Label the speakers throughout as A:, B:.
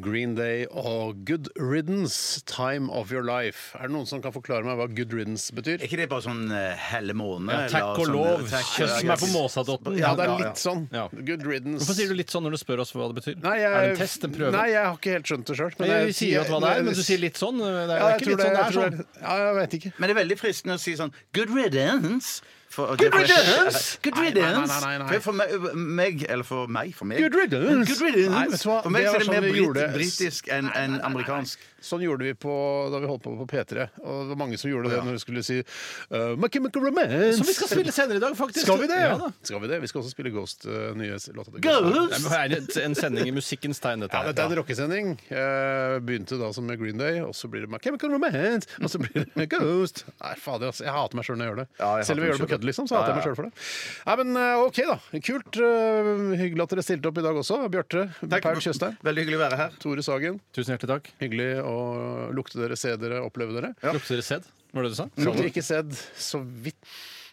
A: Green Day og Good Riddance, Time of Your Life. Er det noen som kan forklare meg hva Good Riddance betyr?
B: Er ikke det bare sånn eh, helle måne?
C: Ja, takk
B: eller
C: og
B: sånn,
C: lov.
B: takk-
C: Kjøss
B: ja,
C: meg på
B: yes.
C: måsadotten.
A: Ja, det er
B: ja.
A: litt sånn.
C: Ja.
A: Good Riddance.
C: Hvorfor sier du litt sånn når du spør oss hva det betyr?
A: Nei, jeg,
C: er det en test, en prøve?
A: Nei, jeg har ikke helt skjønt det sjøl.
C: Nei, vi sier jo at hva det er, men du sier litt sånn. Det er
A: Ja, jeg
C: ikke
A: tror
C: litt
A: det.
C: sånn det
A: Jeg
C: er
A: tror
C: sånn.
A: det. Ja, jeg vet ikke.
B: Men det er veldig fristende å si sånn Good riddance! For,
A: Good
B: det er for-
A: riddance?
B: Good
A: Nei, nei, nei,
B: riddance!
A: nei, nei.
B: For- For meg, meg, eller for meg, for meg
A: Good riddance?
B: Good riddance.
A: Nei, vet du hva?
B: for meg
A: Det
B: så
A: var
B: er det
A: sånn
B: mer
A: vi
B: brit,
A: gjorde-
B: britisk enn enn amerikansk.
A: Sånn gjorde vi på, da vi holdt på på P3. Og det var mange som gjorde det når vi skulle si uh, Mucky Mucky Romance.
C: Som vi skal spille senere i dag, faktisk.
A: Skal vi det?
C: Ja, da.
A: skal vi det? Vi skal også spille Ghost, uh, nye s- låta til
C: Nei, men er det en sending i musikkens tegn, dette
A: Ja,
C: her.
A: dette er en rockesending. Eh, begynte da som med Green Day, og så blir det My Chemical Romance, og så blir det Ghost. Nei, fader, altså. Jeg hater meg sjøl når jeg gjør det.
B: Ja, jeg
A: Selv om
B: hater
A: jeg gjør det på
B: meg
A: kødd,
B: selv.
A: liksom, så hater jeg meg sjøl for det. Nei, men eh, OK, da. Kult. eh, hyggelig at dere stilte opp i dag også. Bjarte, Paul Tjøstheim,
B: Veldig hyggelig å være her.
A: Tore Sagen.
C: Tusen hjertelig takk.
A: Hyggelig å lukte dere, se dere, oppleve dere.
C: Lukter det sæd? Var det det du sa?
A: Lukter ikke sæd så vidt.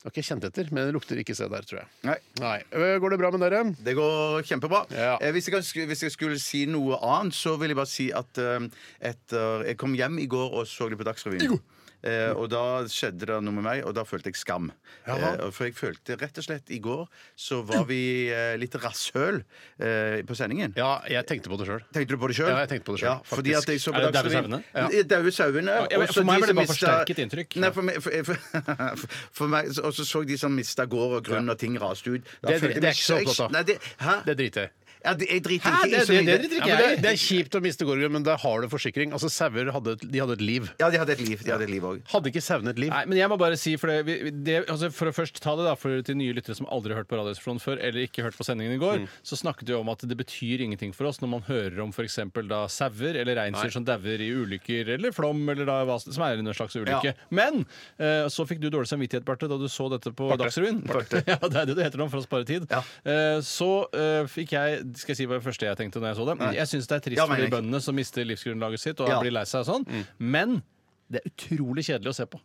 A: Ok, kjent etter, men det lukter ikke sæd der, tror jeg.
B: Nei.
A: Eh, Går det bra med dere?
B: Det går kjempebra.
A: Ja.
B: Eh, hvis, jeg, kan sk- hvis jeg skulle si noe annet, så vil jeg bare si at eh, etter Jeg kom hjem i går og så det på Dagsrevyen. Eh, og da skjedde det noe med meg, og da følte jeg skam. Eh, og for jeg følte rett og slett I går så var vi eh, litt rasshøl eh, på sendingen.
A: Ja, jeg tenkte på det sjøl.
B: Tenkte du på det sjøl?
A: Ja, jeg tenkte på det selv,
B: fordi
A: faktisk.
B: at jeg så på
C: Er det Daue
B: Dagsrevyen.
C: sauene? Ja.
B: Ja, Daue sauene.
C: Ja, men
B: og så
C: for meg
B: de
C: ble det
B: som
C: bare
B: mistet-
C: forsterket inntrykk.
B: Nei, for meg, for, for, for meg Og så så jeg de som mista gård og grunn, og ting raste ut. Da
A: Det er-
B: følte jeg
A: det er
B: meg
A: ikke så
B: jeg-
A: opptatt av.
B: Nei, det, hæ?
A: Det driter jeg i.
B: Ja, det, jeg driter
C: Hæ?
B: ikke i
C: Det-
B: så mye.
C: det- det driter
A: Ja,
C: ikke
A: men
C: jeg
A: det, det er kjipt å miste gorgon, men der har du forsikring. Altså, Sauer hadde, et- de hadde et liv.
B: Ja, de hadde et liv. De hadde et liv òg.
A: Hadde ikke sauene et liv?
C: Nei, men jeg må bare si, for, det, vi- det, altså for å først ta det da, for til nye lyttere som aldri har hørt på Radioresepsjonen før, eller ikke hørt på sendingen i
B: Mm.
C: går, så snakket vi om at det betyr ingenting for oss når man hører om f.eks. da sauer eller reinsdyr som dauer i ulykker, eller flom, eller da hva som er en slags ulykke.
B: Ja.
C: Men eh, så fikk du dårlig samvittighet, Barte, da du så dette på Dagsrevyen. ja, det er det det heter nå, for å spare tid.
B: Ja.
C: Eh, så eh, fikk jeg Skal jeg si hva det første jeg tenkte når jeg så det? Jeg syns det er trist
B: Ja, men
C: for de
B: jeg-
C: bøndene som mister livsgrunnlaget sitt og
B: Ja. Mm.
C: blir lei seg og sånn, men det er utrolig kjedelig å se på.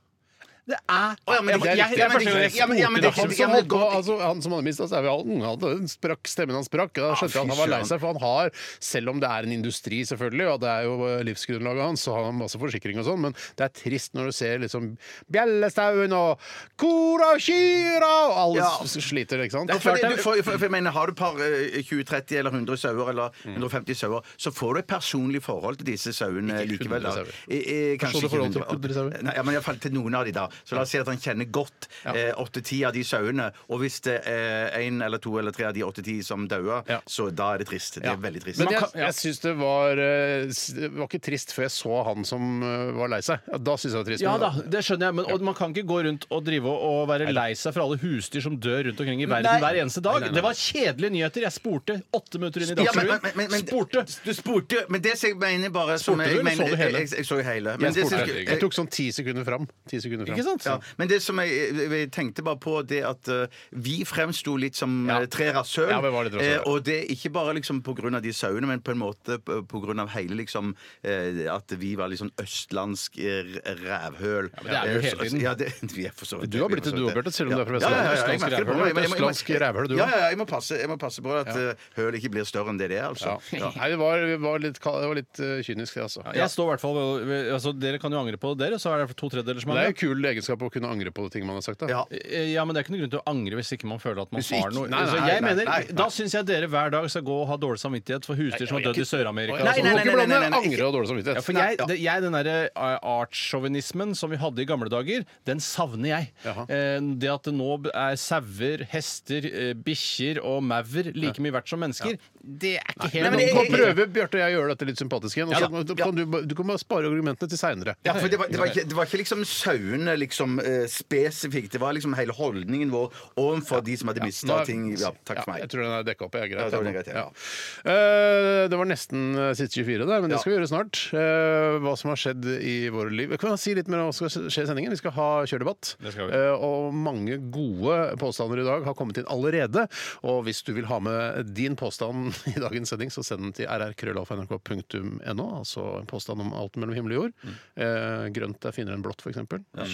C: Det er
B: Å, ja, men det-
C: jeg, jeg,
B: det-
C: det er første gang jeg
B: ja, men- ja, men
C: spurte sånn.
B: det- Ja,
A: Han
C: deg.
A: som,
B: men
A: holdt på,
B: godt-
A: altså, han som hadde mista sauehalten, han sprakk stemmen hans sprakk. Da
B: Ah,
A: skjønte jeg at han
B: fy
A: var lei
B: søren.
A: seg, for han har, selv om det er en industri, selvfølgelig, og det er jo eh, livsgrunnlaget hans, så har han masse forsikring og sånn, men det er trist når du ser liksom bjellestauen og kora og kyra, og alle
B: Ja.
A: s- sliter, ikke sant?
B: Ja, for, det, du får, for, for jeg mener, Har du par eh, 20-30 eller 100 sauer, eller 150 sauer, så får du et personlig forhold til disse sauene
A: Ikke
B: likevel.
A: 100
B: Da.
A: sauer.
B: I, i,
A: Personlig
B: kanskje ikke
A: forhold til
B: 100.
A: 100 sauer?
B: Nei, ja, men Iallfall til noen av de da. Så la oss si at han kjenner godt eh, 8-10 av de sauene. Og hvis det er én eller to eller tre av de 8-10 som dauer,
A: Ja.
B: så da er det trist. Det
A: Ja.
B: er veldig trist.
A: Men jeg,
C: kan- ja.
A: jeg syns det var eh, s- Det var ikke trist før jeg så han som eh, var lei seg. Ja, Da syns jeg det var trist.
C: Ja
A: men-
C: da, det skjønner jeg, men og man kan ikke gå rundt og drive og- og være lei seg for alle husdyr som dør rundt omkring i verden
B: Nei.
C: hver eneste dag. Det var kjedelige nyheter. Jeg spurte åtte minutter inn i
B: Ja, men- men- men-
C: Dagsrevyen.
B: men-
C: Spurte!
B: Du spurte, men det som jeg mener bare som
C: Spurte
B: jeg,
C: du, eller
B: mener-
C: så du hele?
B: Jeg, jeg, jeg så hele. Men
A: Jeg,
B: det som-
A: spurte, jeg tok sånn ti sekunder fram. Ti sekunder fram.
C: Ikke sant?
B: Ja,
A: Liksom.
B: men det som jeg, eh, jeg tenkte bare på, det at eh, vi fremsto litt som
A: Ja.
B: eh, tre rasshøl.
A: Ja, vi var litt rasshøl, ja.
B: eh, og det er ikke bare liksom pga. de sauene, men på en måte p- på grunn av hele liksom eh, At vi var litt sånn østlandsk eh, rævhøl.
C: men det er vi jo
B: Eh,
C: hele
B: så-
C: tiden.
B: Ja, det, vi er for så vidt
A: Du har blitt
B: vi er for så
A: et
B: vidt
A: du, Bjarte, selv om du er fra
B: Ja, ja, ja,
A: Vestlandet.
B: jeg merker det. Jeg må-
A: Østlandsk
B: jeg må- jeg må-
A: Østlandsk rævhøl, du
B: Ja,
A: også.
B: ja, ja, jeg må passe, jeg må passe på at eh, hølet ikke blir større enn det det er, altså. Ja.
A: Nei, det var, det var litt, kal- det var litt eh, kynisk, det, altså.
C: Jeg står i hvert fall ved- ved- altså, Dere kan jo angre på dere, så er det for to tredjedeler som
A: Men det er
C: angrer.
A: jo kul egenskap å kunne angre på ting man har sagt. Da.
B: Ja.
C: Eh, Ja, men Det er ikke noen grunn til å angre hvis ikke man føler at man
A: Hvis ikke-
C: har noe.
A: Nei, nei,
C: altså, jeg
A: nei,
C: mener,
A: nei, nei.
C: Da syns jeg dere hver dag skal gå og ha dårlig samvittighet for husdyr som har dødd i Sør-Amerika. og
A: Nei,
C: sånn.
A: nei, nei, nei,
B: nei, nei, nei.
A: Angre og dårlig
C: Ja,
A: samvittighet.
C: for jeg, det, jeg, Den derre eh, artssjåvinismen som vi hadde i gamle dager, den savner jeg.
A: Jaha.
C: Eh, Det at det nå er sauer, hester, eh, bikkjer og maur like mye verdt som mennesker, det er ikke helt
B: men
A: Nå
B: det-
C: noe-
A: nå prøver Bjarte og jeg å gjøre dette litt sympatisk igjen. Og
C: Ja
A: så
C: da.
A: kan du, du kan bare spare argumentene til seinere.
B: Ja, for det var, det, var ikke, det var ikke liksom sauene liksom eh, spesifikt. Det var liksom hele holdningen vår overfor de som hadde mista
A: Nå-
B: ting. Ja, takk for
A: Ja, Jeg
B: meg.
A: tror den er dekka opp. Jeg er greit.
B: Ja, jeg tror den er greit, ja.
A: Ja. Eh, det var nesten eh, siste 24 der, men det
B: Ja.
A: skal vi gjøre snart. Eh, hva som har skjedd i våre liv. Jeg kan si litt mer om hva som skal skje i sendingen. Vi skal ha kjørdebatt.
C: Det skal vi.
A: Eh, og mange gode påstander i dag har kommet inn allerede. Og hvis du vil ha med din påstand i dagens sending, så send den til rrkrøllalfa.nrk.no. Altså en påstand om alt mellom himmel og jord.
B: Mm.
A: Eh, grønt er finere enn blått, f.eks.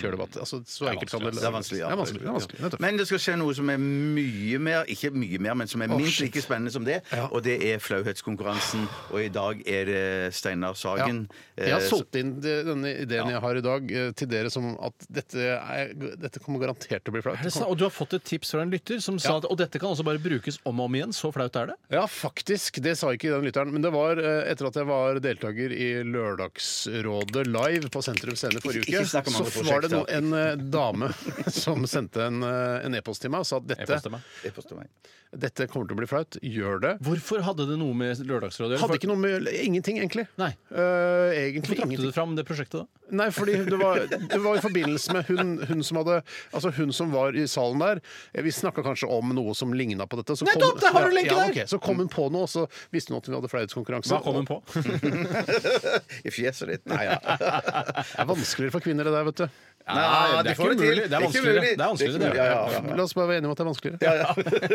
A: Kjørdebatt. Altså, så enkelt kan det
B: Det er vanskelig, ja.
A: Det er vanskelig, det er vanskelig, nettopp.
B: Men det skal skje noe som er mye mer, ikke mye mer, men som er
A: Å,
B: minst
A: shit.
B: like spennende som det.
A: Ja.
B: Og det er flauhetskonkurransen. Og i dag er det Steinar Sagen.
A: Ja. Jeg har
B: eh,
A: solgt inn de- denne ideen
B: Ja.
A: jeg har i dag eh, til dere som at dette, er, dette kommer garantert til å bli flaut.
C: Er det sant? Og du har fått et tips fra en lytter som sa at og dette kan også bare brukes om og om igjen. Så flaut er det.
A: Ja, faktisk. Det sa ikke den lytteren. Men det var eh, etter at jeg var deltaker i Lørdagsrådet live på Sentrum Scene forrige
B: Ikke- ikke
A: uke,
B: snakk om
A: så
B: andre
A: var det
B: prosjekter.
A: no, en eh, dame som sendte en eh, en e-post til meg og sa at
C: Jeg forstår
A: dette,
C: meg.
B: Jeg forstår meg.
A: dette kommer til å bli flaut. Gjør det.
C: Hvorfor hadde det noe med Lørdagsrådet å gjøre?
A: Hadde ikke noe med Ingenting, egentlig.
C: Nei.
A: Eh, egentlig
C: Hvorfor trakte
A: ingenting.
C: du fram det prosjektet, da?
A: Nei, fordi det var, det var i forbindelse med hun, hun som hadde Altså hun som var i salen der. Eh, Vi snakka kanskje om noe som ligna på dette. Så
C: Nettopp, der har du lenken
A: ja,
C: der!
A: ok, Så kom hun på noe, og så visste hun at hun hadde flauhetskonkurranse.
C: Hva kom hun på?
B: I fjeset ditt. Nei, ja.
A: Det er vanskeligere for kvinner, det der, vet du.
B: Nei,
C: det er
B: de får
C: ikke
B: det til.
C: umulig. Det er
B: ikke
C: vanskeligere.
B: mulig.
C: Det er vanskeligere,
B: ikke mulig.
C: det er
B: Ja, ja, ja.
A: La oss bare være enige om at det er vanskeligere.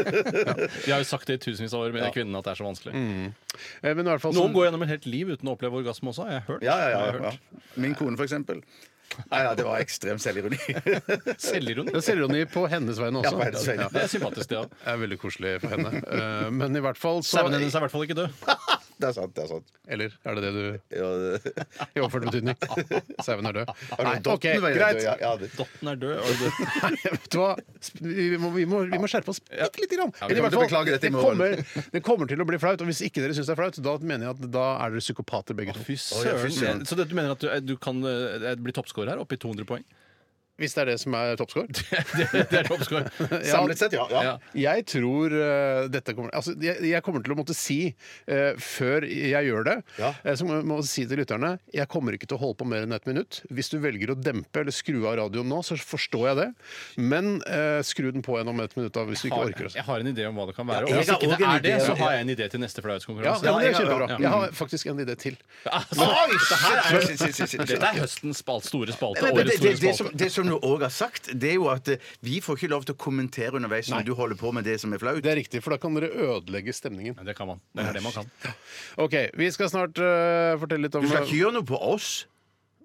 C: Vi har jo sagt det i tusenvis av år med de kvinnene at det er så vanskelig.
B: Mm.
A: Eh, Men i hvert fall
C: Noen
A: sånn,
C: går gjennom et helt liv uten å oppleve orgasme også, har jeg hørt.
B: Ja, ja, ja,
C: Har jeg
B: ja.
C: hørt.
B: Min kone, for eksempel. Nei, ja, det var ekstrem selvironi.
C: Selvironi.
A: det er selvironi på hennes vegne
B: Ja,
A: også.
B: på hennes vegne.
C: Det er sympatisk, det òg.
A: Det er veldig koselig for henne. Eh, Men i hvert fall så
C: Sauen hennes er i hvert fall ikke død.
B: Det er sant. det er sant.
A: Eller er det det du
B: Ja, det-
A: I overført betydning. Sauen er død. Nei,
B: Dotten
A: OK,
B: var jo
A: greit.
B: død, ja, ja, det-
C: Dotten er død. og det-
A: Nei, vet du hva? Sp- Vi må, vi må, vi må skjerpe oss bitte lite grann.
B: vi
A: Men i
B: kommer
A: hvert
B: til å
A: fall,
B: beklage dette i
A: det,
B: morgen.
A: kommer, det kommer til å bli flaut. Og hvis ikke dere syns det er flaut, da mener jeg at da er dere psykopater begge to.
C: Fy
B: ja, fy
C: søren.
B: søren.
C: Så det, du mener at du, du kan eh, bli toppscorer her, oppe i 200 poeng?
A: Hvis det er det som er toppscore.
C: Det, det er toppscorer.
B: Samlet sett, ja. ja.
C: Ja.
A: Jeg tror eh, dette kommer Altså, jeg, jeg kommer til å måtte si, eh, før jeg gjør det,
B: Ja.
A: eh, så må må jeg si til lytterne Jeg kommer ikke til å holde på mer enn ett minutt. Hvis du velger å dempe eller skru av radioen nå, så forstår jeg det. Men eh, skru den på igjen om ett minutt da, hvis du ikke
C: har,
A: orker. Altså.
C: jeg har en idé om hva det kan
B: Ja,
C: være. og hvis
B: jeg har
C: ikke det
B: også en
C: er det,
B: idé,
C: så
B: ja.
C: har jeg en idé til neste
A: Ja,
C: flauhetskonkurranse.
A: ja,
B: Ja,
A: men det er
B: ja, ja.
A: kjempebra. Jeg har faktisk en idé til.
B: Oi, det her er shit, shit, shit, shit, shit.
C: Dette er høstens spal- store spalte.
B: Men, men, det, det,
C: Årets store
B: det, som,
C: spalte.
B: det som du òg har sagt, det er jo at eh, vi får ikke lov til å kommentere underveis når du holder på med det som er flaut.
A: Det er riktig, for da kan dere ødelegge stemningen.
C: Nei, Det kan man. Det er det man kan.
A: Ok, Vi skal snart øh, fortelle litt om eh,
B: Du skal ikke gjøre noe på oss.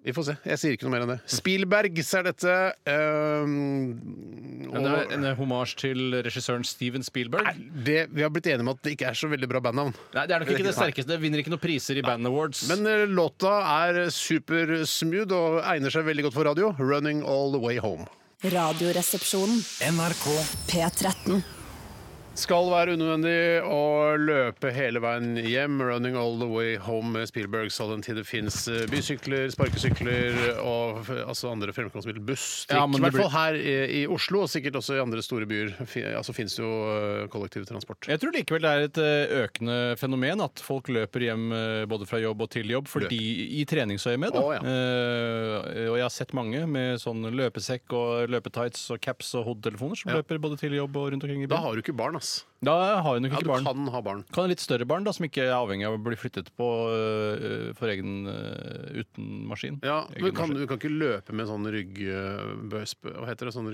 A: Vi får se. Jeg sier ikke noe mer enn det. Spielbergs er dette. eh, øhm,
C: Men det er
A: og
C: en hommage til regissøren Steven Spielberg. Nei,
A: det, vi har blitt enige om at det ikke er så veldig bra bandnavn.
C: det er nok ikke det sterkeste. Det vinner ikke noen priser i Band Awards.
A: Men øh, låta er supersmooth og egner seg veldig godt for radio. 'Running All The Way Home'.
D: Radioresepsjonen.
E: NRK
D: P13.
A: Skal være unødvendig å løpe hele veien hjem. 'Running All The Way Home' med Spielberg, all den tid det fins bysykler, sparkesykler og f- altså andre fremkomstmidler. Buss, trikk.
C: Ja, men
A: I
C: det
A: hvert fall her i, i Oslo, og sikkert også i andre store byer. Fi- Altså fins det jo eh, kollektivtransport.
C: Jeg tror likevel det er et eh, økende fenomen at folk løper hjem eh, både fra jobb og til jobb fordi, i treningsøyemed. da.
A: Å, ja.
C: Eh, og jeg har sett mange med sånn løpesekk og løpetights og caps og hodetelefoner som løper både til jobb og rundt omkring i
A: Da
C: byen.
A: har du ikke barn, ass.
C: Da har hun nok
A: Ja,
C: ikke
A: du
C: barn.
A: kan ha barn.
C: Kan litt større barn da, som ikke er avhengig av å bli flyttet på øh, for egen øh, uten maskin.
A: Ja,
C: Egen
A: men kan,
C: maskin.
A: du kan ikke løpe med sånn ryggbøs... Hva heter det? Sånn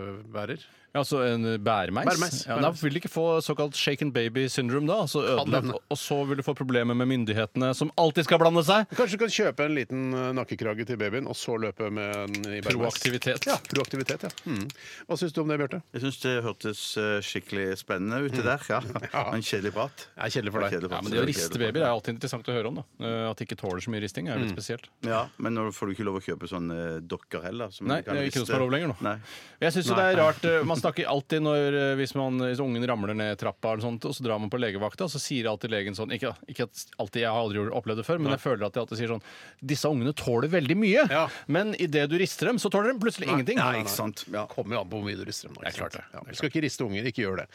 A: ryggbærer?
C: Altså en bæremeis.
A: Bæremeis,
C: Ja, da
A: bæremeis.
C: vil du ikke få såkalt shake and baby syndrome da, altså
A: hende.
C: ødelagt, og så vil du få problemer med myndighetene som alltid skal blande seg.
A: Kanskje du kan kjøpe en liten eh, nakkekrage til babyen, og så løpe med den i bærmeis?
C: Proaktivitet.
A: Ja, proaktivitet, ja. Mm. Hva syns du om det, Bjarte?
B: Jeg syns det hørtes eh, skikkelig spennende
C: Mm.
B: ut, det der. Ja. En kjedelig prat.
A: Det er kjedelig for deg.
C: Ja, men det å riste babyer er alltid interessant å høre om da. Eh, At de ikke tåler så mye risting er jo
B: Mm.
C: litt spesielt.
B: Ja, men nå får du ikke lov å kjøpe sånne eh, dokker heller. som
C: Nei,
B: du kan
C: det er ikke noe
B: riste.
C: som er lov lenger nå.
B: Nei.
C: Jeg synes jo det er rart, eh, Man snakker alltid når eh, hvis, man, hvis ungen ramler ned trappa, eller sånt, og så drar man på legevakta, og så sier alltid legen sånn Ikke, ikke at alltid, jeg har aldri gjort- opplevd det før, men jeg føler at de alltid sier sånn Disse ungene tåler veldig mye,
A: Ja.
C: men idet du rister dem, så tåler de plutselig ingenting.
B: Nei, ikke sant. Ja.
A: kommer jo an på hvor mye du rister dem. nå,
C: Det er
A: ikke
C: klart
A: sant?
C: det.
A: Ja, du skal ikke riste unger, ikke gjør det.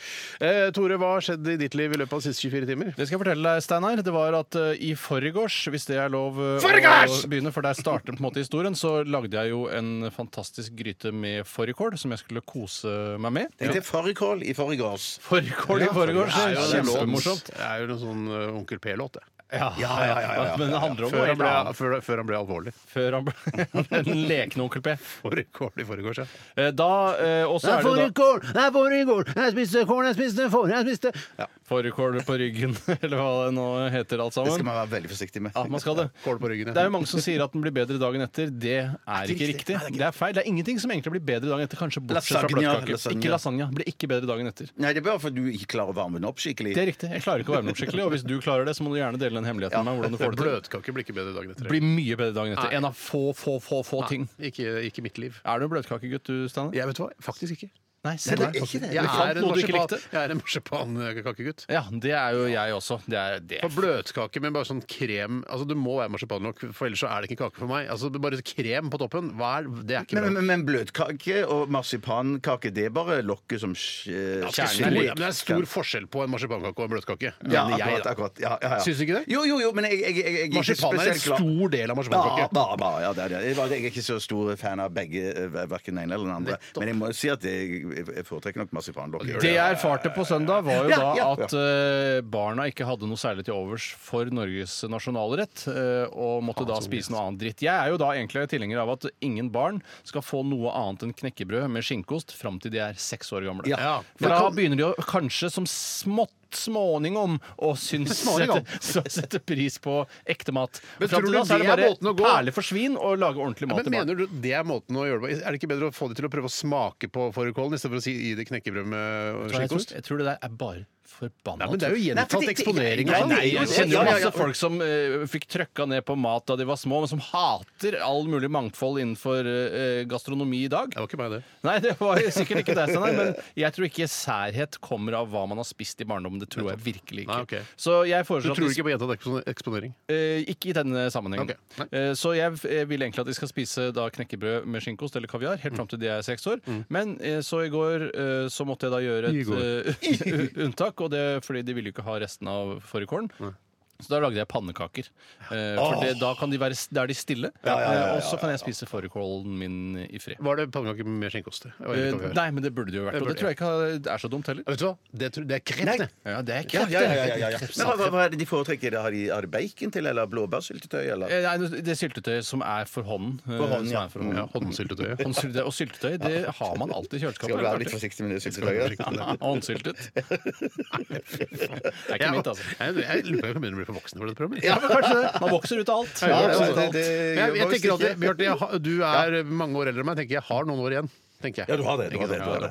A: Eh, Eh, Tore, hva har skjedd i ditt liv i løpet av de siste 24 timer?
C: Det skal jeg fortelle deg, Steinar. Det var at eh, i forgårs, hvis det er lov eh,
A: Forgårs!
C: å begynne, for der starter på en måte historien, så lagde jeg jo en fantastisk gryte med fårikål som jeg skulle kose meg med.
B: Tenkte fårikål i forgårs.
C: Fårikål i forgårs!
A: Det er jo en låt.
C: Kjempemorsomt.
A: Det er jo noe sånn eh, Onkel P-låt, det.
C: Ja, Men det handler om
A: Før
C: noe
A: han
C: helt
A: ble,
C: annet.
A: før, før han ble alvorlig.
C: Før han ble en lekende onkel P.
A: Fårikål i forgårs, ja.
C: Eh, Da, eh, og så er det jo da
A: Fårikål! Det er fårikål! Jeg spiste kål, jeg spiste får, jeg spiste ja.
C: fårikål på ryggen, eller hva det nå heter alt
B: Det skal
C: sammen.
B: man være veldig forsiktig med.
C: Ja, man skal det.
A: Kål på ryggen, ja.
C: Det er jo mange som sier at den blir bedre dagen etter. Det er ikke riktig. Det er feil. Det er ingenting som egentlig blir bedre dagen etter, kanskje bortsett fra
B: Lasagne,
C: bløtkake.
B: lasagne.
C: Ikke lasagne. Blir ikke bedre dagen etter.
B: Nei, det er bare fordi du ikke klarer å varme den opp skikkelig.
C: Det er riktig. Jeg klarer ikke å varme opp skikkelig, og hvis du klarer det, så må du gjerne dele den hemmeligheten med meg. hvordan du får det til.
A: Bløtkake blir ikke bedre dagen etter.
C: Det blir mye bedre dagen etter.
A: Nei.
C: En av få, få, få, få ting.
A: Ikke, ikke mitt liv.
C: Er du en bløtkakegutt, du, Steinar?
A: Jeg vet hva, faktisk ikke.
C: Nei, se
B: det er ikke det.
C: Du
A: Jeg
C: fant
A: er en
C: noe du ikke
A: marsipan-
C: likte.
A: jeg er en marsipankakegutt.
C: Ja, det er jo jeg også. Det er det.
A: På bløtkake med bare sånn krem Altså Du må være marsipan nok, for ellers så er det ikke kake for meg. Altså det er Bare krem på toppen, hva er det? er ikke
B: Men,
A: bra.
B: men, men bløtkake og marsipankake, det er bare lokket som eh,
A: Ja,
B: kjerner
A: det er stor- ja, men det er stor forskjell på en marsipankake og en bløtkake.
B: Ja,
A: mener
B: akkurat.
A: jeg, da.
B: akkurat. Ja, ja, ja.
A: Syns du ikke det?
B: Jo, jo, jo, men jeg, jeg, jeg, jeg er ikke
A: Marsipan er en
B: spesielt glad-
A: stor del av
B: Ja,
A: marsipankake.
B: bare, bare, ja, det er det. Jeg, var- jeg er ikke så stor fan av begge, eh, hverken den ene eller den andre.
A: Nettopp.
B: Men jeg må si at jeg, jeg foretrekker nok marsipanlokket.
C: Det jeg erfarte på søndag, var jo
B: Ja,
C: da
B: ja.
C: at eh, barna ikke hadde noe særlig til overs for Norges nasjonalrett, eh, og måtte
A: Ah,
C: da spise noe annet dritt. Jeg er jo da egentlig tilhenger av at ingen barn skal få noe annet enn knekkebrød med skinkeost fram til de er seks år gamle.
B: Ja. Ja.
C: For da begynner de å, kanskje som smått småningom og syns
A: Småningom.
C: sette, sette pris på ekte mat.
A: Men
C: Fram
A: tror
C: til
A: du
C: da så er det
A: det er
C: bare
A: måten å gå?
C: perle for svin og lage ordentlig mat
A: Men
C: til barn.
A: mener du det er måten å gjøre det på? Er det ikke bedre å få dem til å prøve å smake på fårikålen istedenfor å si gi det knekkebrød med
C: Jeg tror,
A: skinkost?
C: jeg tror det der er bare forbanna
A: Nei, men det er jo
B: Nei, for
A: gjentatt
B: det- det-
A: eksponering.
B: Nei,
A: og sånn.
B: nei,
C: Jeg
B: Ja,
C: kjenner jo
B: ja, ja,
C: masse
B: ja.
C: folk som eh, fikk trøkka ned på mat da de var små, men som hater all mulig mangfold innenfor eh, gastronomi i dag.
A: Det var ikke meg, det.
C: Nei, det var jo sikkert ikke deg, Steinar, men jeg tror ikke særhet kommer av hva man har spist i barndommen. Det tror jeg virkelig
A: Nei,
C: ikke.
A: ok.
C: Så jeg
A: Sånn Du
C: foreslår at
A: tror
C: de-
A: ikke på gjentatt
C: sånn
A: ekspo- eksponering?
C: Eh, ikke i denne sammenhengen.
A: Ok, nei.
C: Eh, så jeg eh, vil egentlig at de skal spise da knekkebrød med skinkost eller kaviar helt fram til de er seks år. Men eh, så i går eh, så måtte jeg da gjøre
A: I går.
C: et eh, unntak, og det er fordi de ville jo ikke ha resten av fårikålen. Så da lagde jeg pannekaker. Eh, for det, da kan de være, s- da er de stille. eh, og så kan jeg spise fårikålen min i fred.
A: Var det pannekaker med skinkost? Det var
C: Eh,
A: ikke kaviar.
C: nei, men det burde det jo vært.
A: Det
C: Og det
A: burde-
C: tror jeg ikke har- er så dumt heller.
A: Ja, Vet du hva? Det, tror- det er kreft, det.
C: Ja, det er ikke
B: Ja, ja, ja, ja,
C: det.
B: ja, ja. Men hva, hva, hva er det de foretrekker? Har de, har de bacon til, eller blåbærsyltetøy? Eller?
C: Eh, Nei, det er syltetøy som er for hånden. eh,
B: For hånden,
C: som
B: ja.
C: er for hånden.
A: Ja, Håndsyltetøyet.
C: Håndsyltetøy, og syltetøy Sånn det har man alltid i
B: Skal
C: kjøleskapet.
B: du
C: det
B: være
C: er
B: litt
C: klart det.
B: forsiktig med det syltetøyet?
C: Ja, Håndsyltet. Det er ikke mitt, altså.
A: Jeg, jeg, jeg lurer på om jeg begynner å bli for voksen for dette programmet.
C: Ja, men kanskje det. Man vokser ut av alt.
B: Ja,
A: Ja,
B: det-
A: absolutt.
B: det- det-
A: Men jeg,
B: var
A: jeg
B: visst
A: tenker at
B: ikke-
A: Bjarte, jeg, har- du er eh, mange år eldre enn meg. tenker Jeg har noen år igjen. tenker jeg.
B: Ja, du har det. Du har det, du har det.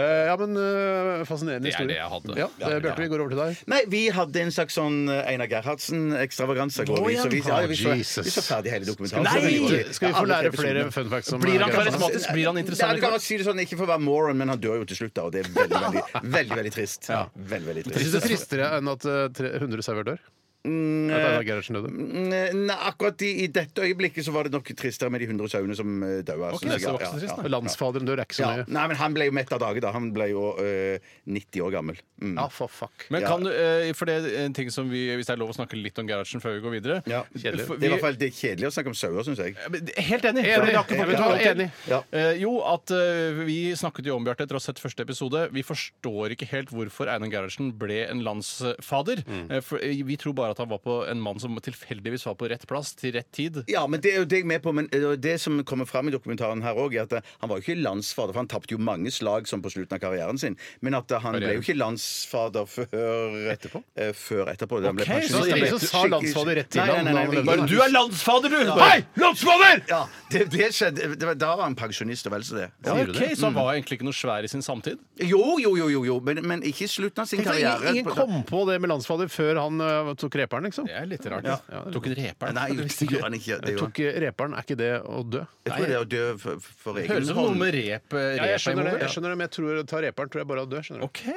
A: Eh, ja, men eh, Fascinerende
C: Det er
A: historie.
C: det jeg hadde.
A: Ja, eh, Bjarte, vi går over til deg.
B: Nei, vi hadde en slags sånn eh, Einar Gerhardsen-ekstravaganse. går vi, så vi, ja, vi, så-
A: Jesus.
B: vi så ferdig hele dokumentaren.
C: Nei!
B: Så vi går-
A: Skal vi
B: Ja,
A: få
B: alle
A: lære
B: tre
A: flere
B: episodene.
A: fun facts om
C: Blir han
A: Gerhardsen?
C: karismatisk? Blir han
B: Nei,
C: interessant?
B: du kan godt si det sånn, Ikke for å være moron, men han dør jo til slutt, da. Og det er veldig, veldig, veldig, veldig trist. Veldig, veldig
A: Jeg
B: trist.
A: synes det er tristere enn at eh, tre- 100 sauer dør. At Einar Gerhardsen døde.
B: Mm, Nei, akkurat i, i dette øyeblikket så var det nok tristere med de 100 sauene som eh, daua.
C: Ok,
B: synes jeg.
C: så voksen trist, da.
A: Landsfaderen dør er ikke så
B: Ja.
A: mye.
B: Nei, men han ble jo mett av dage, da. Han ble jo eh, 90 år gammel. Mm.
A: Ja, for fuck.
C: Men
B: Ja.
C: kan du, eh, for det er en ting som vi, Hvis det er lov å snakke litt om Gerhardsen før vi går videre
B: Ja.
A: Kjedelig.
C: For
B: Det er i
C: vi-
B: hvert fall det er kjedelig å snakke om sauer, syns jeg.
C: Helt enig.
A: Enig.
C: for det har ikke fått
A: Enig.
C: noe til.
A: Enig.
B: Ja.
C: Eh, jo, at eh, Vi snakket jo om Bjarte etter å ha sett første episode. Vi forstår ikke helt hvorfor Einar Gerhardsen ble en landsfader.
B: Mm.
C: Eh, for, eh, vi tror bare at han var på en mann som tilfeldigvis var på rett plass til rett tid.
B: Ja, men det er jo det jeg er med på. Men eh, det som kommer fram i dokumentaren her òg, er at eh, han var jo ikke landsfader, for han tapte jo mange slag som på slutten av karrieren sin. Men at eh, han ble jo ikke landsfader før etterpå. før etterpå. da han ble
C: Ok,
B: pensjonist.
C: så
B: Han
C: det er
B: ble
A: ingen som sa
B: skikkelig-
A: landsfader rett til
B: Nei,
A: han
B: nei, nei,
A: da han
B: nei,
A: levde.
B: ingen-
A: Bare,
C: landsfader, du!
A: Hei, landsfader!
B: Ja, det, det skjedde. Det var, da var han pensjonist og vel så det.
C: Ja,
A: Sier du
C: ok, Så han var egentlig ikke noe svær i sin samtid?
B: Jo, jo, jo, jo, jo. Men, men ikke i slutten av sin
A: Tenk at
B: karriere.
A: Ingen, ingen kom på det med landsfader før han eh, tok reperen, liksom.
C: Det er litt rart. Tok en reper?
B: Nei,
C: det
B: det gjorde han ikke. Det gjorde han.
A: Tok eh, reperen, er ikke det å dø?
B: Jeg tror det er å dø for, for egen
C: høres ut som noe
B: hånd.
C: med rep. eh,
A: Ja, jeg
C: rep
A: skjønner det,
C: involvert.
A: jeg skjønner det men jeg tror å ta reperen tror jeg bare å dø. skjønner du
C: OK,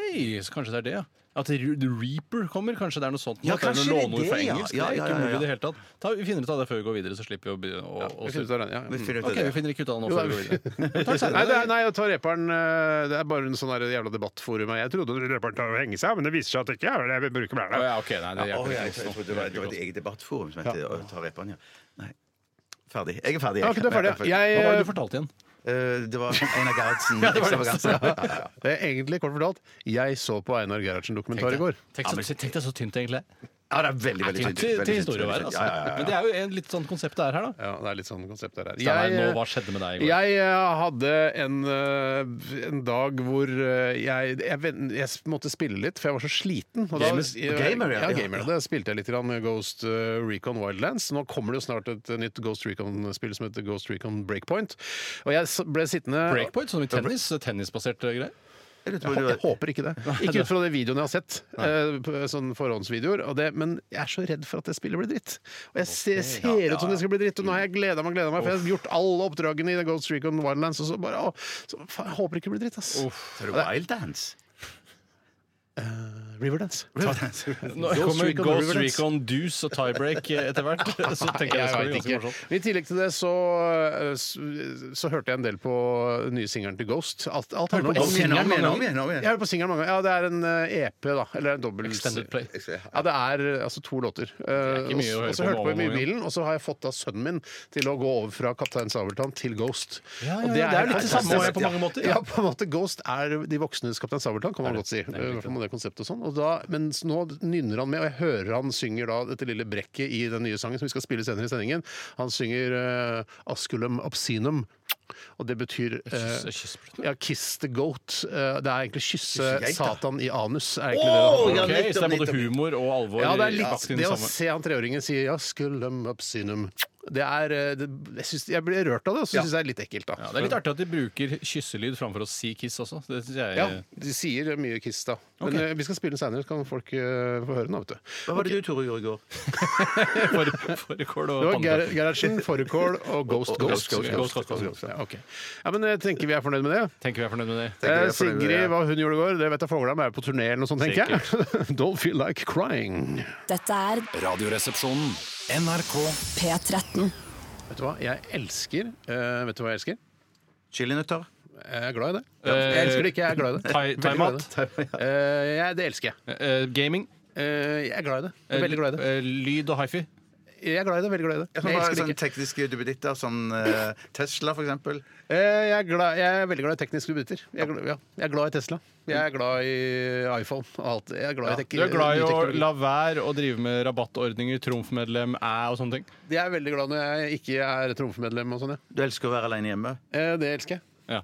C: så kanskje det er det, ja. At Re- The Reaper kommer? Kanskje det er noe sånt?
B: Ja,
C: at det er
B: kanskje det er
C: noe låneord
B: det,
C: fra
B: ja.
C: engelsk?
B: Ja, ja,
C: Det er
B: ja,
C: ikke mulig
B: ja.
C: i det hele tatt. Ta, vi finner ut av det før vi går videre, så slipper vi å begynne å, å
A: Vi finner ut av det, ja.
B: Vi finner ut av
C: Ok, vi
B: det.
C: finner ikke ut av det nå
A: Jo,
C: før vi
A: nei,
C: går videre.
A: Nei,
C: Takk,
A: det
C: Sverre.
A: er, nei, jeg tar reperen eh, Det er bare en sånn der jævla debattforum. Jeg trodde reperen tar og henger seg, men det viser seg at det ikke er det. Jeg bruker blæra.
C: Å ja, ok, nei, det
B: Å,
C: hjelper
B: ja, jeg
C: ikke oss nå.
B: trodde det var, det var et eget debattforum som heter Å ta reperen, ja. Nei. Ferdig. Jeg er ferdig.
A: Ja, ok, du er ferdig. ja.
C: Hva var det
A: Jeg,
C: du fortalte igjen?
B: Eh, Det var Einar Gerhardsen.
C: det var det.
B: Extravaganza. Ja, ja, ja.
A: det er eh, egentlig kort fortalt, jeg så på Einar Gerhardsen-dokumentar i går.
C: Tenk så, tenk deg så tynt, egentlig.
B: Ja, det er veldig, veldig
C: Til,
B: tynt.
C: til,
B: Veldig
C: til
B: tynt,
C: historie å
B: veldig
C: være,
B: tynt.
C: altså.
B: Ja, ja, ja,
C: Men det er jo en, litt sånn konseptet er her, da.
A: Ja, det er litt sånn konsept der.
C: Steinar, nå, hva skjedde med deg i går?
A: Jeg eh, hadde en, eh, en dag hvor eh, jeg, jeg, ven- jeg måtte spille litt, for jeg var så sliten. Og
B: Gamer- gamer, ja.
A: ja. gamer. Da spilte jeg litt grann med Ghost eh, Recon Wildlands. Nå kommer det jo snart et nytt Ghost Recon-spill som heter Ghost Recon Breakpoint. Og jeg s- ble sittende
C: Breakpoint, sånn i tennis, tennisbasert eh, greier.
B: Jeg lurte på
A: Jeg,
B: om
A: hå-
B: det
A: jeg
B: var-
A: håper ikke det. Ikke ut fra de videoene jeg har sett. eh, på- Sånn forhåndsvideoer og det, Men jeg er så redd for at det spillet blir dritt. Og jeg ser, ser ut som det skal bli dritt, og nå har jeg
C: Mm.
A: gleda meg, gleda meg, for jeg har gjort alle oppdragene i The Gold Streak on Wildlands, og så bare å, så, faen, Jeg håper ikke det blir dritt, ass.
B: Tror du Wildlands?
A: Riverdance.
C: Nå
A: Ghost
C: kommer
A: Recon
C: Ghost
A: Riverdance.
C: Recon Deuce og tiebreak eh, etter hvert. Så tenker jeg det skal bli ganske morsomt.
A: I tillegg til det så, så, så hørte jeg en del på eh, nye singelen til Ghost. Alt, alt handler om
B: Om
A: Ghost.
B: igjen, om igjen, om igjen, om
A: Jeg
B: igjen.
A: hører på singelen mange ganger. Ja, det er en eh, EP, da. Eller en dobbel
C: Extended play.
A: Ja, det er altså to låter.
C: ikke mye å høre
A: og så
C: på
A: hørte
C: mamma
A: jeg på i
C: og
A: bilen, og så har jeg fått da sønnen min til å gå over fra Kaptein Sabeltann til Ghost.
C: Ja, ja,
A: Og
C: ja, det er jo litt det samme
A: fantastisk.
C: på mange måter, ja.
A: Ja, på en måte. Ghost er de voksnes Kaptein Sabeltann, kan man godt si. I hvert fall med det konseptet og sånn. Og da, men s- nå nynner han med, og jeg hører han synger da dette lille brekket i den nye sangen som vi skal spille senere i sendingen. Han synger eh, Asculum obscenum, og det betyr eh,
C: Kyss- kyssbløtt.
A: ja, kiss the goat. Eh, Det er egentlig kysse
B: Kysse geit, da.
A: Satan i anus. er egentlig det det
B: Ja,
A: handler om.
C: Ok,
B: nettopp,
C: så det er både
B: nettopp.
C: humor og alvor
A: Ja, det er
C: i bakt
A: litt
C: inn
A: det å
C: sammen.
A: se han treåringen si ja, skullum obscenum. Det er eh, det, jeg, synes, jeg blir rørt av det, og så syns jeg det er litt ekkelt, da.
C: Ja, det er litt artig at de bruker kysselyd framfor å si kiss også. Det synes jeg
A: Ja, de sier mye kiss, da. Men eh, vi skal spille den seinere, så kan folk eh, få høre den. da, vet du.
B: Hva var det du, Tore, gjorde i går?
C: fåre- fårikål og
A: Det var
C: pannekake.
A: Ger- Gerhardsen, Fårikål og Ghost
B: Og- og-
A: Ghost.
C: Ghost, Ghost, Ghost,
A: Ja, ok. ja, men jeg tenker vi er fornøyd med det.
C: Tenker vi er fornøyd med det.
B: Tenker vi
A: Eh,
B: er fornøyd med det,
A: Sigrid,
B: ja.
A: hva hun gjorde i går, det vet jeg fågla, men er på turné eller noe sånt, tenker jeg. Don't feel like crying.
D: Dette er
F: Radioresepsjonen.
E: NRK
D: P13.
A: Vet du hva, jeg elsker eh, Vet du hva jeg elsker?
B: Chilinøtter?
A: Jeg er glad i det. Jeg elsker det ikke, jeg er glad i det.
C: Eh, Thai-
A: Veldig
C: thaimat?
A: glad i det. Eh, jeg- Det elsker jeg.
C: Eh, gaming.
A: Eh, jeg er glad i det. Jeg er veldig glad i det.
C: Eh, lyd og hifi.
A: Jeg er glad i det, veldig glad i det.
B: Sånn,
A: Jeg elsker det
B: sånn
A: ikke.
B: tekniske duppeditter, sånn eh, Tesla, for eksempel.
A: Eh, Jeg er, glad, jeg er veldig glad i tekniske duppeditter. Jeg, er gl- ja. jeg er glad i Tesla. Jeg er glad i iPhone og alt. Jeg er glad i tek
C: Du er glad i
A: ny
C: å
A: teknologi.
C: la være å drive med rabattordninger, trumfmedlem, æ og sånne ting.
A: Jeg er veldig glad når jeg ikke er tromfemedlem og sånn, ja.
B: Du elsker å være alene hjemme.
A: Eh, Det elsker jeg.
C: Ja.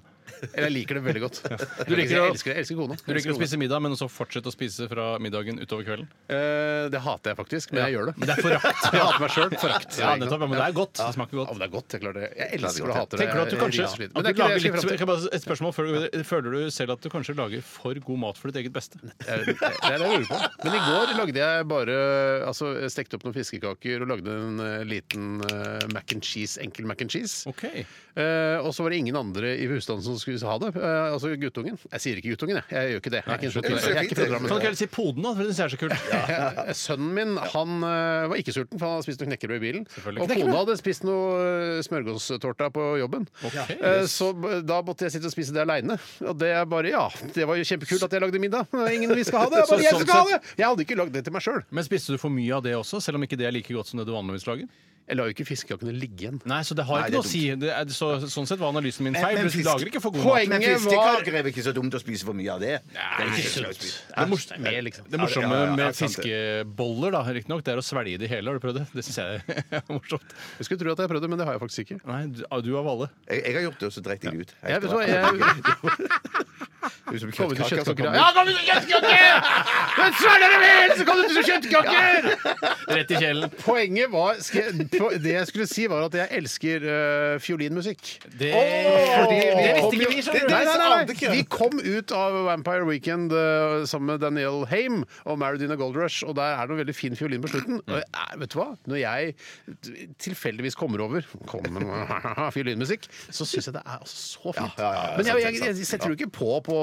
A: Eller jeg liker det veldig godt. Jeg
C: Du liker
A: jeg
C: å-
A: elsker, det. jeg elsker kona.
C: Du
A: Jeg
C: liker
A: elsker
C: å
A: kona.
C: spise middag, men også fortsette å spise fra middagen utover kvelden.
A: Eh, Det hater jeg faktisk, men jeg gjør det.
C: Men det er forakt.
A: Jeg hater meg sjøl. Forakt.
C: Ja, nettopp. Ja, Men det er godt. Det smaker
A: Ja, men
C: godt.
A: det er godt. Jeg klarer det. Jeg elsker å hate det.
C: Tenker du at du
A: Jeg
C: kanskje
A: river seg litt.
C: at
A: Men det er ikke
C: du
A: det
C: lager
A: jeg
C: litt,
A: skal
C: kan
A: fram
C: jeg bare, Et spørsmål før du går videre. Føler du selv at du kanskje lager for god mat for ditt eget beste?
A: til. Det er det jeg lurer på. Men i går lagde jeg bare altså, Stekte opp noen fiskekaker og lagde en eh, liten eh, mac and cheese, enkel mac and cheese.
C: Ok.
A: Eh, og så var det ingen andre i husstanden som skulle ha det. Eh, altså guttungen. Jeg sier ikke guttungen, jeg. Jeg gjør ikke det. Jeg er ikke,
C: Nei,
A: jeg er ikke fra
C: Kan
A: Drammen.
C: dere heller si poden, da? For det synes jeg er så kult.
A: Eh, Sønnen min han eh, var ikke sulten, for han hadde spist noe knekkebrød i bilen.
C: Selvfølgelig.
A: Og kona hadde spist noe eh, smørgåsttorta på jobben.
C: Ok.
A: Eh, Så b- da måtte jeg sitte og spise det aleine. Og det er bare Ja, det var jo kjempekult at jeg lagde middag. Men det er Ingen vi skal ha det! Jeg,
C: Så-
A: bare, jeg,
C: sånn
A: skal ha det!
C: sett-
A: jeg hadde ikke lagd det til meg sjøl.
C: Men spiste du for mye av det også, selv om ikke det er like godt som det du vanligvis lager?
A: Jeg lar jo ikke fiskekakene ligge igjen.
C: Nei, så det har
B: Nei,
C: ikke
B: det er
C: noe å si. Det er, så, sånn sett var analysen min
B: Men-
C: feil.
B: men
C: Du
B: fisk-
C: lager ikke for god mat.
A: Poenget
B: Men
A: var-
B: fiskekaker er vel ikke så dumt å spise for mye av det? det er ikke så dumt å spise.
C: Det, mors
A: Med, liksom.
C: det morsomme
B: Ja, ja, ja,
C: med
B: sant det.
C: fiskeboller, da, riktignok, det er å svelge de hele. Har du prøvd det? Det syns jeg er morsomt.
A: Jeg skulle tro at jeg prøvde, men det har jeg faktisk ikke.
C: Nei, du, ah, du av alle.
B: Jeg, jeg har gjort det, og så dreit jeg det ut.
A: Jeg, vet du hva, jeg
B: Ut som
A: kommer til
B: kjøttkaker som kommer.
A: kjøttkaker. sånn. Ja, kom til kjøttkaker! Men svelger du vel, så kommer du til kjøttkaker!
C: Rett i kjelen.
A: Poenget var skal jeg- po- Det jeg skulle si, var at jeg elsker øh, fiolinmusikk.
C: Det,
A: Fordi vi
C: det
A: kom jo-
C: visste ikke vi,
A: Nei,
C: skjønner du.
A: nei, nei,
B: Det
A: nei.
B: ante ikke jeg.
A: Vi kom ut av Vampire Weekend øh, sammen med Daniel Haim og Maradine Gold Rush, og der er det noe veldig fin fiolin på slutten. Og jeg er- vet du hva? Når jeg t- tilfeldigvis kommer over kommer med fiolinmusikk, så syns jeg det er altså så fint.
B: Ja, ja, ja, ja,
A: Men jeg,
B: sant,
A: jeg, jeg setter jo ikke på på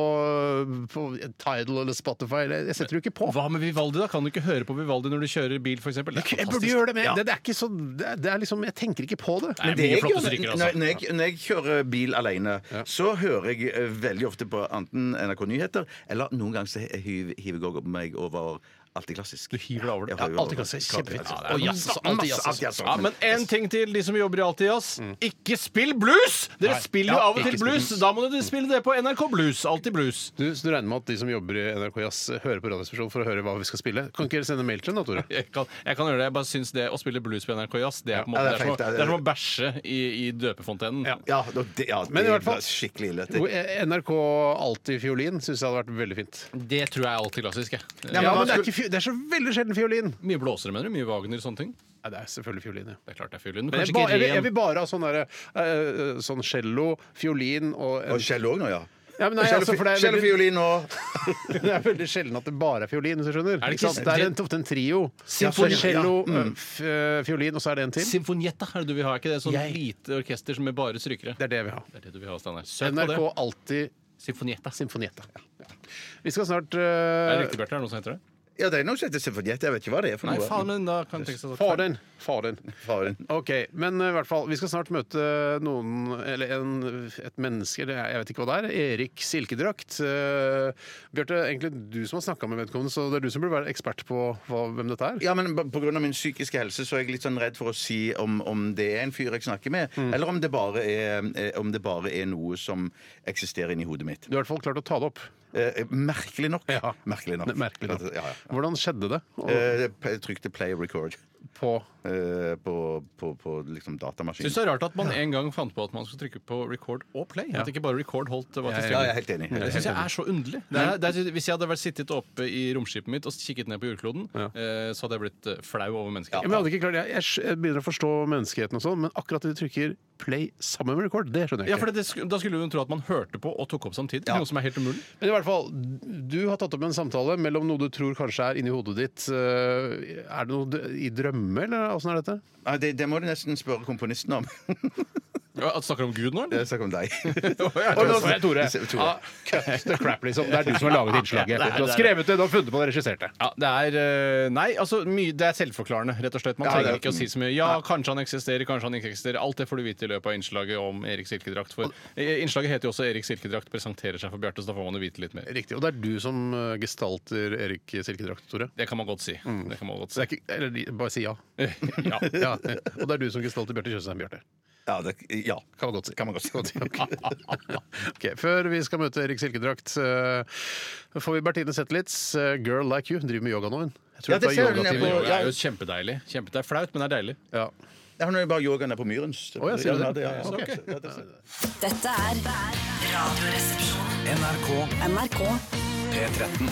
A: på Tidal eller Spotify. eller- Jeg setter jo ikke på.
C: Hva med Vivaldi, da? Kan du ikke høre på Vivaldi når du kjører bil, f.eks.?
A: Jeg burde gjøre det, men det, det er ikke så, det, er- det er liksom, jeg tenker ikke på det.
C: Nei,
A: Men
C: det er mye flotte
B: når,
C: stykker,
B: når,
C: altså.
B: jeg, når jeg kjører bil alene, så hører jeg eh, veldig ofte på enten NRK Nyheter, eller noen ganger så hiver hiver jeg meg over Alltid klassisk.
C: Du hiver deg over det?
B: Jeg hiver
A: Ja, Alltid
B: over
A: Klassisk,
B: det.
A: kjempefint.
B: Ja,
A: Og
B: det er
A: jazz,
B: masse-
A: alltid
B: masse-
A: jazz,
B: alltid jazz.
C: altså. Ja, men én ting til, de som jobber i Alltid Jazz. Ikke spill blues! Dere
A: Nei.
C: spiller jo
A: Ja,
C: av og
A: ikke
C: til
A: spill
C: blues. Da må dere spille det på NRK Blues. Alltid blues.
A: Du, så du regner med at de som jobber i NRK Jazz eh, hører på Radioresepsjonen for å høre hva vi skal spille? Kan ikke dere sende mail til dem da, Tore?
C: Jeg kan, jeg kan gjøre det. Jeg bare syns det å spille blues på NRK Jazz, det er på en
B: Ja,
C: måte
B: det er
C: Det er som å-
B: fint, det er-
C: det er som å bæsje i, i døpefontenen.
B: Ja, da- det, ja, det
A: Men i hvert fall-
B: var skikkelig ille.
A: Jo, eh, NRK Alltid fiolin syns jeg hadde vært veldig fint.
C: Det tror jeg er alltid klassisk. Jeg.
B: Ja,
A: Ja,
B: men
A: men
B: hva
A: det er,
B: skulle-
A: ikke, fi- det er så veldig sjelden fiolin.
C: Mye blåsere, mener du? Mye Wagner og sånne ting?
A: Ja, det er selvfølgelig fiolin, ja.
C: Det er klart det er fiolin. Men
A: Men jeg,
C: kanskje
A: ba,
C: ikke
A: jeg, vil, jeg
C: ren.
A: vil bare ha sånn derre eh, eh, Sånn cello, fiolin og en-
B: Og Kjell òg nå, ja.
A: Ja, men nei,
B: Kjell og
A: altså,
B: fi-
A: for det er
B: Kjell og
A: veldig,
B: fiolin og
A: det er veldig sjelden at det bare er fiolin, hvis du skjønner.
C: Er det
A: Ikke sant?
C: ikke-
A: Det er en, ofte en trio.
C: Ja,
A: Så
C: sorry, ja.
A: cello, eh, f- eh, fiolin, og så er det en til.
C: Sinfonietta er det du vil ha, er ikke det? Sånn
A: Jeg-
C: lite orkester som med bare strykere.
A: Det er det vi har.
C: Det er det du vil ha, Steinar. Søk på
A: NRK
C: det.
A: Alltid
C: Sinfonietta.
A: Sinfonietta. Vi skal snart
C: Er det
A: eh,
C: riktig, Bjarte? Er det noe som heter det?
B: Ja, det er noe som heter symfoniett. Jeg vet ikke hva det er for
C: Nei,
B: noe.
C: faen, men da kan det tenke seg
A: Få den! Få den.
B: Faren.
A: OK. Men eh, i hvert fall, vi skal snart møte noen Eller en, et menneske, eller jeg vet ikke hva det er. Erik Silkedrakt. Eh, Bjarte, egentlig du som har snakka med vedkommende, så det er du som burde være ekspert på hva, hvem dette er.
B: Ja, men b- på grunn av min psykiske helse så er jeg litt sånn redd for å si om, om det er en fyr jeg snakker med,
A: Mm.
B: eller om det, bare er, eh, om det bare er noe som eksisterer inni hodet mitt.
A: Du har i hvert fall klart å ta det opp.
B: Eh, merkelig nok.
A: Ja.
B: Merkelig nok.
A: Ne- Merkelig nok.
B: Ja, ja.
A: Hvordan skjedde det? Og
B: Eh, jeg trykte play record
A: på
B: eh, på, på, på liksom datamaskinen.
C: Syns det er rart at man en gang fant på at man skulle trykke på record og play. At ikke bare record holdt var til
B: Ja, jeg
C: stede.
B: er helt enig.
C: Det syns jeg er så underlig. Det er, det er, hvis jeg hadde vært sittet oppe i romskipet mitt og kikket ned på jordkloden, eh, så hadde jeg blitt eh, flau over mennesker.
A: ja, men jeg, hadde ikke klart, jeg, jeg sk- jeg begynner å forstå menneskeheten, og sånn, men akkurat at de trykker play sammen med record, det skjønner jeg
C: Ja,
A: ikke.
C: for det, sk- Da skulle hun tro at man hørte på og tok opp samtidig. Noe som er helt umulig.
A: Men i hvert fall, Du har tatt opp en samtale mellom noe du tror kanskje er inni hodet ditt. Eh, Er det noe d- i drømme, eller åssen er dette?
B: Ja, det, det må du nesten spørre komponisten om.
C: Ja, at Snakker du om Gud nå, eller?
B: Jeg snakker om deg.
A: Og nå
B: Tore.
A: Tore.
B: Tore.
A: Ja, cut the crap, liksom. Det er du som har laget innslaget. Du har skrevet det, du har funnet på det, regissert det.
C: Ja, det er eh, Nei, altså mye, det er selvforklarende, rett og slett. Man
B: Ja,
C: trenger
B: det er-
C: ikke å si så mye. Ja, kanskje han eksisterer, kanskje han ikke eksisterer. Alt det får du vite i løpet av innslaget om Erik Silkedrakt. For eh, innslaget heter jo også 'Erik Silkedrakt presenterer seg for Bjarte', så da får man jo vite litt mer.
A: Riktig. Og det er du som eh, gestalter Erik Silkedrakt, Tore.
C: Det kan man godt si.
B: Mm.
C: Det kan man godt
A: Så det
C: si.
A: er ikke, eller de- bare si ja.
C: ja.
A: ja. Og det er du som gestalter Bjarte Tjøstheim, Bjarte.
B: Ja, det, ja.
A: Kan man godt si.
B: Kan man godt si.
A: Ok, Før vi skal møte Erik Silkedrakt, eh, får vi Bertine Zetlitz, eh, 'Girl Like You'. Hun driver med yoga nå, hun. Jeg tror
B: Ja, det
A: tar
B: ser hun
A: yogatimer.
B: ned på-
C: Yoga er jo kjempedeilig. Kjempe, det er flaut, men det er deilig.
A: Ja.
B: Ja, Hun er jo bare yogaen der på Myren.
A: Å, ja, sier du det?
B: Ja, ja,
A: Så,
B: ja.
A: ok.
B: Ja, det ser-
D: Dette er Radioresepsjonen.
F: NRK
D: NRK
F: P13.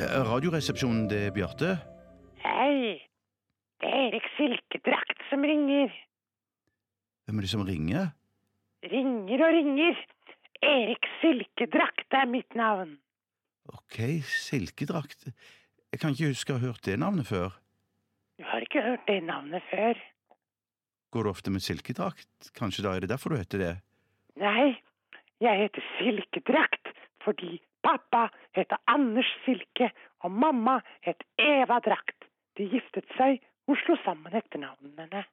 B: Eh, Radioresepsjonen, det er Bjarte.
G: Hei, det er Erik Silkedrakt som ringer.
B: Hvem er det som ringer?
G: Ringer og ringer. Erik Silkedrakt er mitt navn.
B: Ok, silkedrakt. Jeg kan ikke huske å ha hørt det navnet før.
G: Du har ikke hørt det navnet før?
B: Går du ofte med silkedrakt? Kanskje da er det derfor du heter det?
G: Nei, jeg heter Silkedrakt fordi pappa heter Anders Silke og mamma het Eva Drakt. De giftet seg og slo sammen etternavnene.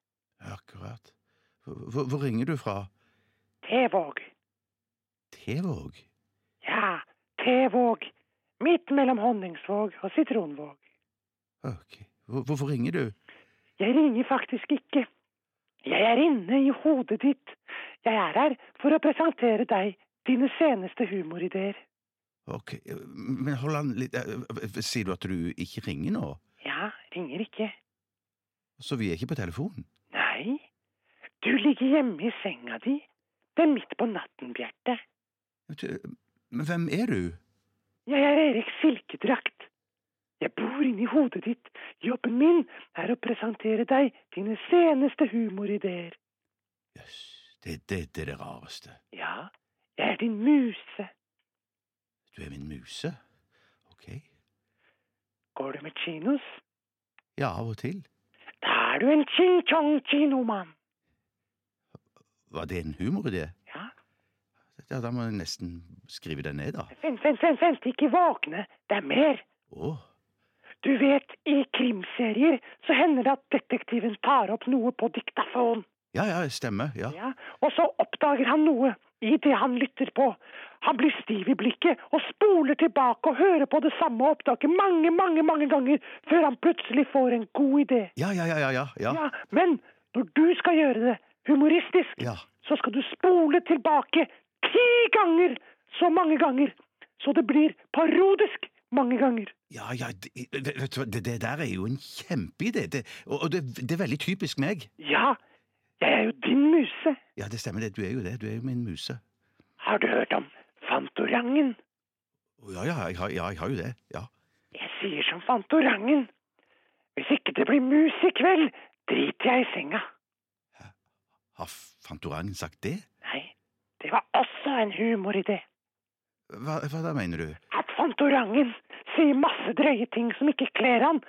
B: Akkurat. Hvor, hvor ringer du fra?
G: Tevåg.
B: Tevåg?
G: Ja, Tevåg. Midt mellom Honningsvåg og Sitronvåg.
B: Ok. Hvor, hvorfor ringer du?
G: Jeg ringer faktisk ikke. Jeg er inne i hodet ditt. Jeg er her for å presentere deg dine seneste humorideer.
B: Ok, men hold an litt eh, Sier du at du ikke ringer nå?
G: Ja, ringer ikke.
B: Så vi er ikke på telefon?
G: Nei. Du ligger hjemme i senga di. Det er midt på natten, Bjarte.
B: Du- Men hvem er du?
G: Jeg er Erik Silkedrakt. Jeg bor inni hodet ditt. Jobben min er å presentere deg dine seneste humorideer.
B: Jøss, det, det, det er det rareste.
G: Ja, jeg er din muse.
B: Du er min muse. Ok.
G: Går du med kinos?
B: Ja, av og til.
G: Da er du en ching-chong-chinoman.
B: Var det en humoridé?
G: Ja.
B: Ja, da må jeg nesten skrive den ned, da.
G: Vent, vent, vent, vent, ikke våkne. Det er mer.
B: Å,
G: Du vet, i krimserier så hender det at detektiven tar opp noe på diktafon.
B: ja ja, stemmer. Ja.
G: Ja, og så oppdager han noe i det han lytter på. Han blir stiv i blikket og spoler tilbake og hører på det samme opptaket mange, mange, mange ganger før han plutselig får en god idé.
B: Ja, ja, ja, ja, ja. ja.
G: Ja, men når du skal gjøre det humoristisk,
B: Ja.
G: så skal du spole tilbake ti ganger så mange ganger, så det blir parodisk mange ganger.
B: Ja, ja, det, vet du hva, det, det der er jo en kjempeidé, det, og, og det, det er veldig typisk meg.
G: Ja, jeg er jo din muse.
B: Ja, det stemmer det, du er jo det, du er jo min muse.
G: Har du hørt om Fantorangen?
B: Å, Ja, ja, jeg har, ja, jeg har jo det, ja.
G: Jeg sier som Fantorangen. Hvis ikke det blir mus i kveld, driter jeg i senga.
B: Har Fantorangen sagt det?
G: Nei, det var også en humoridé.
B: Hva, hva da mener du?
G: At Fantorangen sier masse drøye ting som ikke kler han,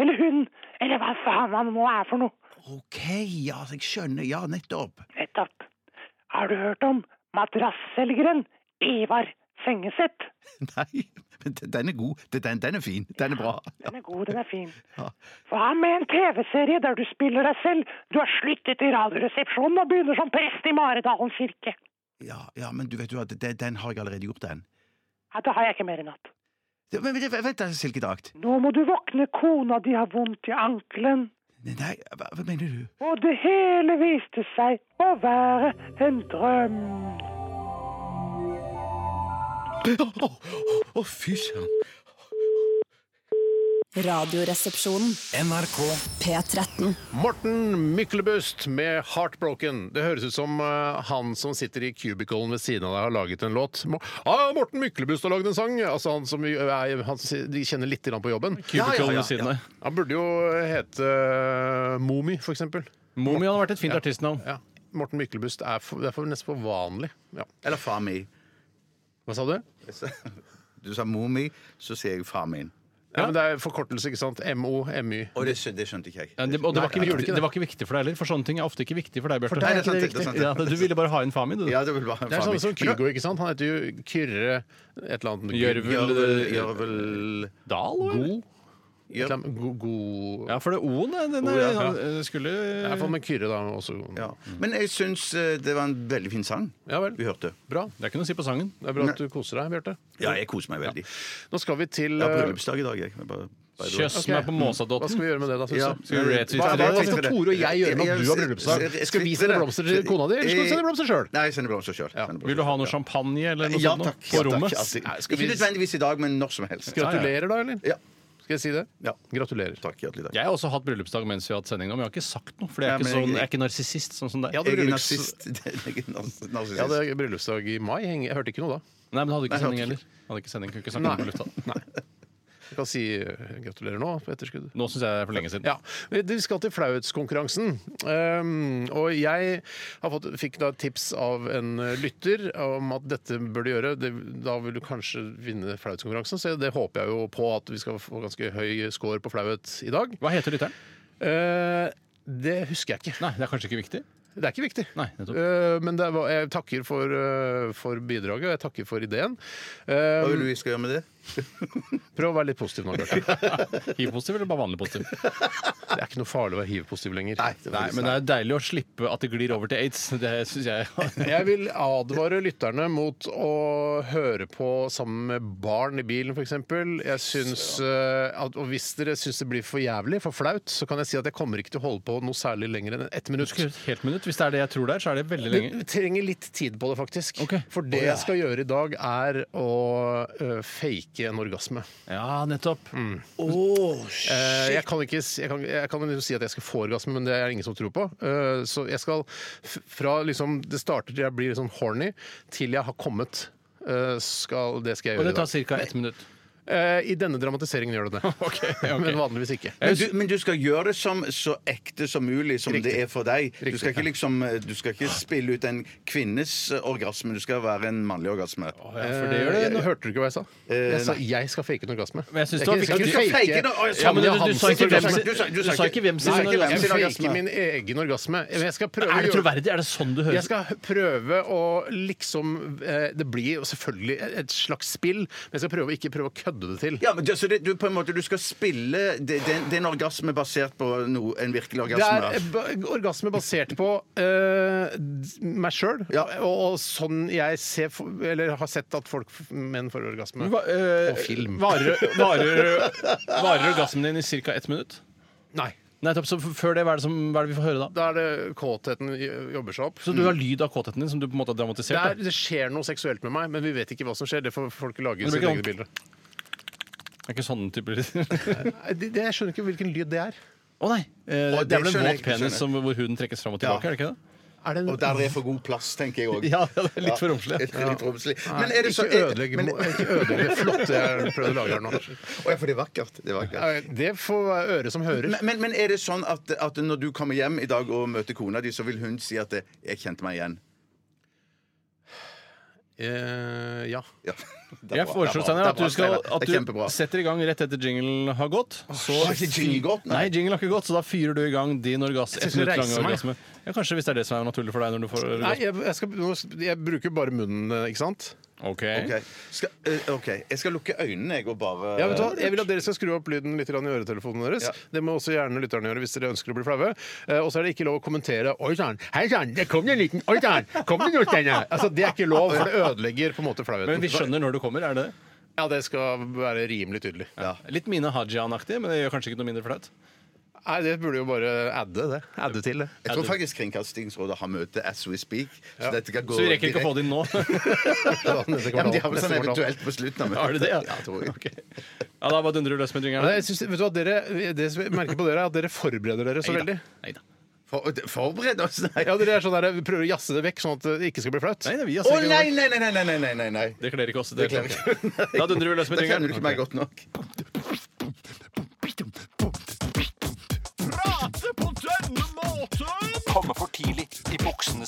G: eller hun, eller hva faen han nå er for noe.
B: Ok, ja, jeg skjønner, ja, nettopp.
G: Nettopp. Har du hørt om madrasselgeren Ivar Sengeseth?
B: Nei, men den- den er god, den- den, den er fin, den er bra.
G: Den er god, den er fin.
B: Ja.
G: Hva med en TV-serie der du spiller deg selv? Du har sluttet i Radioresepsjonen og begynner som prest i Maridalen kirke.
B: Ja, ja, men du vet jo at den, den har jeg allerede gjort, den.
G: Ja, da har jeg ikke mer i natt.
B: Det- Men men- vent da, silkedrakt.
G: Nå må du våkne, kona di har vondt i ankelen.
B: Nei, Nei, hva, hva mener du?
G: Og det hele viste seg å være en drøm.
B: Å, å, å, fy søren.
D: Radioresepsjonen.
E: NRK
D: P13.
A: Morten Myklebust med 'Heartbroken'. Det høres ut som eh, han som sitter i cubicalen ved siden av deg, har laget en låt. Mo- ah, Morten Myklebust har laget en sang! Altså Han som vi- er- han, som- de kjenner litt grann på jobben.
B: ja,
C: Cubicalen
B: ja,
C: ved siden av.
A: Han burde jo hete eh, Momi, for eksempel.
C: Momi hadde vært et fint artistnavn.
A: Ja. Morten Myklebust er, for, det er for nesten for vanlig. Ja.
B: Eller far mi.
A: Hva sa du?
B: Du sa mor mi, så sier jeg far min.
A: Ja, men Det er forkortelse, ikke sant? MO, MY.
B: Og det, skjø- det skjønte ikke jeg.
C: Ja, det, og det var, ikke
A: Nei, gjorde ikke
C: viktig,
A: det.
C: det var ikke viktig for deg heller, for sånne ting er ofte ikke viktig for deg, Bjarte.
B: deg er det sant, det er sant, det er
C: Ja,
B: sant.
C: du ville bare ha inn faren min, du.
B: Ja, det vil være
A: Det er
B: far
A: sånn
B: min.
A: som
B: Men da-
A: Kygo, ikke sant? Han heter jo Kyrre et eller annet.
C: Gjørvel
B: Gjørvel
C: Dahl, eller?
A: God? Et eller annet- God, god.
C: Ja, for det O-en den er-
A: ja, ja.
C: den skulle
A: Jeg får med Kyrre da også.
B: Ja. Men jeg syns eh, det var en veldig fin sang
A: Ja vel.
B: vi hørte.
A: Bra.
C: Det er ikke noe å si på sangen.
A: Det er bra at du koser deg, Bjarte.
B: Ja, jeg koser meg veldig.
A: Nå skal vi til
B: Jeg har
A: eh,
B: bryllupsdag i dag, jeg. Men bare- bare-
C: Kjøss
A: ok.
C: meg på
A: Hva skal
C: Måsadotten.
A: vi gjøre med det, da? Synes
B: Ja.
A: du?
C: Skal vi retweete
A: Hva, hva,
C: det?
A: skal Tore og jeg gjøre med at du har bryllupsdag? Skal vi Eh, sende blomster til kona di, eller skal du sende blomster sjøl?
B: Nei, jeg sender blomster sjøl.
C: Vil du ha noe champagne eller noe
B: Ja
C: sånt nå?
B: takk.
C: på
A: Nei,
C: rommet?
A: skal vi-
B: Ikke nødvendigvis i dag, men når som helst.
A: Gratulerer, da, eller?
B: Ja.
A: Skal jeg si det?
B: Ja.
A: Gratulerer.
B: Takk, hjertelig takk.
C: Jeg har også hatt bryllupsdag mens vi har hatt sending nå, men jeg har ikke sagt noe. For jeg er
B: Nei,
C: ikke,
B: men jeg-
C: sånn, jeg er ikke narsissist sånn som deg.
A: Jeg hadde
B: Jeg er
A: bryllups...
B: narsist. Jeg er nars- narsissist.
A: Jeg hadde bryllupsdag i mai. Jeg hørte ikke noe da.
C: Nei, men hadde ikke
B: Nei,
C: sending
B: jeg hadde
C: heller. Hadde ikke sending, kunne ikke snakke om på lufta.
A: Jeg kan si eh, gratulerer nå, på etterskudd.
C: Nå syns jeg det er for lenge siden.
A: Ja, Vi skal til flauhetskonkurransen. Um, og jeg har fått, fikk da et tips av en lytter om at dette bør du gjøre. Det, da vil du kanskje vinne flauhetskonkurransen, så det håper jeg jo på at vi skal få ganske høy score på flauhet i dag.
C: Hva heter lytteren?
A: Eh, det husker jeg ikke.
C: Nei, det er kanskje ikke viktig?
A: Det er ikke viktig.
C: Nei, nettopp.
A: Eh, men det var, jeg takker for, eh, for bidraget, og jeg takker for ideen.
B: Hva
A: Eh,
B: vil du vi skal gjøre med det?
A: prøv å være litt positiv nå, Bjarte.
C: Hiv-positiv eller bare vanlig positiv?
A: Det er ikke noe farlig å være hiv-positiv lenger.
C: Nei, men det er deilig å slippe at det glir over til aids. Det syns jeg.
A: Jeg vil advare lytterne mot å høre på sammen med barn i bilen, f.eks. Jeg syns eh, at- Og hvis dere syns det blir for jævlig, for flaut, så kan jeg si at jeg kommer ikke til å holde på noe særlig lenger enn ett minutt.
C: Et helt minutt. Hvis det er det jeg tror det er, så er det veldig lenge.
A: Vi trenger litt tid på det, faktisk.
C: Ok.
A: For det jeg skal gjøre i dag, er å eh, fake en orgasme.
C: Ja, nettopp.
A: Eh, jeg kan ikke s- jeg kan, jeg kan jo si at jeg skal få orgasme, men det er ingen som tror på. Eh, så jeg skal f- fra liksom det starter til jeg blir liksom horny, til jeg har kommet. eh, Skal, det skal jeg
C: Og
A: gjøre
C: det
A: i
C: tar
A: dag.
C: ca. ett minutt.
A: Eh, I denne dramatiseringen gjør det det. Men vanligvis ikke.
C: Eh,
B: Men du, men du skal gjøre det som, så ekte som mulig, som det er for deg. Du skal, ikke liksom, du skal ikke spille ut en kvinnes eh, orgasme, du skal være en mannlig orgasme.
C: Ja, for det gjør det.
A: Eh, Hørte du ikke hva jeg sa? Jeg sa jeg skal fake en orgasme.
C: Men jeg
A: Det
C: synes det var
A: er ikke-
B: Du skal
A: jeg skal ikke
C: viktig.
B: fake det, og jeg
A: Ja,
B: sa-
A: men det er
C: du, du, sa
A: Hansen
C: ikke
A: som
C: hvem
A: skal-
C: sin,
B: Du sa- du
C: du
B: sa
C: sa ikke hvem sin
B: Nei, ikke hvem
A: Jeg
C: orgasme.
B: sin.
A: skal
B: orgasme.
A: fake min egen orgasme. Men jeg skal prøve å
C: Er det
A: gjøre
C: troverdig? Er det sånn det
A: Jeg
C: høres ut?
A: skal prøve å liksom eh, Det blir jo selvfølgelig et slags spill, men jeg skal prøve å ikke prøve å kødde det til.
B: Ja, men det, så det, du, på en måte, du skal spille det, det, det er en orgasme basert på noe, en virkelig
A: Det
B: orgasme.
A: er eh, ba- orgasme basert på eh, d- meg sjøl,
B: Ja.
A: og, og sånn jeg ser for, Eller har sett at folk, menn får orgasme.
C: Hva- eh,
A: Og film.
C: Varer, varer, varer orgasmen din i ca. ett minutt?
A: Nei.
C: Nettopp, så f- Før det, hva er det, som, hva er det vi får høre da?
A: Da er det kåtheten jobber seg opp.
C: Så du
B: Mm.
C: har lyd av kåtheten din, som du på en måte har
A: Det, er,
C: dramatisert? da?
A: det skjer noe seksuelt med meg, men vi vet ikke hva som skjer. Det får folk lage
C: Men det
A: sine
C: blir
A: egne
C: ikke
A: bilder.
C: Det er ikke sånn type lyd?
A: Nei, det- det- Jeg skjønner ikke hvilken lyd det er.
C: Å nei! Eh,
B: Å,
C: det
B: det
C: er vel
B: skjønner jeg ikke,
C: en våt
B: skjønner jeg.
C: penis som, hvor huden trekkes fram og
B: Ja.
C: tilbake, er det ikke det?
A: er det en,
B: Og der er for god plass, tenker jeg òg.
C: Ja, det er litt for romslig.
B: Litt romslig. Men er det så,
A: ikke ødelegg
B: men-
A: mo- ikke ødelegg det flotte jeg prøvde å lage her nå.
B: Å ja, for det er vakkert. Det er vakkert.
A: Nei, Det får være øret som hører.
B: Men, men, men er det sånn at, at når du kommer hjem i dag og møter kona di, så vil hun si at eh, 'jeg kjente meg igjen'?
A: Eh, ja.
B: Ja. Det er
C: Jeg
B: bra,
C: foreslår
B: det er bra,
C: Steiner, at
B: det er
C: du, skal,
B: bra, Steinar.
C: at
B: Det er
C: du
B: kjempebra.
C: setter i gang rett etter jinglen har gått. Så
B: Har ikke jingle gått? Nei.
C: Nei, jingle har ikke gått, så da fyrer du i gang din orgasme.
A: Jeg
C: Ett
A: synes jeg
C: minutt lange
A: reiser meg.
C: orgasme. Ja, kanskje hvis det er det som er naturlig for deg når du får
A: Nei,
C: orgasme.
A: jeg, jeg, skal, nå- jeg bruker bare munnen, eh, ikke sant?
C: Ok.
B: Ok. Skal, eh, OK. Jeg skal lukke øynene, jeg, og bare
A: Ja, vet du hva? Eh, Jeg vil at dere skal skru opp lyden litt grann i øretelefonene deres.
B: Ja.
A: Det må også gjerne lytterne gjøre hvis dere ønsker å bli flaue. Eh, Og så er det ikke lov å kommentere 'Oi sann, hei sann, det kom det en liten Oi sann, kom det noe Steinar?» Altså, Det er ikke lov, for det ødelegger på en måte flauheten.
C: Men vi skjønner når du kommer, er det det?
A: Ja, det skal være rimelig tydelig.
C: Litt Mine Hajian-aktig, men det gjør kanskje ikke noe mindre flaut.
A: Nei, det burde jo bare adde det. Adde til det.
B: Jeg tror faktisk Kringkastingsrådet har møte as we speak. Så dette kan gå
C: Så vi rekker ikke å få
B: direkte-
C: det inn nå.
B: Ja, men de har vel
A: Neste
B: sånn
A: kvartal.
B: eventuelt på slutten av møtet.
C: Har de det, ja?
B: Ja, tror jeg.
C: Ja, da bare dundrer du løs med
A: Men
C: jingeren.
A: jeg synes, vet du hva, dere, Det som jeg merker på dere, er at dere forbereder dere så veldig.
C: Neida.
B: For, forbered oss, nei.
A: Ja, dere er sånn der, vi prøver å jazze det vekk, sånn at det ikke skal bli flaut.
C: Nei, nei, vi har
B: Å
C: sikkert-
B: nei, nei, nei, nei, nei, nei, nei, nei, nei.
C: Det kler ikke oss. Det
B: kler
C: ikke. Da dundrer vi løs
B: Da kjenner
C: med
B: du ikke
C: jingeren.
B: meg godt nok.
E: Komme for tidlig i buksene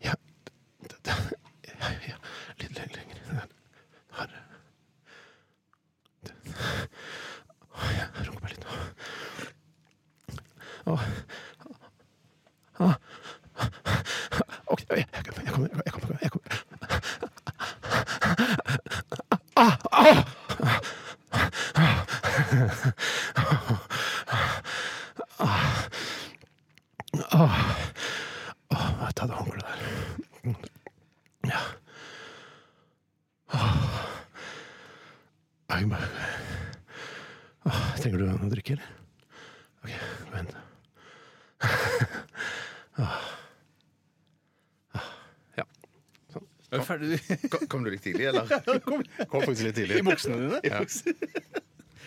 A: Ja, det, det, ja, ja. Litt lenger, lenger. Her. Å, Jeg runker meg litt nå. Åh. Ah. Ok, jeg kommer, jeg kommer, jeg kommer. Jeg kommer. Ah, ah! Ah. Ah. Åh, ta det håndkleet der. Ja. Åh. Jeg bare- Åh, Trenger du noe å drikke, eller? Ok, vent.
C: Er du ferdig?
B: Kom, kom du litt tidlig, eller?
A: Kom faktisk litt tidlig.
C: I buksene dine?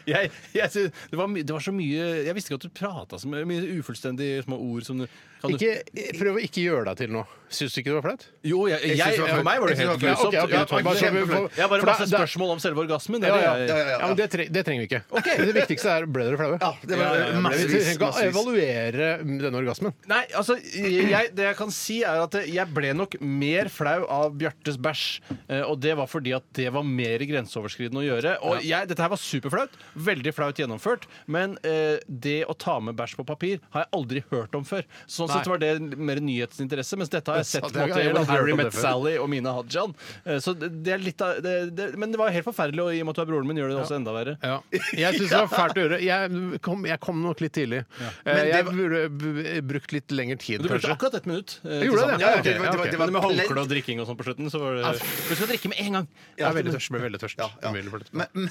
C: Jeg, jeg, sy- det, var my, det var så mye Jeg visste ikke at du prata så mye, mye ufullstendige små ord som du kan du-
A: Ikke, prøv å ikke gjøre deg til noe. Syns du ikke det var flaut?
C: Jo, jeg, jeg,
B: synes det var
C: for meg var det
B: flaut.
C: helt
A: Jeg synes
C: grusomt.
A: det var flaut. Ja, ok, ok, bare så vi får-
C: Kjempeflaut. Jeg har bare
A: for da-
C: masse
A: da-
C: spørsmål om selve orgasmen. Det
A: Ja,
C: er
A: ja,
C: det
A: ja,
C: jeg-
B: ja, ja.
A: men det, tre, det trenger vi ikke. Det viktigste er ble dere flaue?
B: Ja, det var
C: Ja, ja, ja,
A: Vi
B: massevis.
A: trenger ikke å
B: massevis.
A: evaluere denne orgasmen.
C: Nei, altså, jeg, Det jeg kan si, er at jeg ble nok mer flau av Bjartes bæsj. eh, Og det var fordi at det var mer grenseoverskridende å gjøre. Og jeg, dette her var superflaut, Veldig flaut gjennomført, men eh, det å ta med bæsj på papir har jeg aldri hørt om før. Sånn sett var det mer nyhetsinteresse, mens dette har
A: Det
C: jeg
A: er
C: sett
A: sant,
C: på en
A: jeg
C: måte
A: har
C: gjennom
A: aldri hørt
C: Harry
A: om
C: Met
A: det før.
C: Sally og Mina Hajan. Eh, Så det det er litt av det, det, Men det var helt forferdelig, og i og med at du er broren min, gjør det også enda verre.
A: Ja. Jeg syns det var fælt å gjøre. Jeg kom, jeg kom nok litt tidlig. Eh,
B: Men det
A: Jeg
B: var-
A: burde b- brukt litt lengre tid,
C: Du brukte
A: kanskje.
C: akkurat ett minutt.
A: Jeg gjorde
C: eh, til
A: det,
C: sammen.
A: ja,
C: Ja,
A: ok,
C: ok,
A: det var-
C: ja,
A: det
C: ok.
B: var
C: Men med
B: plett.
C: håndkle og drikking og sånn på slutten, så var det Du skal drikke med en gang!
A: Jeg er veldig tørst. Ble veldig tørst.
B: ja.
A: Veldig tørst.
B: Men, men-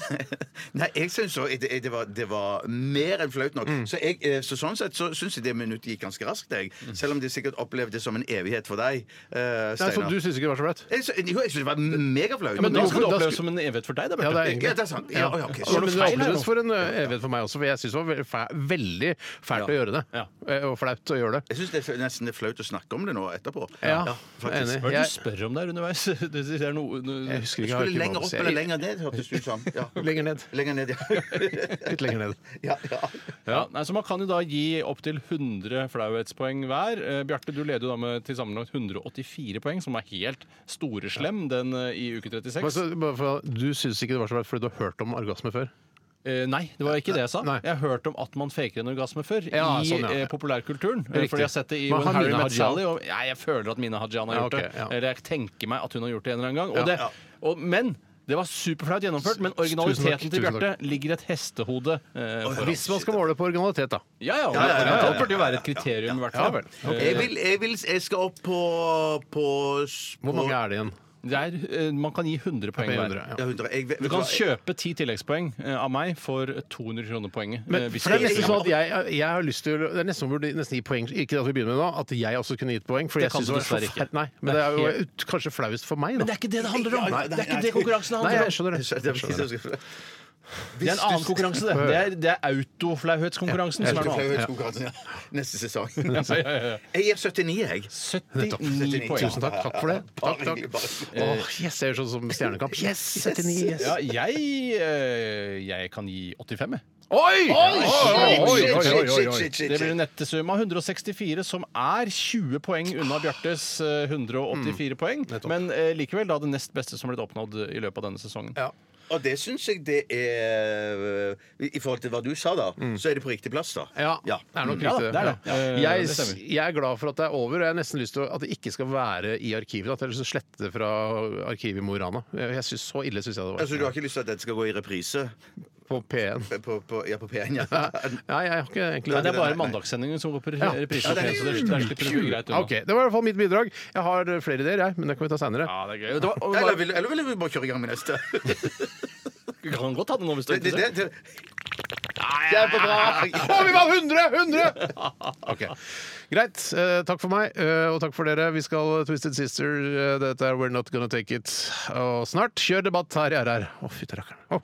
B: nei, jeg syns også det, det, var, det var mer enn flaut nok.
A: Mm.
B: Så, jeg, eh, så sånn sett så syns jeg det minuttet gikk ganske raskt, jeg.
A: Mm.
B: Selv om det sikkert opplevdes som en evighet for deg, eh,
A: Nei, så
B: Steinar.
A: du syns ikke det var så flaut?
B: Jeg sy- Jo, jeg syns det var megaflaut.
C: Men
A: da
C: da skal det
A: skal-
C: oppleves som en evighet for deg,
A: Ja,
C: da, Bjarte.
A: det er egentlig
B: ja, det er sant. Ja, ja, ok.
A: Ja,
B: Så
A: men det
C: feil her
A: opplevdes
C: nå?
A: for en ø, evighet for meg også, for jeg syns det var veldig fæ- veldig fælt å gjøre det.
C: Ja.
A: Eh, Og flaut å gjøre det.
B: Jeg syns det er nesten det er flaut å snakke om det nå etterpå.
A: Ja,
B: faktisk.
A: enig.
C: Hva
A: Jeg-
C: er det du spør om der underveis? Det er noe, noe,
A: Jeg husker ikke. jeg har
B: Skulle
A: ikke
B: lenger
A: noe å
B: opp
A: si.
B: eller lenger ned, hørtes det ut som. Ja.
A: Lenger ned.
B: Lenger ned, ja.
A: Litt lenger ned.
B: ja, ja.
C: ja. Nei, så Man kan jo da gi opptil 100 flauhetspoeng hver. Eh, Bjarte, du leder jo da med til sammenlagt 184 poeng, som er helt storeslem den eh, i uke 36.
A: Men så, bare for, du syns ikke det var så flaut fordi du har hørt om orgasme før?
C: Eh, nei, det var ikke det jeg sa.
A: Nei.
C: Jeg har hørt om at man faker en orgasme før
A: Ja,
C: i
A: sånn, ja.
C: eh, populærkulturen. eh,
A: Riktig.
C: Fordi jeg har sett det i
A: Men
C: When
A: har
C: Harry
A: Mina
C: Met
A: Hajan-
C: Sally. Og, ja, jeg føler at Mina Hajan har
A: Ja,
C: gjort
A: ok,
C: det.
A: ja.
C: Eller jeg tenker meg at hun har gjort det en eller annen gang.
A: Ja,
C: Og det,
A: ja.
C: og, men det var superflaut gjennomført.
A: Tusen
C: Men
A: takk,
C: originaliteten til
A: tusen
C: Bjarte ligger et hestehode eh, foran.
A: Hvis man skal måle på originalitet, da.
C: Ja,
B: ja,
C: ja,
B: ja, ja,
C: originalitet burde jo være et kriterium, i hvert
A: Ja
C: fall.
A: vel.
B: Jeg, vil, jeg, vil, jeg skal opp på, på, s- på
A: Hvor mange er det igjen?
C: Det er, eh, man kan gi 100 poeng
A: Med
C: hver.
A: 100, ja.
B: Ja, 100. Jeg, vet-
C: Du
B: vet
C: kan
B: hva, jeg-
C: kjøpe ti tilleggspoeng eh, av meg for 200 kroner poenget. eh,
A: Men,
C: hvis
A: for det er
C: jeg-
A: nesten sånn at jeg, jeg har lyst til Det er nesten som om vi burde nesten gi poeng Ikke at vi begynner med det nå, at jeg også kunne gitt poeng. For
C: Det
A: jeg
C: kan
A: synes
C: du
A: det var
C: dessverre ikke.
A: forferdelig Nei, men
C: Det
A: det
C: er
A: er jo ut- kanskje flauest for meg, da.
C: Men det er ikke det det handler om!
B: Nei, nei,
C: det er ikke
B: nei.
C: det konkurransen
A: Nei,
C: handler om!
A: jeg skjønner det.
B: Så det er ikke det jeg skal-
C: Det er en annen konkurranse, det. Det er, det er autoflauhetskonkurransen som er noe annet.
B: Flauhetskonkurransen, ja. Neste sesong.
C: Ja, ja, ja, ja.
B: Jeg gir 79, jeg.
C: 79 poeng.
A: Tusen takk. Takk for det.
B: Bare
A: Takk, takk.
B: hyggelig, bare hyggelig.
A: Åh, yes, jeg gjør sånn som Stjernekamp. Yes! 79, yes.
C: Ja, jeg, eh, jeg kan gi 85, jeg.
A: Oi!
B: Oi,
A: Oi,
B: shit,
A: oi,
B: shit,
A: oi, oi,
B: shit,
A: oi.
B: shit, shit,
C: Det blir
B: shit.
C: en nettesum av 164, som er 20 poeng unna Bjartes eh,
B: Mm.
C: 184 poeng. Men eh, likevel da det nest beste som har blitt oppnådd i løpet av denne sesongen.
A: Ja.
B: Og det syns jeg det er I forhold til hva du sa, da, så er det på riktig plass, da.
A: Mm. Ja, det er nok
C: Ja,
A: riktig.
C: det er det.
A: Ja.
C: Eh,
A: Jeg,
C: det stemmer.
A: jeg er glad for at det er over, og jeg har nesten lyst til at det ikke skal være i arkivet. At jeg har lyst til å slette det fra arkivet i Mo i Rana. Jeg jeg synes, så ille syns jeg det var.
B: Altså, Du har ikke lyst til at dette skal gå i reprise
A: På P1.
B: på, på, ja, på P1? Ja.
A: Nei, jeg har ikke egentlig
C: Nei, det er bare mandagssendingen som går på re- reprise.
B: Ja, det er
C: så det, det slipper du greit unna.
A: Ok, Det var i hvert fall mitt bidrag. Jeg har eh, flere ideer, jeg, men det kan vi ta seinere.
C: Ja, det er gøy. Det var, og,
B: Eller vil, eller vil vi bare kjøre i gang med neste?
C: du kan godt ta det nå hvis du er
B: Det, det,
C: interessert.
B: det, det.
A: Å, vi vant 100! 100! Ok, Greit. eh, takk for meg, eh, og takk for dere. Vi skal Twisted Sister. eh, dette er We're Not Gonna Take It. Og snart kjør debatt her i RR. Å, fytti rakkeren. Å.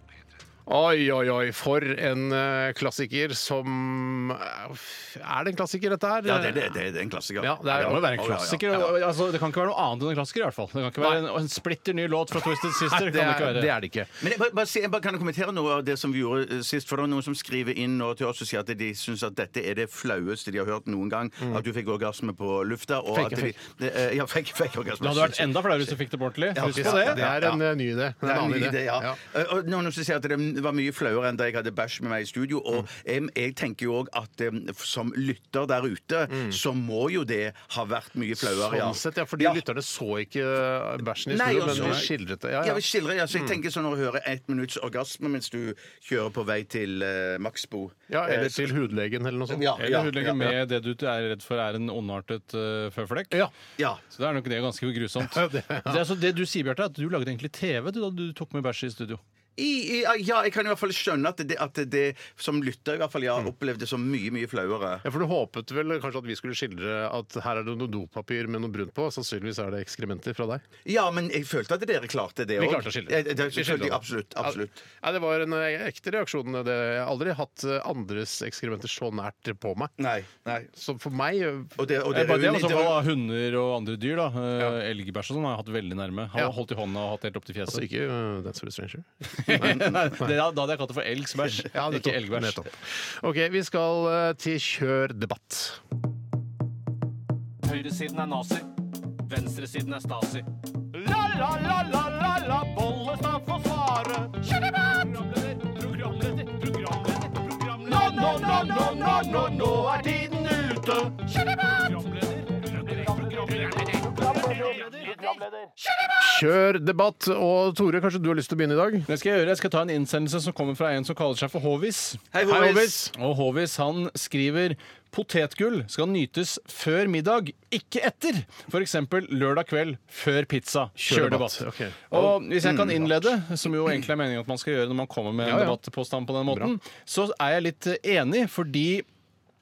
A: Oi, oi, oi. For en eh, klassiker som eh, Er det en klassiker, dette her?
B: Ja, det, det, det, det er en klassiker.
A: Ja, det er- det må være
B: Å,
A: en
B: ja, ja.
C: Klassiker, og- altså, det kan ikke være noe annet enn en klassiker. i hvert fall Det kan ikke være en, en splitter ny låt fra Twisted Sister.
A: Nei, det,
C: kan det ikke
A: er,
C: være.
A: det er det ikke.
B: Men jeg, bare, bare, si- jeg bare kan jeg kommentere noe av det som vi gjorde eh, sist. For det er noen som skriver inn nå til oss og sier at de syns at dette er det flaueste de har hørt noen gang. At du fikk orgasme på lufta. Og
A: Mm. Fake,
B: at de,
A: fake.
B: det, eh, ja, fake, fake orgasme.
C: Det hadde vært enda flauere hvis du fikk det på ordentlig.
B: Ja,
C: Husk
B: ja,
C: på det.
A: Det er en eh, ny idé.
B: Det er en ny idé, ja.
A: Ja.
B: Eh, Og noen som sier at det var mye flauere enn da jeg hadde bæsj med meg i studio. Og
A: Mm.
B: jeg, jeg tenker jo òg at eh, som lytter der ute, så må jo det ha vært mye flauere.
A: Mm. Sånn sett, ja, fordi lytterne så ikke eh, bæsjen i
B: Nei,
A: studio,
B: og
A: men
B: så-
A: vi skildret det. Ja, Mm.
B: Ja,
A: ja.
B: vi skildrer, ja. Så jeg tenker sånn når du hører ett minutts orgasme mens du kjører på vei til eh, Maxbo.
A: ja,
B: Eh,
A: Eller
B: så-
A: til hudlegen, eller noe sånt.
B: Ja.
C: Eller hudlegge
B: ja.
C: med det du er redd for er en ondartet uh, føflekk.
A: Ja.
B: Ja.
C: Så det er nok det ganske grusomt.
A: det-
C: det,
A: ja.
C: er altså det du sier, Bjarte, er at du lagde egentlig TV du, da du tok med bæsj i studio.
B: I, i, ja, jeg kan i hvert fall skjønne at det, at det som lytter i hvert fall, ja,
A: Mm.
B: opplevde det som mye, mye flauere.
A: Ja, For du håpet vel kanskje at vi skulle skildre at her er det noe dopapir med noe brunt på? Sannsynligvis er det ekskrementer fra deg.
B: Ja, men jeg følte at dere klarte det
A: Vi
B: òg.
A: klarte å skille
B: det.
A: Vi skildret
B: følte jeg
A: det.
B: Absolutt. absolutt.
A: Ja, det var en eh, ekte reaksjon. Det. Jeg har aldri hatt eh, andres ekskrementer så nært på meg.
B: Nei. nei.
A: Så for meg eh,
B: Og det, og det,
C: Det er bare det,
B: var
C: altså,
B: jo- det var-
C: hva Hunder og andre dyr, da. eh, Elgbæsj og sånn har jeg hatt veldig nærme. Har
A: Ja.
C: holdt i hånda og hatt helt opp til
A: Altså
C: fjeset.
A: ikke uh, That's What a Stranger.
C: Nei, det- da hadde jeg kalt det for elg som bæsj,
A: Ja, nettopp,
C: ikke elgbæsj.
A: nettopp. OK, vi skal eh, til Kjør debatt.
E: Høyresiden er nazi. Venstresiden er stasi. La, la, la, la, la, la, Bollestad får svare. Kjør debatt! Programleder, programleder, programleder. Nå, nå, nå, nå, nå, nå, nå er tiden ute. Kjør debatt!
A: Kjør debatt. Og Tore, kanskje du har lyst til å begynne i dag?
C: Det skal jeg gjøre. Jeg skal ta en innsendelse som kommer fra en som kaller seg for Håvis.
B: Hei, Håvis.
C: Og Håvis han skriver Potetgull skal nytes før middag, ikke etter. F.eks. lørdag kveld før pizza. Kjør debatt.
A: Ok. Mm,
C: Og hvis jeg kan innlede, som jo egentlig er meningen at man skal gjøre når man kommer med en
A: Ja, ja.
C: debattpåstand på den måten, så er jeg litt eh, enig, fordi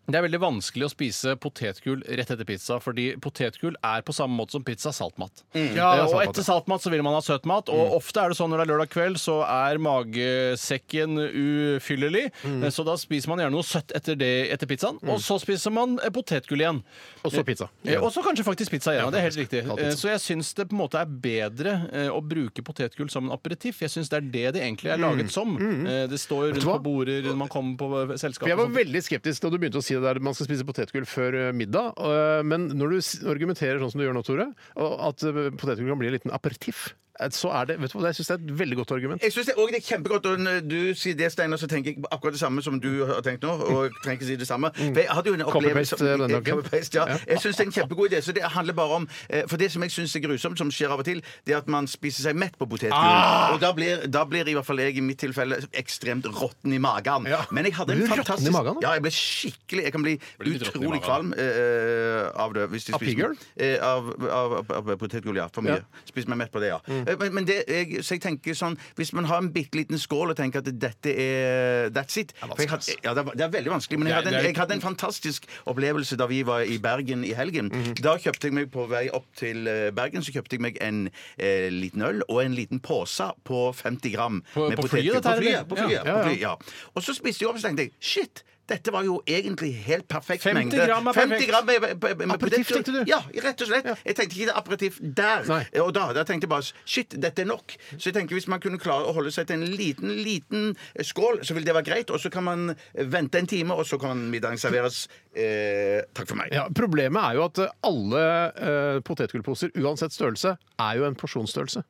C: det er veldig vanskelig å spise potetgull rett etter pizza, fordi potetgull er på samme måte som pizza saltmat.
A: Mm. Ja, det
C: Eh,
A: er
C: og
A: saltmat,
C: etter saltmat så vil man ha søtmat,
A: Mm.
C: og ofte er det sånn når det er lørdag kveld, så er magesekken ufyllelig,
A: Mm.
C: så da spiser man gjerne noe søtt etter, det, etter pizzaen, og så spiser man eh, potetgull igjen.
A: Og så pizza.
C: Eh, Og så kanskje faktisk pizza igjen, det er helt riktig.
A: Ja,
C: Eh,
A: pizza.
C: Så jeg syns det på en måte er bedre eh, å bruke potetgull som en aperitiff. Jeg syns det er det det
A: Mm.
C: egentlig er laget som. Eh, Det står rundt
A: hva?
C: på border når man kommer på eh,
A: For
C: selskap.
A: jeg var
C: og sånt.
A: veldig skeptisk da du begynte å si det der man skal spise potetgull før eh, middag. eh, Men når du s- argumenterer sånn som du gjør nå, Tore, og at eh, potetgull kan bli en liten aperitiff, eh, så er det vet du hva, jeg synes det er et veldig godt argument.
B: Jeg synes det, og det er kjempegodt. Og når du sier det, Steinar, så tenker jeg akkurat det samme som du har tenkt nå. Og jeg trenger ikke si det samme. For jeg hadde jo en opplevelse
A: Mm. Copy-paste, eh, denne gangen.
B: Copy-paste, ja. Jeg syns det er en kjempegod idé. Så det handler bare om eh, For det som jeg syns er grusomt, som skjer av og til, det er at man spiser seg mett på potetgull.
A: Ah!
B: Og da blir, da blir i hvert fall jeg, i mitt tilfelle, ekstremt råtten i magen.
A: Ja.
B: Men jeg hadde
A: Blir
B: en
A: du råtten i
B: fantastisk
A: magen?
B: Ja, jeg ble skikkelig Jeg kan bli
C: Blir du råtten i
B: utrolig kvalm
C: magen?
B: eh, av det. Hvis de
A: Av
B: spiser-
A: pigghjul?
B: Eh, av, av, av, av potetgull, ja. For mye. Spis meg mett på det, ja.
C: Mm.
B: Eh, Men, men det, jeg, så jeg tenker sånn Hvis man har en bitte liten skål og tenker at dette er That's it for jeg hadde, ja, det, er, det er veldig vanskelig, men jeg
C: Det er-
B: hadde, en,
C: det er-
B: jeg hadde en fantastisk opplevelse da vi var i Bergen i helgen.
C: Mhm.
B: Da kjøpte jeg meg på vei opp til eh, Bergen Så kjøpte jeg meg en eh, liten øl og en liten pose på 50 gram.
C: På-
B: med
C: på flyet,
B: potetgull.
C: dette her,
B: På
C: eller?
B: flyet, på flyet,
C: Ja.
B: på flyet, ja. Og så spiste jeg opp og så tenkte jeg, shit! Dette var jo egentlig helt perfekt
C: 50
B: mengde.
C: gram er
B: 50
C: perfekt.
B: gram med, med, med
A: Aperitif,
B: potetgull.
A: tenkte du?
B: Ja, rett og slett. Jeg tenkte ikke det aperitif der.
A: Nei.
B: Og da, da tenkte jeg bare shit, dette er nok. Så jeg tenker hvis man kunne klare å holde seg til en liten, liten skål, så vil det være greit. Og så kan man vente en time, og så kan middagen serveres. Eh, takk for meg.
A: Ja, problemet er jo at eh, alle eh, potetgullposer, uansett størrelse, er jo en porsjonsstørrelse.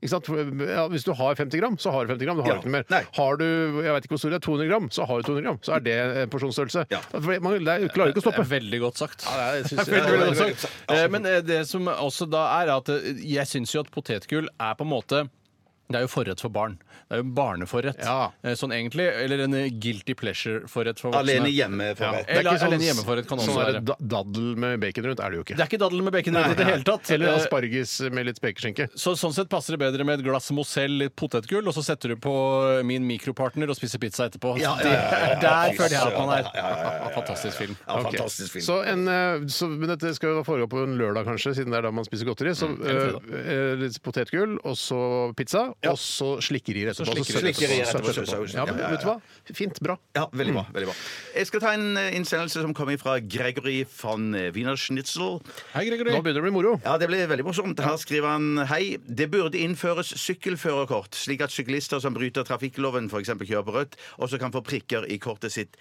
A: Ikke sant? For, Ja, hvis du har 50 gram, så har du 50 gram. Du har
B: Ja.
A: ikke noe mer.
B: Nei.
A: Har du jeg vet ikke hvor stor det er, 200 gram, så har du 200 gram. Så er det en porsjonsstørrelse.
B: Ja.
A: For Man det er- klarer ikke å
C: Det er
A: stoppe.
C: veldig godt sagt.
A: jeg synes-
C: Det er veldig
A: Ja,
C: godt sagt. Eh, Men eh, det som også da er at eh, jeg syns jo at potetgull er på en måte det er jo forrett for barn. Det er jo barneforrett.
A: Ja.
C: Eh, Sånn egentlig, Eller en eh, guilty pleasure-forrett for voksne.
B: Alene hjemme for meg.
A: Det er
C: Eller
A: ikke sånn-
C: alene hjemmeforrett kan også
A: sånn der
C: være.
A: da- Daddel med bacon rundt er det jo ikke.
C: Det er ikke daddel med bacon i det hele tatt.
A: Eller altså-
C: Eh,
A: asparges med litt spekeskinke.
C: Så sånn sett passer det bedre med et glass Mozell litt potetgull, og så setter du på min mikropartner og spiser pizza etterpå.
B: Ja, ja, ja, ja, ja.
C: Det- Der føler jeg at man er.
B: Ja, ja, ja, ja, ja.
C: Fantastisk film.
B: Ja,
A: Ok.
B: fantastisk film.
A: Så en, eh, så, men dette skal jo foregå på en lørdag, kanskje, siden det er da man spiser godteri. Så
B: Mm,
A: eh, eh, litt potetgull, og så pizza, og så slikkerier etterpå. søt
C: Så
B: slikkerier etterpå, søt
A: søt
B: etterpå.
A: Ja, men
B: Ja, ja, ja.
A: vet du hva? Fint. Bra.
B: Ja, veldig bra. veldig bra Jeg skal ta en eh, innsendelse som kommer fra Gregory von Wienerschnitzel.
C: Hei, Gregory.
A: Nå begynner det å bli moro.
B: Ja, det ble veldig morsomt. Her skriver han Hei, det burde innføres sykkelførerkort, slik at syklister som bryter trafikkloven, f.eks. kjører på rødt, også kan få prikker i kortet sitt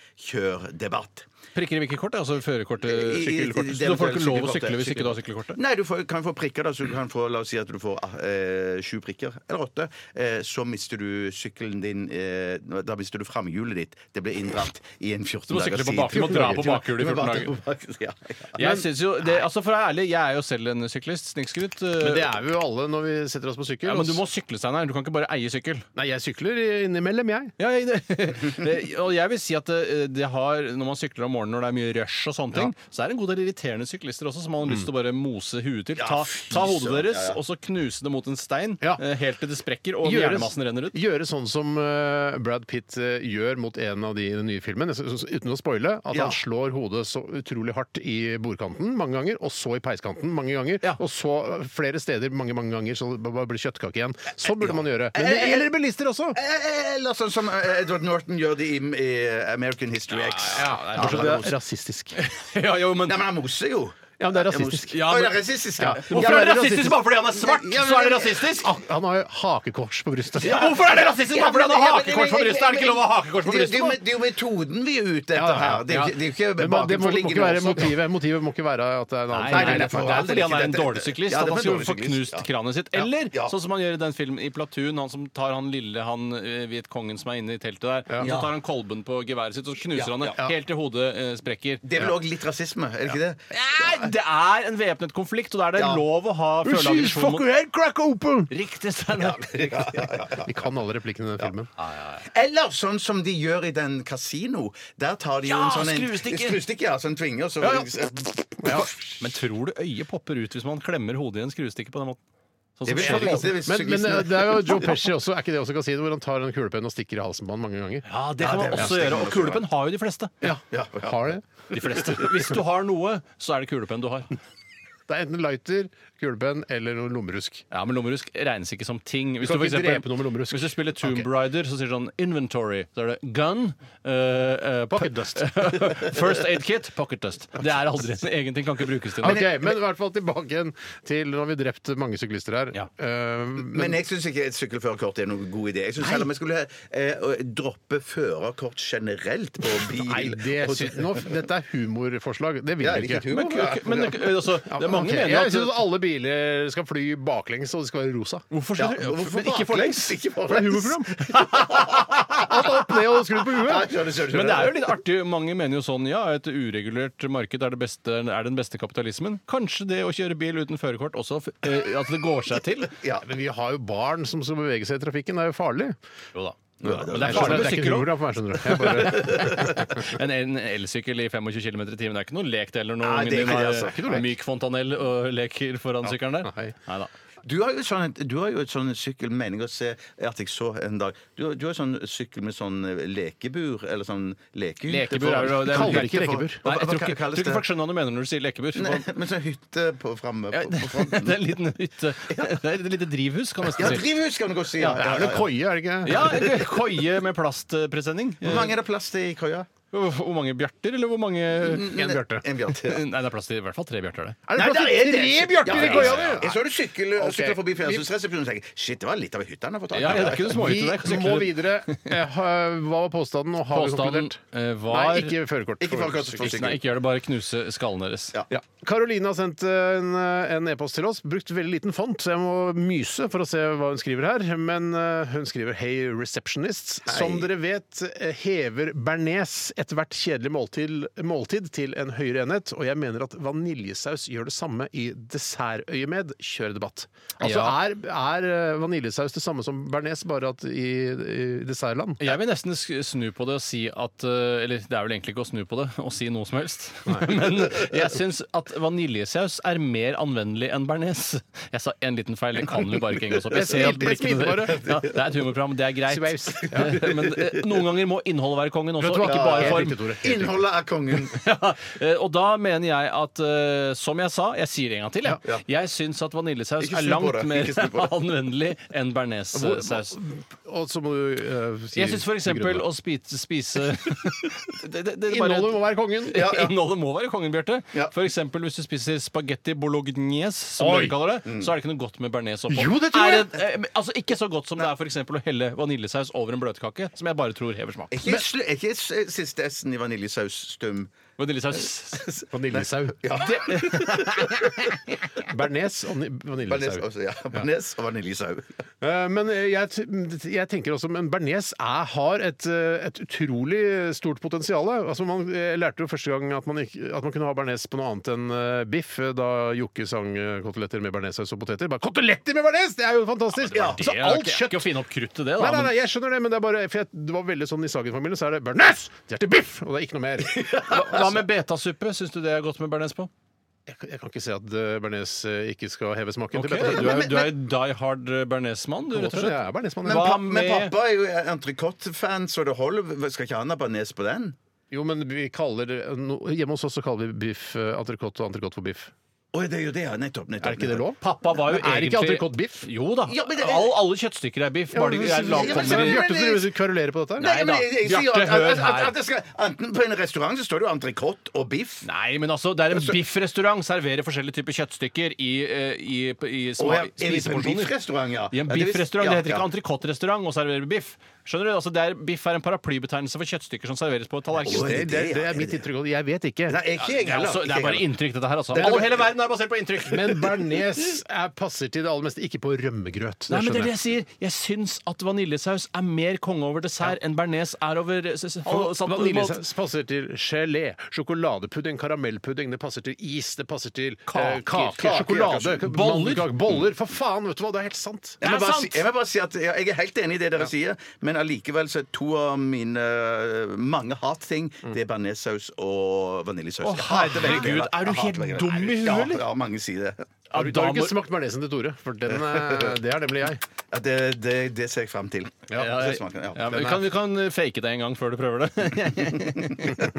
B: kjørdebatt.
C: Prikker i hvilket kort? Altså førerkortet?
B: I- i-
C: Sykkelkortet?
B: i-
C: Så du får ikke lov å
B: sykkelkortet,
C: sykle hvis ikke du har
B: sykkelkortet.
C: sykkelkortet?
B: Nei, du får, kan få prikker, da. Så du kan få, la oss si at du får eh, sju prikker, eller åtte. Eh, så mister du sykkelen din eh, Da mister du framhjulet ditt. Det blir inndratt i en 14
C: Du må sykle
B: dagers
C: på bak, du må dra på bakhjulet i 14 dager.
B: dager. Ja, ja.
C: Jeg synes jo, det, altså For å være ærlig, jeg er jo selv en syklist. Snikskryt. eh,
A: Men det er vi jo alle når vi setter oss på sykkel.
C: ja, men du må
A: og s-
C: sykle, Steinar. Du kan ikke bare eie sykkel.
A: Nei, jeg sykler innimellom, jeg.
C: Ja, jeg, det, og jeg vil si at eh, det, det har, når man sykler om morgenen når det er mye rush, og sånne ting, så er det en god del irriterende syklister også som man har lyst til å bare mose huet til. Ta, ta hodet
B: søren,
C: deres
B: ja, ja.
C: og så knuse det mot en stein
A: Ja.
C: eh, helt til det sprekker og
A: Gjøre-
C: hjernemassen renner ut.
A: Gjøre sånn som eh, Brad Pitt eh, gjør mot en av de i den nye filmen, så- så- uten å spoile. At
B: Ja.
A: han slår hodet så utrolig hardt i bordkanten mange ganger, og så i peiskanten mange ganger,
C: Ja.
A: og så flere steder mange mange ganger, så det bare blir kjøttkake igjen. Sånn burde man gjøre. Men,
B: Eh, eh,
A: eller bilister også!
B: Eh, Eller sånn som eh, Edward Norton gjør det i, i American History X.
C: Ja, det
B: han
A: Bortsett
C: er
A: fra
B: er
A: det
B: mos.
A: er rasistisk.
C: ja, jo, men
B: Nei, men han moser jo.
C: Ja, men det er rasistisk.
B: Ja, men... det er rasistisk, ja.
C: Hvorfor er det rasistisk bare fordi han er svart?
B: Ja, men-
C: Så er det rasistisk?
A: Ah, Han har jo hakekors på brystet.
C: Ja, hvorfor er det rasistisk bare fordi han har
B: Ja, men-
C: hakekors på brystet? Er det ikke lov å ha hakekors på
B: Det, det, er jo,
C: brystet?
B: det er jo metoden vi er ute etter
A: Ja, ja, ja.
B: her. Det er jo ikke, det er jo ikke
A: Men man- det må, må ikke
B: bakenforliggende
A: være
B: årsaker.
A: motivet. Motivet må ikke være at det er en annen
C: Nei, nei,
B: for-
C: det er fordi han er en
B: dette-
C: dårlig syklist.
B: Ja,
C: At
B: det er
C: han
B: for
C: skulle
B: dårlig
C: få
B: syklist,
C: knust
B: ja.
C: kranet sitt. Eller
B: Ja.
C: sånn som han gjør i den filmen i Platoon, han som tar han lille han eh, Vietkongen som er inne i teltet der, og så tar han kolben på geværet sitt og så knuser han det helt til hodet eh, sprekker.
B: Det er vel òg litt rasisme, er det ikke det?
C: Nei, det er en væpnet konflikt, og da er det
B: Ja.
C: lov å ha
A: She's
C: føleaggresjon mot
A: fucking head crack open!
C: Riktig, Steinar.
A: Vi kan alle replikkene i den filmen.
B: Eller sånn som de gjør i den kasino. Der tar de jo
C: Ja,
B: en sånn en-
C: skruestikke.
B: skruestikke, ja, sånn tvinge, og så
C: Ja. Men tror du øyet popper ut hvis man klemmer hodet i en skruestikke på den måten? Sånn
B: Det
C: som
B: vil
C: skjer
B: jeg
C: i
B: vite
C: Kolben.
B: hvis
A: Men, men
B: syklisten-
A: eh, det er jo Joe Pesci også, er ikke det også kasino, hvor han tar en kulepenn og stikker i halsen på han mange ganger?
C: ja, det kan
B: Ja, det
C: man
B: er-
C: også
B: ja, det
C: gjøre.
B: kan
C: Og
B: man også
C: kulepenn har jo de fleste.
B: Ja, ja.
A: Har det?
C: De fleste. Hvis du har noe, så er det kulepenn du har.
A: Det er enten lighter, kulepenn eller noe lommerusk.
C: Ja, Men lommerusk regnes ikke som ting. Hvis
A: Du kan
C: for
A: ikke drepe noe med lommerusk.
C: Hvis du spiller Tomb Rider, så sier du sånn inventory. Så er det gun. eh, eh,
A: Pocket dust.
C: First aid kit. Pocket dust. Det er aldri en egen ting. Kan ikke brukes til
A: Ok,
C: noe.
A: Men i hvert fall tilbake igjen til Nå har vi drept mange syklister her.
C: Ja.
A: Eh,
B: Men jeg syns ikke et sykkelførerkort er noen god idé. Jeg synes heller vi skulle eh, droppe førerkort generelt på bil.
A: nei, det
B: Og-
A: sy- nå, dette er humorforslag. Det vil
B: Ja,
A: jeg
B: litt
A: ikke.
B: humor.
C: Men, men eh, altså, det er mange
A: Ok,
C: mener
A: Jeg syns
C: at
A: at alle biler skal fly baklengs, og de skal være rosa.
C: Hvorfor
B: Ja,
C: skal du
B: hvorfor
C: men Ikke forlengs!
B: baklengs? Ikke
A: For det er
B: forlengs.
A: humorprogram! Alt opp ned og skrudd på
B: Ja,
A: huet.
B: skjønner, skjønner,
C: Men det
B: skjønner.
C: er jo litt artig. Mange mener jo sånn ja, et uregulert marked er, det beste, er den beste kapitalismen. Kanskje det å kjøre bil uten førerkort også eh, at det går seg til.
A: Ja, men vi har jo barn som skal bevege seg i trafikken. Det er jo farlig.
C: Jo da. Men det sånn
A: Jeg
C: er
A: skjønner,
C: farlig
A: det
C: med
A: er ikke et
C: sykkel òg.
A: humorprogram for meg, skjønner du. Jeg bare,
C: En en elsykkel i 25 km i timen det er ikke noe lek det, eller noe
B: Nei,
C: ungen
B: det er
C: din
B: ikke det,
C: har
B: altså. Ikke noe lek.
C: myk fontanell og leker foran sykkelen der.
A: nei.
C: Neida.
B: Du har jo sånn, du har jo et sånn sykkel, mener jeg å se at jeg så en dag Du, har- du har sånn sykkel med sånn lekebur, eller sånn lekehute
C: Lekebur er jo
B: foran.
C: det er
A: Kaller
C: vel
A: det ikke
C: hytte for-
A: lekebur.
C: Nei, jeg
B: Hva- hva
C: tror ikke,
B: kalles
C: tror ikke
B: det?
C: folk skjønner hva du mener når du sier lekebur.
B: Nei, men sånn hytte på framme
C: Ja,
B: på,
C: det,
B: på
C: det er en
B: fronten.
C: liten hytte. Det er et lite drivhus, kan man
B: Ja,
C: nesten si.
B: drivhus kan du godt si!
A: det er jo en koie, er det ikke?
C: Ja, eller koie med plastpresenning.
B: Hvor mange er det plass til i køya?
C: Hvor mange bjarter, eller hvor mange
B: Mm.
A: En bjørte.
B: En bjørte. ja.
C: Nei, det er plass til i hvert fall tre bjørter der.
A: Er det plass til tre bjørter i
B: ja,
A: koia
B: ja, ja.
A: di?
B: Jeg så du sykle,
A: Ok.
B: sykle forbi fjernsynsresepsjonen og tenkte shit, det var litt av ei hytte han har fått tak i.
C: Ja, ja, det er ikke noe
A: Vi
C: småhytte der. Kan
A: må
C: sykle rundt.
A: videre. Eh, ha- Hva var påstanden, og har vi
C: Påstanden
A: konkludert?
C: eh, var
A: Nei, ikke førerkort.
B: Ikke førerkort,
A: Sykkel.
B: for sykkel.
C: Nei, ikke gjør det, bare knuse skallen deres.
B: Ja.
A: Ja. Karoline har sendt eh, en en e-post til oss. Brukt veldig liten font, så jeg må myse for å se hva hun skriver her. Men eh, hun skriver 'Hey receptionists'. Som dere vet, eh, hever bearnés etter hvert kjedelig måltid, måltid til en høyere enhet. Og jeg mener at vaniljesaus gjør det samme i dessertøyemed. Kjør debatt. Altså
C: Ja.
A: er, er eh, vaniljesaus det samme som bearnés, bare at i, i dessertland?
C: Jeg vil nesten sk- snu på det og si at eh, Eller det er vel egentlig ikke å snu på det og si noe som helst. Men jeg syns at vaniljesaus er mer anvendelig enn bearnés. Jeg sa en liten feil, det kan vi bare ikke henge oss opp i. Jeg ser at
A: Det smilte
C: blikkene
A: bare.
C: dere- ja, Det er et humorprogram, det er greit.
A: Svaus.
C: Men eh, noen ganger må innholdet være kongen også,
A: Vet du hva?
C: ikke bare
A: Altså, Helt
C: form.
A: riktig, Tore. Helt riktig.
B: Innholdet er kongen.
C: Ja, eh, og da mener jeg at, eh, som jeg sa, jeg sier det en gang til, jeg, jeg syns at vaniljesaus
B: Ikke
C: er
B: snu på
C: langt
B: det.
C: mer
B: Ikke snu på det.
C: anvendelig enn bearnéssaus.
A: Og så må du uh, si
C: Jeg syns f.eks.
A: begrunne.
C: å spise, spise det, det, det er bare-
A: Innholdet må være kongen.
C: Ja, Innholdet må være kongen, Bjarte.
B: Ja.
C: For eksempel hvis du spiser spagetti bolognese, som
A: Oi.
C: dere kaller det, så er det ikke noe godt med bearnés oppå.
A: Jo, det tror
C: Er
A: jeg.
C: Mm. det- eh, men, altså, ikke så godt som det er for eksempel å helle vaniljesaus over en bløtkake, som jeg bare tror hever smak.
B: Er ikke, slu- er ikke s- eh, siste S-en i vaniljesaus stum?
C: Vaniljesaus
A: Vaniljesau. Bearnés og ni-
B: Bearnés
A: vaniljesau.
B: også, ja. Bearnés og vaniljesau.
A: Eh, Men jeg, t- jeg tenker også Men bearnés er- har et, eh, et utrolig stort potensial. Altså man jeg lærte jo første gang at man, ikke, at man kunne ha bearnés på noe annet enn eh, biff, eh, da Jokke sang eh, koteletter med bearnéssaus og poteter. Bare koteletter med bearnés! Det er jo fantastisk!
C: Ja,
A: Så
C: det er
A: alt
C: ikke-
A: kjøtt
C: Ikke å finne opp kruttet, det, da.
A: Nei, nei,
C: men-
A: nei, jeg skjønner det, men det er bare for jeg, det var veldig sånn i Sagen-familien så er det bearnés! Det er til biff! Og det er ikke noe mer.
C: Hva hva med betasuppe? Syns du det er godt med bearnés på?
A: Jeg, kan- jeg kan ikke se at eh, bearnés eh, ikke skal heve smaken
C: Ok,
A: til bearnés.
C: Du er jo du er jo die hard eh, bearnésmann, du, rett og
A: Jeg
C: slett.
A: er bearnésmann,
B: Men,
A: jeg.
C: Hva
B: pa men
C: med-
B: pappa er jo entrecôte-fan, så det holder. Skal ikke han ha bearnés på den?
A: Jo, men vi kaller, no, hjemme hos oss så kaller vi biff eh, entrecôte eh, og entrecôte for biff.
B: Å, det er jo det, ja. Nettopp. nettopp
A: Er ikke det
B: nettopp.
A: lov?
C: Pappa var jo
A: Men er
C: egentlig
A: ikke entrecôte biff?
C: Jo da.
B: Ja, men det-
C: All, alle kjøttstykker er biff. Bare de er
B: men-
C: lag-
B: ja,
A: Kommer
C: kommer i-
B: men-
A: Bjarte driver og kverulerer på dette? her?
B: Nei, men jeg, jeg,
C: Nei da.
B: sier jo at,
C: Bjarte, hør
B: at, at,
C: her.
B: at det skal, enten På en restaurant så står det jo entrecôte og biff.
C: Nei, men altså, det er en biffrestaurant. Serverer forskjellige typer kjøttstykker i, eh, i, i,
B: Å,
C: sma-
B: ja, er vi på en
C: spiseporsjoner.
B: biffrestaurant, ja? Ja,
C: I en
B: det er visst-
C: biffrestaurant.
B: ja,
C: Det heter
B: ja.
C: ikke entrecôte-restaurant å servere biff. Skjønner du? Altså, det er, biff er en paraplybetegnelse for kjøttstykker som serveres på
B: Å,
C: tallerken.
B: ja.
A: Det, det, det er mitt inntrykk. og Jeg vet ikke.
B: Nei, ikke jeg
C: Det er,
B: heller.
C: også, det
B: Ikke
C: er bare
B: heller.
C: inntrykk, dette her. altså.
A: Det er-
C: Alle, hele verden er basert på inntrykk.
A: Men bearnés er- passer til det aller meste. Ikke på rømmegrøt.
C: Nei, men det er
A: skjønner
C: det jeg sier. Jeg syns at vaniljesaus er mer konge over dessert enn bearnés er over s- s-
A: Og
C: satt-
A: Vaniljesaus passer til gelé, sjokoladepudding, karamellpudding, det passer til is, det passer til eh,
C: Kaker.
A: kake,
C: Kaker,
A: sjokolade,
C: kanskje.
A: boller. boller. For faen, vet du hva, det er helt sant!
B: Jeg
C: Det
B: må,
C: er
B: bare si,
C: sant!
B: jeg må bare si at ja, jeg er helt enig i det dere sier, men allikevel så er to av mine eh, mange hat-ting Det er bearnéssaus og vaniljesaus.
C: Mm. Å,
B: Jeg hater begge
C: herregud,
B: deler.
C: er du
B: Jeg hater
C: helt
B: begge deler.
C: dum i huet,
B: Ja,
C: eller?
B: Ja, mange sier det.
A: Har du,
C: da
A: da har du
C: må-
A: ikke smakt bearnésen til Tore, for den er, det er nemlig jeg.
B: Ja, det, det, det ser jeg frem til.
C: Ja, ja,
B: Det smaker, ja.
C: ja, men vi, kan, vi kan eh, fake det en gang før du prøver det.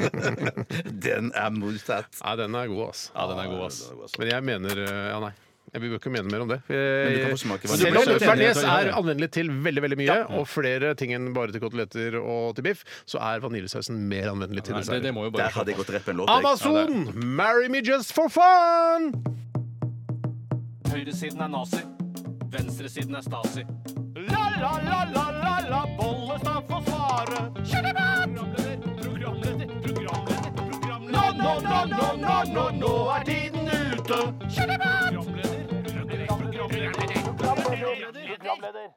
B: Den er mottatt.
A: Nei, den er god, altså.
C: Ja, den er god, ass.
A: Men jeg mener eh, Ja, nei. Jeg bør ikke mene mer om det. Eh,
B: Men du kan få smake hva du
A: Selv om
B: vil.
A: bearnés er anvendelig til veldig veldig mye, og flere ting enn bare til koteletter og til biff, så er vaniljesausen mer anvendelig til
C: Nei, det, det
A: dessert.
C: må jo
B: Der
C: bare
B: hadde jeg gått rett med en låt. jeg.
A: Amazon! Marry me just for fun!
E: Høyresiden er nazi. Venstresiden er stasi. La, la, la, la, la, la, Bollestad får svare. Programleder, programleder, programleder, programleder. Nå, nå, nå, nå, nå, nå, nå er tiden ute. Programleder, programleder, programleder.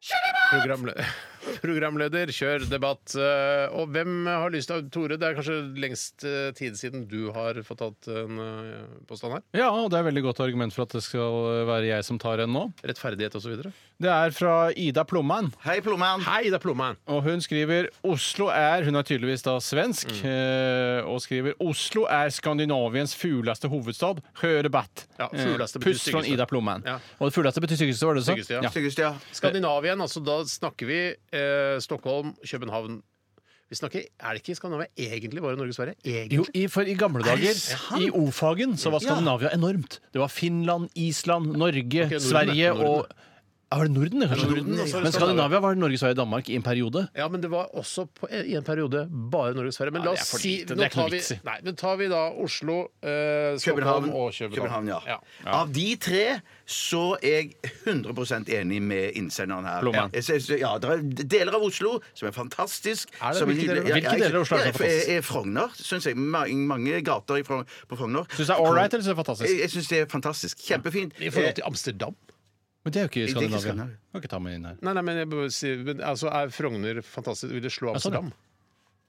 A: Programle Programleder, kjør debatt. Eh, Og hvem har lyst til Tore, det er kanskje lengst eh, tid siden du har fått tatt en eh, påstand her?
C: Ja, og det er veldig godt argument for at det skal være jeg som tar en nå.
A: Rettferdighet osv.
C: Det er fra Ida Plomman.
B: Hei, Plomman.
A: Hei, det er Plommen!
C: Og hun skriver Oslo er Hun er tydeligvis da svensk.
A: Mm.
C: eh, Og skriver Oslo er Skandinaviens fuleste hovedstad. Hør debatt.
A: Ja, fuleste
C: Eh,
A: betyr
C: Pust fra
A: styggeste.
C: Ida Plomman.
A: Ja.
C: Og det fulleste betyr styggeste, var det du
A: Styggeste,
C: sa?
A: ja.
B: Styggest, ja.
A: Skandinavien, altså da snakker vi eh, Stockholm, København vi snakker, Er det ikke Skandinavia egentlig bare Norge og Sverige? Egentlig?
C: Jo, i, for i gamle dager, i O-fagen, så var Skandinavia enormt. Det var Finland, Island, Norge,
A: Norden,
C: Sverige
A: Norden.
C: og Ja, var det Norden? det, Kanskje?
A: Norden, og så er det
C: Men Skandinavia var Norge, Sverige, Danmark i en periode.
A: Ja, men det var også på, i en periode bare Norge og Sverige. Men la
C: Ja, det er
A: oss
C: for
A: si
C: lite. Det er
A: Nå
C: ikke noe
A: tar vi,
C: vits i.
A: nei, men tar vi da Oslo, eh, Stockholm
B: København
A: og København.
B: ja.
A: Ja.
B: Av de tre så er jeg 100 enig med innsenderen her.
C: Blomman.
B: Jeg synes- Ja, det er deler av Oslo som er fantastisk.
A: Er det?
B: som
A: Hvilke
B: nydelig.
A: deler?
B: Ja,
C: Hvilke
B: jeg-
C: deler av Oslo er
B: ja, jeg-
C: fantastisk?
B: jeg- jeg- Frogner, syns jeg. Ma- Mange gater i Frog- på Frogner.
C: Syns det er ålreit, eller syns det er
B: Jeg,
C: fantastisk?
B: jeg syns det er fantastisk. Kjempefint.
A: I forhold til Amsterdam?
C: Men det er jo ikke
B: er ikke
C: Skandinavia.
B: Skandinavia.
C: Kan ikke ta meg inn her.
A: Nei, nei, men jeg bør si, men, altså, Er Frogner fantastisk? Vil det slå
C: sånn, ja.
A: Amsterdam?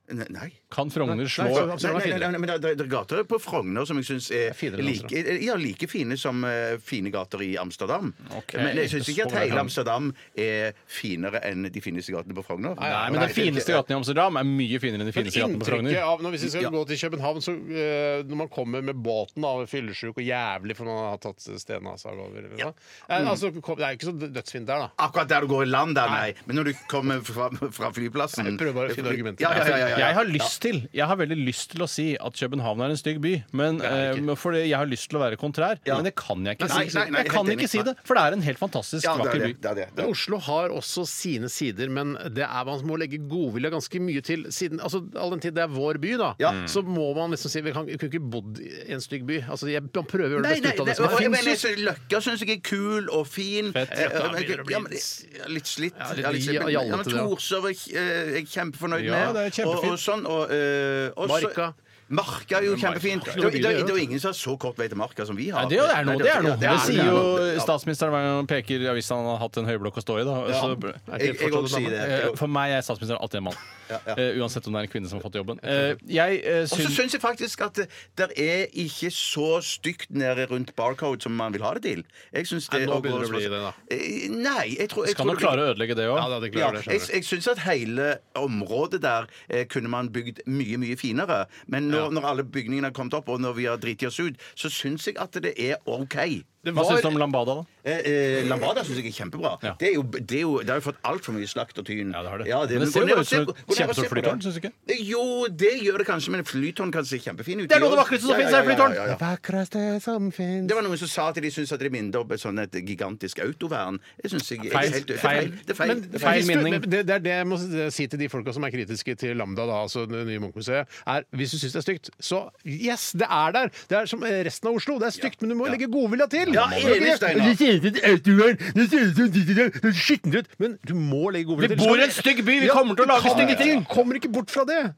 B: Eh, ne- Nei.
C: Kan Frogner slå
A: Nei,
B: Nei, nei, nei, nei, nei, men det er- det er gater på Frogner som jeg syns er
A: finere enn
B: like, ja, like fine som eh, fine gater i Amsterdam.
C: Ok.
B: Men jeg syns ikke at
C: Så
B: hele
C: kan-
B: Amsterdam er finere enn de fineste gatene på Frogner.
C: Nei, men den fineste gaten i Amsterdam er mye finere enn den
A: Men
C: fineste gaten på
A: inntrykket
C: Frogner.
A: av, når, Hvis vi skal
B: Ja.
A: gå til København, så eh, når man kommer med båten av fyllesjuk og jævlig for man har tatt stenen av seg over eller noe. Eh, altså, kom, Det er jo ikke så dødsfint der, da.
B: Akkurat der du går i land, der, nei. Men når du kommer fra, fra flyplassen
A: Jeg prøver bare å finne argumenter.
B: Ja, ja, ja, ja, ja.
C: Jeg har lyst til Jeg har veldig lyst til å si at København er en stygg by, men
A: er det ikke.
C: eh, fordi jeg har lyst til å være kontrær.
B: Ja.
C: Men det kan jeg ikke
B: Nei,
C: si.
B: nei, nei,
C: Jeg
B: helt
C: kan
B: enig.
C: ikke si det, for det er en helt fantastisk
B: ja, det er
C: vakker
B: det.
C: by.
B: det, er det, det.
A: Men
B: er det.
A: Oslo har også sine sider, men det er, man må legge godvilje ganske mye til. Siden, altså, all den tid det er vår by, da,
B: Ja.
A: så må man liksom si Vi kan, vi kunne ikke bodd i en stygg by. Altså, jeg, man prøver å gjøre det
B: Nei,
A: liksom.
B: nei,
A: beste ut av
B: nei,
A: det som
B: og jeg
A: er.
B: mener, jeg synes Løkka syns jeg er kul og fin.
C: Fett.
B: Eh,
C: Løkka
B: men-
A: begynner å bli-
B: ja, men det- ja, litt slitt.
A: Ja, litt
B: Ja, litt slitt. Men-
A: jallete,
B: ja, men
A: det, ja.
B: Torshov er jeg- eh, jeg er kjempefornøyd
C: Ja,
B: med.
C: det er kjempefint.
B: Og, og sånn, og, eh, også-
A: Marka.
B: Marka er jo kjempefint. Det, det, det, det er jo ingen som har så kort vei til Marka som vi har.
C: Nei, det er noe, det er noe.
B: Ja,
C: Det sier jo
B: Ja.
C: statsministeren hver gang han peker i avisa han har hatt en høyblokk å stå i. Da. Altså, Så,
A: Er ikke
B: Jeg
A: fortsatt
B: òg
A: en
B: sier
A: dame?
B: det.
C: eh,
B: Jeg også.
C: for meg er statsministeren alltid en mann.
B: Ja, ja.
C: Eh, uansett om det er en kvinne som har fått jobben. Eh, jeg eh,
B: Og så
C: syns
B: syns jeg faktisk at det der er ikke så stygt nede rundt barcode som man vil ha det til. Jeg synes det
A: Nei,
B: å gå-
A: nå begynner det å bli det, da.
B: Eh, Nei, jeg tror jeg
C: Skal
B: tror det
C: nok
B: blir-
C: klare å ødelegge det òg.
A: Ja, da, det
B: Ja,
A: klarer det,
B: jeg,
A: skjønner du.
B: jeg syns at hele området der eh, kunne man bygd mye, mye finere. Men nå, når alle bygningene har kommet opp, og når vi har driti oss ut, så syns jeg at det er OK.
C: Hva syns du om Lambada, da?
B: Eh, eh, Lambada syns jeg er kjempebra.
C: Ja.
B: Det, er jo, det, er jo, det har jo fått altfor mye slakt og tyn.
C: Ja, det har det.
B: Ja,
C: Men det
B: men
C: ser
B: gå
C: jo
B: ned
C: bare
B: og se
C: ut som
B: på-
C: et
B: gå ned og se på
C: kjempestort flytårn,
B: det.
C: syns du ikke?
B: Jo, det gjør det kanskje, men flytårn kan se kjempefin ut.
C: Det er noe av det vakreste som
B: Ja, ja,
C: finnes, er
B: ja, ja,
C: flytårn.
B: ja, ja.
A: Vakreste som fins
B: Det var noen som sa at de syntes at det minnet om et sånn et gigantisk autovern. Det synes jeg er
C: Feil.
B: helt det er
C: Feil.
B: Det er feil.
C: Men-
B: Det er
C: feil
B: feil.
A: Hvis du-
C: minning.
A: Det, det er det jeg må eh, si til de folka som er kritiske til Lambda, da, altså det nye Munch-museet. er, Hvis du syns det er stygt, så yes, det er der! Det er som eh, resten av Oslo. Det er stygt, men du må legge godvilja til!
B: Ja,
A: Du kan ikke-
B: enig, Steinar.
A: Det ser ut som et autovern, det ser ut som ditt og datt, det ser skittent ut, men du må legge godvilja
C: Vi
A: til.
C: bor i en stygg by, vi kommer til å
A: du
C: lage
A: kan-
C: stygge ting.
A: Du kommer ikke bort fra det!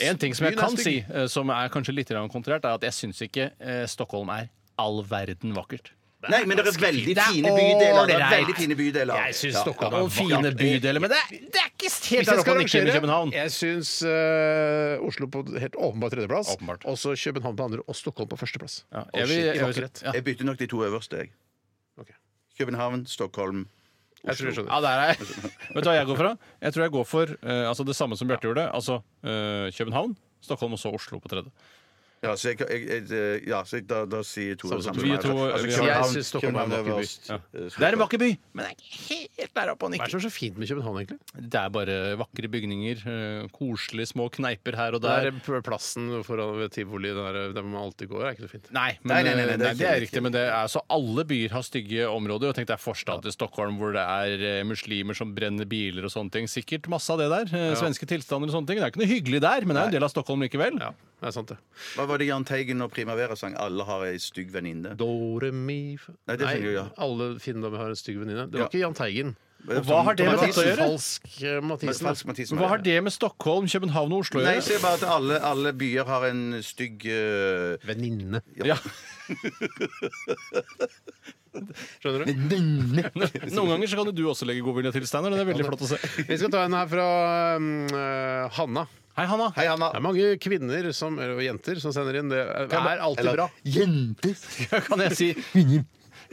C: En ting som jeg
A: Byen er
C: kan si,
A: stygg.
C: eh, som er kanskje litt grann kontrært, er at jeg syns ikke eh, Stockholm er all verden vakkert.
B: Nei, men det er veldig
C: Det er
B: fine bydeler. Det er
C: ålreit.
B: veldig fine bydeler.
A: Jeg synes
B: Ja.
A: Stockholm
C: Og fine bydeler, men det er, det er ikke helt der oppe å nikke med København.
A: Jeg syns eh, Oslo på helt åpenbar tredjeplass.
C: Åpenbart.
A: Og så København på andre, og Stockholm på førsteplass.
C: Ja,
A: Og
C: jeg vil-
A: shit, i
C: jeg vil-
A: vakkerhet.
C: ja.
B: Jeg bytter nok de to øverste, jeg.
A: Ok.
B: København, Stockholm.
A: Jeg tror jeg skjønner.
C: Ja, der er jeg. Vet du hva jeg går for? da? Jeg tror jeg går for eh, altså det samme som Bjarte gjorde. Altså eh, København, Stockholm og så Oslo på tredje.
B: Ja, så, jeg, jeg, jeg, ja, så jeg, da, da sier to
A: Samme som
B: sammen
C: vi
B: med meg.
C: to,
B: Altså,
C: vi har-
A: Jeg
B: København,
A: synes Stockholm er en
B: København
A: vakker by.
B: øverst.
C: Ja.
B: Eh,
C: Det er en vakker by, men det er ikke helt der oppe å
A: Hva er
C: nikke.
A: det som er så fint med København, egentlig?
C: Det er bare vakre bygninger, eh, koselige små kneiper her og
A: Det
C: der.
A: er p- plassen foran ved tivoli der, der man alltid går, er ikke noe fint.
C: Nei, men,
B: Nei, nei, nei, nei,
C: eh,
B: det er
C: det,
B: ikke- det er
C: er riktig. Men det er, så alle byer har stygge områder. Og tenk deg forstad til Stockholm hvor det er eh, muslimer som brenner biler og sånne ting. Sikkert masse av det der. eh, Svenske tilstander og sånne ting. Det er ikke noe hyggelig der, men det er en del av Stockholm likevel.
A: Ja, det er sant, det.
B: Hva var det Jahn Teigen og Primavera sang? Alle har ei stygg venninne. Eh,
A: Do, re, mi fa-
B: Nei, det synger du, ja.
A: alle finner har en stygg venninne. Det var
B: Ja.
A: ikke Jahn Teigen.
B: Og
C: hva har det med
B: Mathisen?
C: dette å gjøre?
A: Falsk eh, Mathisen.
B: Falsk Mathisen.
C: Hva har det med Stockholm, København og Oslo å
B: Nei,
C: gjøre?
B: se bare at alle, alle byer har en stygg eh,
A: Venninne.
C: Ja.
A: Skjønner du?
C: Noen ganger så kan jo du også legge godvilje til, Steinar. og Det er veldig flott å se.
A: Vi skal ta en her fra mm, eh, Hanna.
C: Hei, Hanna.
B: Hei, Anna.
A: Det er mange kvinner som, eller jenter som sender inn. Det er er alltid bra.
C: Kan jeg si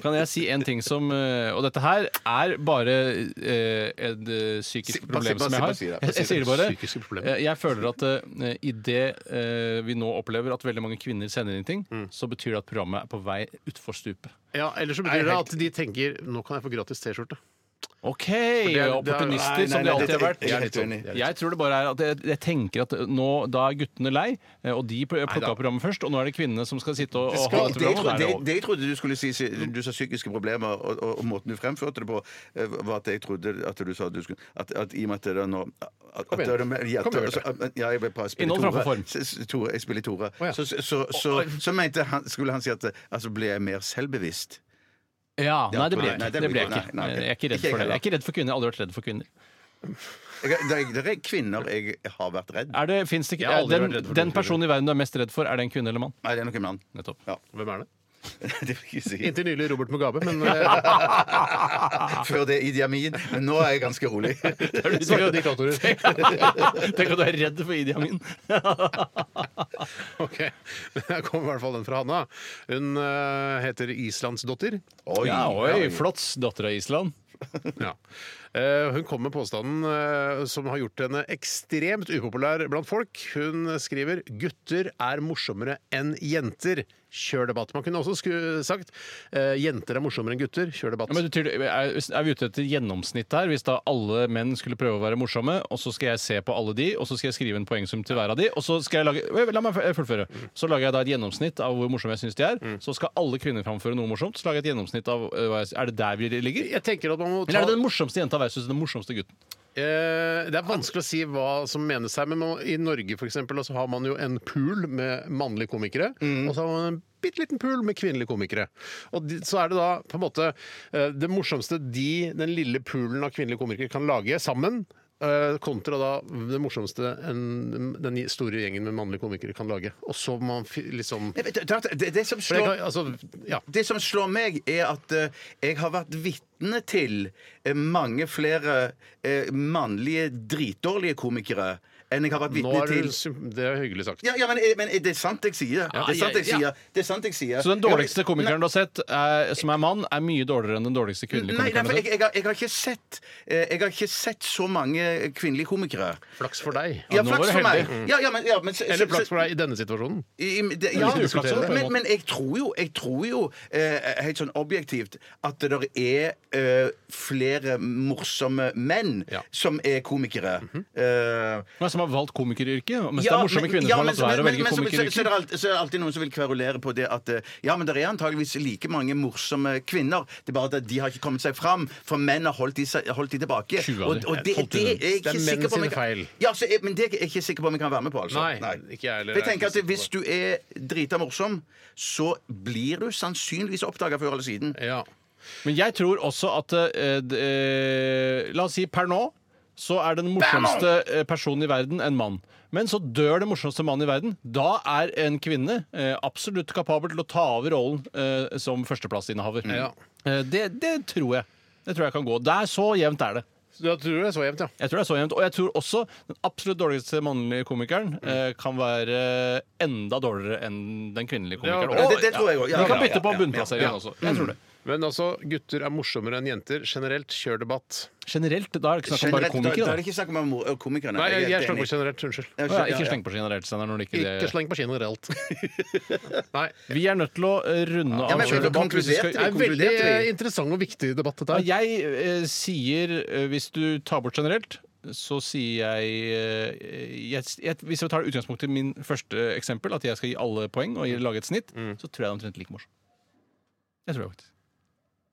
C: kan jeg si en ting som eh, Og dette her er bare eh, et eh, psykisk
B: Si- bare si-
C: problem
B: bare
C: som
B: si-
C: jeg
B: bare
C: har.
B: si det, bare
C: Jeg,
B: si
C: jeg
B: det.
C: sier det bare.
A: Psykiske problemer.
C: Eh, Jeg føler at eh, i det eh, vi nå opplever at veldig mange kvinner sender inn ting,
B: Mm.
C: så betyr det at programmet er på vei utfor stupet.
A: Ja, Eller så betyr det at de tenker nå kan jeg få gratis T-skjorte.
C: OK!
A: det er-
C: Opportunister,
B: Nei,
C: som
B: nei,
C: de
B: nei,
C: alltid har
B: dette-
C: vært.
B: Jeg er sånn- helt uenig.
C: Jeg tror det bare er at jeg, jeg tenker at eh, nå, da er guttene lei, eh, og de plukka
A: Neida.
C: opp programmet først, og nå er det kvinnene som skal sitte og,
B: Det,
C: og ha dette
B: det, jeg
C: programmet. og
B: trodde,
C: da er det
B: det,
C: over.
B: det jeg trodde du skulle si, si- du sa psykiske problemer, og, og, og måten du fremførte det på, eh, var at jeg trodde at du sa at du skulle At, at i og med at det er nå at, at
A: igjen.
B: det er med- ja,
A: Kom igjen,
B: altså, at- ja, jeg vil bare spille
C: Innhold framfor
B: Tore.
C: form.
B: S- s- Tore. Jeg spiller Tore.
A: ja.
B: Så, så, så, så, så mente han, skulle han si at eh, altså, ble jeg mer selvbevisst?
C: Ja, nei, det ble
B: nei,
C: jeg
B: nei,
C: ikke.
B: det blir
C: Det ble jeg
B: ikke.
C: ikke.
B: Nei, nei, ok.
C: Jeg er ikke
B: Ikke
C: redd
B: jeg
C: for det. Jeg
B: heller.
C: er ikke redd for kvinner. Jeg har aldri vært redd for kvinner.
B: Jeg, det, er, det er kvinner jeg har vært redd.
C: Er det, finnes det ikke,
A: Jeg har aldri vært
C: den,
A: redd for
C: den
A: noen
C: personen i verden du er mest redd for, er det en kvinne eller mann?
B: Nei, det er nok en mann.
C: Nettopp.
B: Ja.
A: Hvem er det?
B: Det vil jeg ikke si.
A: Inntil nylig Robert Mugabe, men eh,
B: Før det Idi Amin. Men nå er jeg ganske rolig.
A: så er det diktatorer.
C: Tenk at du er redd for Idi Amin.
A: Ok, Her kommer i hvert fall den fra Hanna. Hun eh, heter Islandsdotter.
B: Oi,
C: Ja, oi, flotts. Datter av Island.
A: Ja. Eh, hun kommer med påstanden eh, som har gjort henne ekstremt upopulær blant folk. Hun skriver 'gutter er morsommere enn jenter'. Kjør debatt. Man kunne også sku sagt eh, 'jenter er morsommere enn gutter'. Kjør debatt.
C: Ja, men betyr det, er, er vi ute etter gjennomsnitt her? Hvis da alle menn skulle prøve å være morsomme, og så skal jeg se på alle de, og så skal jeg skrive en poengsum til hver av de, og så skal jeg lage La meg fullføre. Så lager jeg da et gjennomsnitt av hvor morsomme jeg syns de er. Så skal alle kvinner framføre noe morsomt. Så lager jeg et gjennomsnitt av øh, hva jeg, Er det der vi ligger?
A: jeg tenker at man må ta
C: Eller er det den morsomste jenta versus den morsomste gutten?
A: Eh, Det er vanskelig å si hva som menes her, men man, i Norge for eksempel, så har man jo en pool med mannlige komikere,
B: Mm.
A: og så har man en bitte liten pool med kvinnelige komikere. Og de, så er det da på en måte eh, det morsomste de, den lille poolen av kvinnelige komikere, kan lage sammen. eh, Kontra da det morsomste en, den store gjengen med mannlige komikere kan lage. Og så må man fi- liksom
B: Nei, men det- det- det- det som
A: For det
B: slår
A: kan, altså, ja.
B: Det som slår meg, er at eh, jeg har vært vitne til eh, mange flere eh, mannlige dritdårlige komikere enn jeg har vært
A: Nå
B: vitne
A: er
B: til.
A: du, sym- det er hyggelig sagt.
B: Ja, ja men, eh, men er det sant jeg sier?
C: Ja,
B: det er sant jeg
C: ja,
B: sier.
C: ja.
B: Det er sant jeg sier.
C: Så den dårligste komikeren du har sett, er, som er mann, er mye dårligere enn den dårligste kvinnelige
B: Nei, nei,
C: komikeren?
B: for jeg,
C: du har sett?
B: jeg, har, jeg har ikke sett eh, Jeg har ikke sett så mange kvinnelige komikere.
A: Flaks for deg.
B: Ja,
C: nå var
B: flaks
C: du
B: for meg.
C: heldig. Mm.
B: Ja, ja, men, ja, men, så-
A: Eller
B: så-
A: flaks for deg i denne situasjonen.
B: I, i- det,
A: vi
B: ja,
A: skal diskutere det på en
B: men,
A: måte.
B: men jeg tror jo, jeg tror jo eh, helt sånn objektivt at det der er eh, flere morsomme menn
A: Ja. Mhm.
B: som er komikere. Eh,
C: Nei, Som har valgt komikeryrket? Mens det
B: ja,
C: er morsomme
B: men-
C: kvinner
B: ja,
C: som har
B: men
C: latt
B: så-
C: være å
B: men-
C: velge
B: men så- Så, så, er
C: komikeryrket?
B: det alltid, så er det alltid noen som vil kverulere på det at eh, Ja, men det er antageligvis like mange morsomme kvinner, det er bare at de har ikke kommet seg fram, for menn har holdt de, seg- holdt de tilbake.
C: 20 av
B: Og,
C: de.
B: og det,
A: Jeg tolker
B: det er jeg
A: det. Det er
B: ikke
A: menn
B: sikker på om jeg
A: sine
B: kan-
A: feil.
B: Ja, så, jeg- men det er jeg ikke sikker på om jeg kan være med på, altså.
A: Nei, ikke jeg heller.
B: For jeg tenker
A: Jeg er
B: at
A: ikke
B: hvis du er drita morsom, så blir du sannsynligvis oppdaga før eller siden.
A: Ja.
C: Men jeg tror også at eh, d- eh, La oss si per nå så er den morsomste eh, personen i verden en mann. Men så dør den morsomste mannen i verden. Da er en kvinne eh, absolutt kapabel til å ta over rollen eh, som førsteplassinnehaver.
B: Mm.
A: Ja.
C: Eh, det, det tror jeg. Det tror jeg kan gå. Der så jevnt er det.
A: Så Da tror du det er så jevnt, ja.
C: Jeg tror det er så jevnt, Og jeg tror også den absolutt dårligste mannlige komikeren
B: Mm.
C: eh, kan være enda dårligere enn den kvinnelige
A: Ja,
C: komikeren.
A: ja,
C: Og-
B: det- det tror jeg også. Ja,
C: Vi kan
B: ja,
C: bytte på
B: ja, ja,
C: bunnplasseringen også. Mm. Jeg tror det.
A: Men altså, gutter er morsommere enn jenter. Generelt, kjør debatt.
C: Generelt, da er det ikke snakk om bare
B: Generelt, da, da
C: komikere.
B: er det
C: Da.
B: ikke snakk om mor- øh, komikere.
A: Nei,
B: er
A: jeg, jeg
B: helt
A: slenger på
B: enig.
A: generelt. Unnskyld.
B: Jeg
C: Å ja,
B: skjønner, ja,
C: ikke sleng på generelt, Steinar. når det ikke
A: Ikke
C: det-
A: sleng på generelt. Nei.
C: Vi er nødt til å eh, runde av
B: men
C: kjør
B: vi
C: debatt. hvis vi
B: konkluderte
C: skal-
B: vi.
A: Det er en veldig eh, interessant og viktig debatt, dette her.
C: Ja, Jeg eh, sier eh, Hvis du tar bort generelt så sier jeg, eh, jeg, jeg Hvis jeg tar utgangspunkt i min første eksempel, at jeg skal gi alle poeng og gi-
B: Mm.
C: lage et snitt, så tror jeg det er omtrent like morsomt. Jeg tror det faktisk.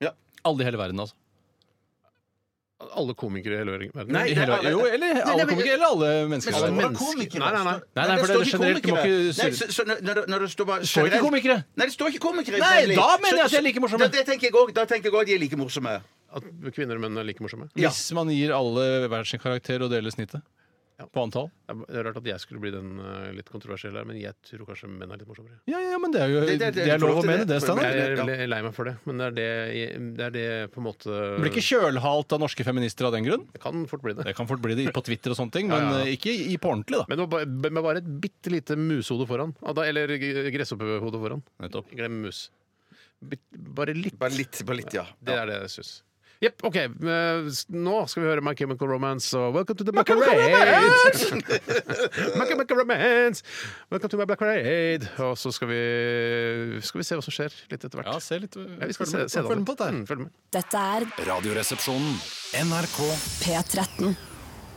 B: Ja.
C: Alle i hele verden, altså.
A: Alle komikere i hele verden.
B: Nei,
C: I
B: det er
C: hele,
B: alle-
C: jo, eller
B: nei,
C: alle
B: men-
C: komikere, eller alle
B: Men så-
C: mennesker. i
B: bare
C: verden.
A: mennesker-
B: komikere.
A: Nei, nei, nei.
C: Nei, nei,
B: det
C: for det
B: står
C: er
B: ikke
C: generelt, du må
B: komikere.
C: ikke surre.
B: Nei, så, så når- når, når det står bare
C: Står ikke
B: generelt-
C: komikere.
B: Nei, det står ikke komikere.
C: Nei,
B: nemlig.
C: da mener jeg
B: Så-
C: at de er like morsomme.
B: Da, det tenker jeg også, da tenker jeg òg at de er like morsomme.
A: At kvinner og menn er like morsomme.
B: Ja.
C: Hvis man gir alle hver sin karakter og deler snittet på antall.
A: Det er det er rart at jeg skulle bli den eh, litt kontroversielle her, men jeg tror kanskje menn er litt morsommere.
C: Ja, ja, men det er jo
B: Det- det- det-
C: det er lov å mene det, Steinar.
A: Jeg er
B: Ja.
A: veldig lei meg for det, men det er det, jeg- det, er det på en måte
C: Blir ikke kjølhalt av norske feminister av den grunn?
A: Det kan fort bli det.
C: Det kan fort bli det på Twitter og sånne ting, men
A: Ja, ja, ja.
C: eh, ikke i på ordentlig, da.
A: Men det var bare, med bare et bitte lite musehode foran. Ah, da- Eller g- gresshoppehode foran.
C: Nettopp.
A: Glem mus. Bitt- Bare litt.
B: Bare litt, bare litt, ja.
A: Det er det jeg syns. Jepp, OK. eh, s- Nå skal vi høre My Chemical Romance og Welcome to the Black Parade. My Chemical Romance. Welcome to my Black Parade. Og så skal vi, skal vi se hva som skjer litt etter hvert.
C: Ja, se litt eh,
A: Ja, vi skal
C: følg med
A: se, se
C: på- følg med på dette. her.
A: Mm, følg med.
D: Dette er
H: Radioresepsjonen. NRK
D: P13.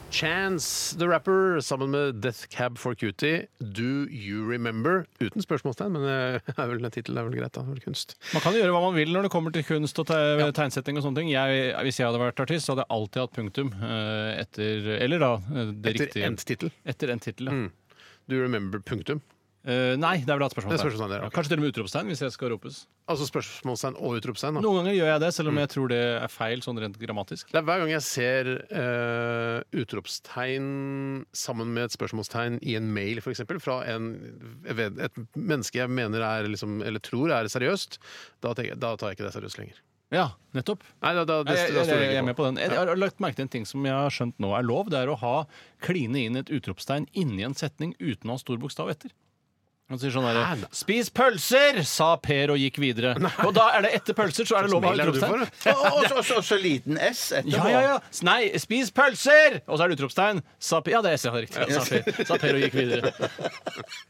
A: Chance the Rapper sammen med Death Cab for Cutie, Do You Remember? Uten spørsmålstegn, men eh, er vel tittelen er vel greit, da. Vel kunst.
C: Man kan jo gjøre hva man vil når det kommer til kunst og te tegnsetting og sånne ting. Jeg, hvis jeg hadde vært artist, så hadde jeg alltid hatt punktum eh, etter Eller da eh, det
A: Etter Mm.
C: riktige.
A: endt tittel.
C: Etter en tittel, ja.
A: Do You Remember? Punktum.
C: Eh, nei, det er vel et spørsmålstegn.
A: Det er spørsmålstegn der, ok.
C: Ja, Kanskje til og med utropstegn, hvis jeg skal ropes.
A: Altså spørsmålstegn og utropstegn. da.
C: Noen ganger gjør jeg det,
A: Mm.
C: selv om jeg tror det er feil sånn rent grammatisk.
A: Det er hver gang jeg ser eh, utropstegn sammen med et spørsmålstegn i en mail, f.eks., fra en, ved- et menneske jeg mener er liksom, eller tror er seriøst, da, tenker, jeg- da tar jeg ikke det seriøst lenger.
C: Ja, nettopp.
A: Nei, da, da, det,
C: jeg,
A: da
C: jeg,
A: står
C: jeg,
A: det
C: er med
A: ikke på.
C: på den. Jeg, jeg har lagt merke til en ting som jeg har skjønt nå er lov. Det er å ha kline inn et utropstegn inni en setning uten å ha stor bokstav etter. Han sier sånn
A: Hæ,
C: derre
A: da?
C: 'Spis pølser!' sa Per og gikk videre. Og da er det etter pølser, så er det lov å ha
A: Mail er det du får,
C: utropstegn.
A: da?
B: Og og- og så- og så- og så liten S etterpå.
C: Ja, ja, ja. S- Nei, 'spis pølser!' Og så er det utropstegn. Sa Per Ja, det er S, ja, det er riktig. Sa per, sa per og gikk videre.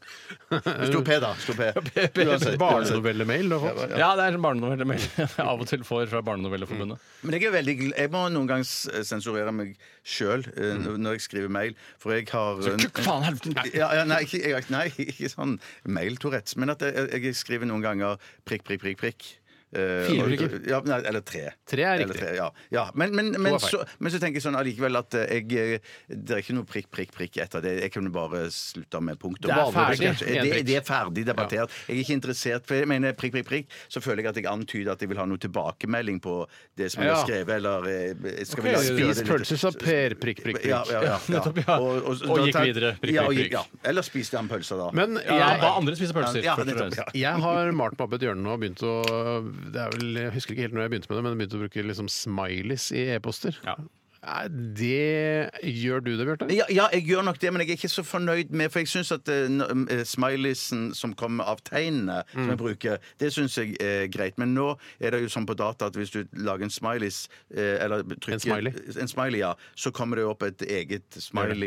B: Stor P, da. Stor P. Uansett, uansett.
A: Barnenovellemail du har fått.
C: Ja, det er en barnenovelle jeg av og til får fra Barnenovelleforbundet.
B: Men jeg, er veldig, gl- jeg må noen gang s- sensurere meg sjøl
A: Mm.
B: når jeg skriver mail, for jeg har
C: Kukk, faen, helvete!
B: ja, ja, nei, ikke, jeg, har ikke- nei, ikke sånn mail-Tourettes, men at jeg, jeg skriver noen ganger prikk, prikk, prikk, prikk. Eh,
A: Fire
B: og-
A: prikker?
B: Ja, nei, eller tre.
A: Tre er
B: Eller
A: riktig.
B: ja. ja. Men, men, men,
A: er feil.
B: så, men så tenker jeg sånn allikevel at eh, jeg, eh, det er ikke noe prikk, prikk, prikk etter det. Jeg kunne bare slutta med punktum.
C: Det er
B: Vanlig prikk,
C: ferdig.
B: kanskje.
A: En
B: Det,
A: prikk.
B: det er ferdig debattert. Jeg er ikke interessert, for jeg mener prikk, prikk, prikk, så føler jeg at jeg antyder at jeg vil ha noe tilbakemelding på det som jeg
A: Ja.
B: har skrevet, eller eh, skal vi la-
A: Ok,
B: gjøre
A: Spis
B: det litt-
A: pølser, sa Per. Prikk, prikk, prikk.
B: Ja, ja, ja, ja.
C: nettopp, ja. Og
B: da
C: gikk
B: tar-
C: videre, prikk,
B: Ja, og
C: prikk,
B: gikk-
C: prikk.
B: ja. Eller spiste han pølser, da.
A: Men jeg,
C: Ja, da andre spiser pølser.
B: Ja,
C: først og
B: nettopp,
C: fremst.
B: ja.
A: jeg har malt meg opp et hjørne nå og begynt å det er vel, Jeg husker ikke helt når jeg begynte med det, men jeg begynte å bruke liksom smileys i e-poster.
C: Ja.
A: Nei, Det gjør du det, Bjarte?
B: Ja, ja, jeg gjør nok det, men jeg er ikke så fornøyd med For jeg syns at eh, n- eh, smileysen som kommer av tegnene
A: Mm.
B: som jeg bruker, det syns jeg er greit. Men nå er det jo sånn på data at hvis du lager en smileys eh, eller trykker,
A: smiley?
B: En smiley, ja. Så kommer det jo opp et eget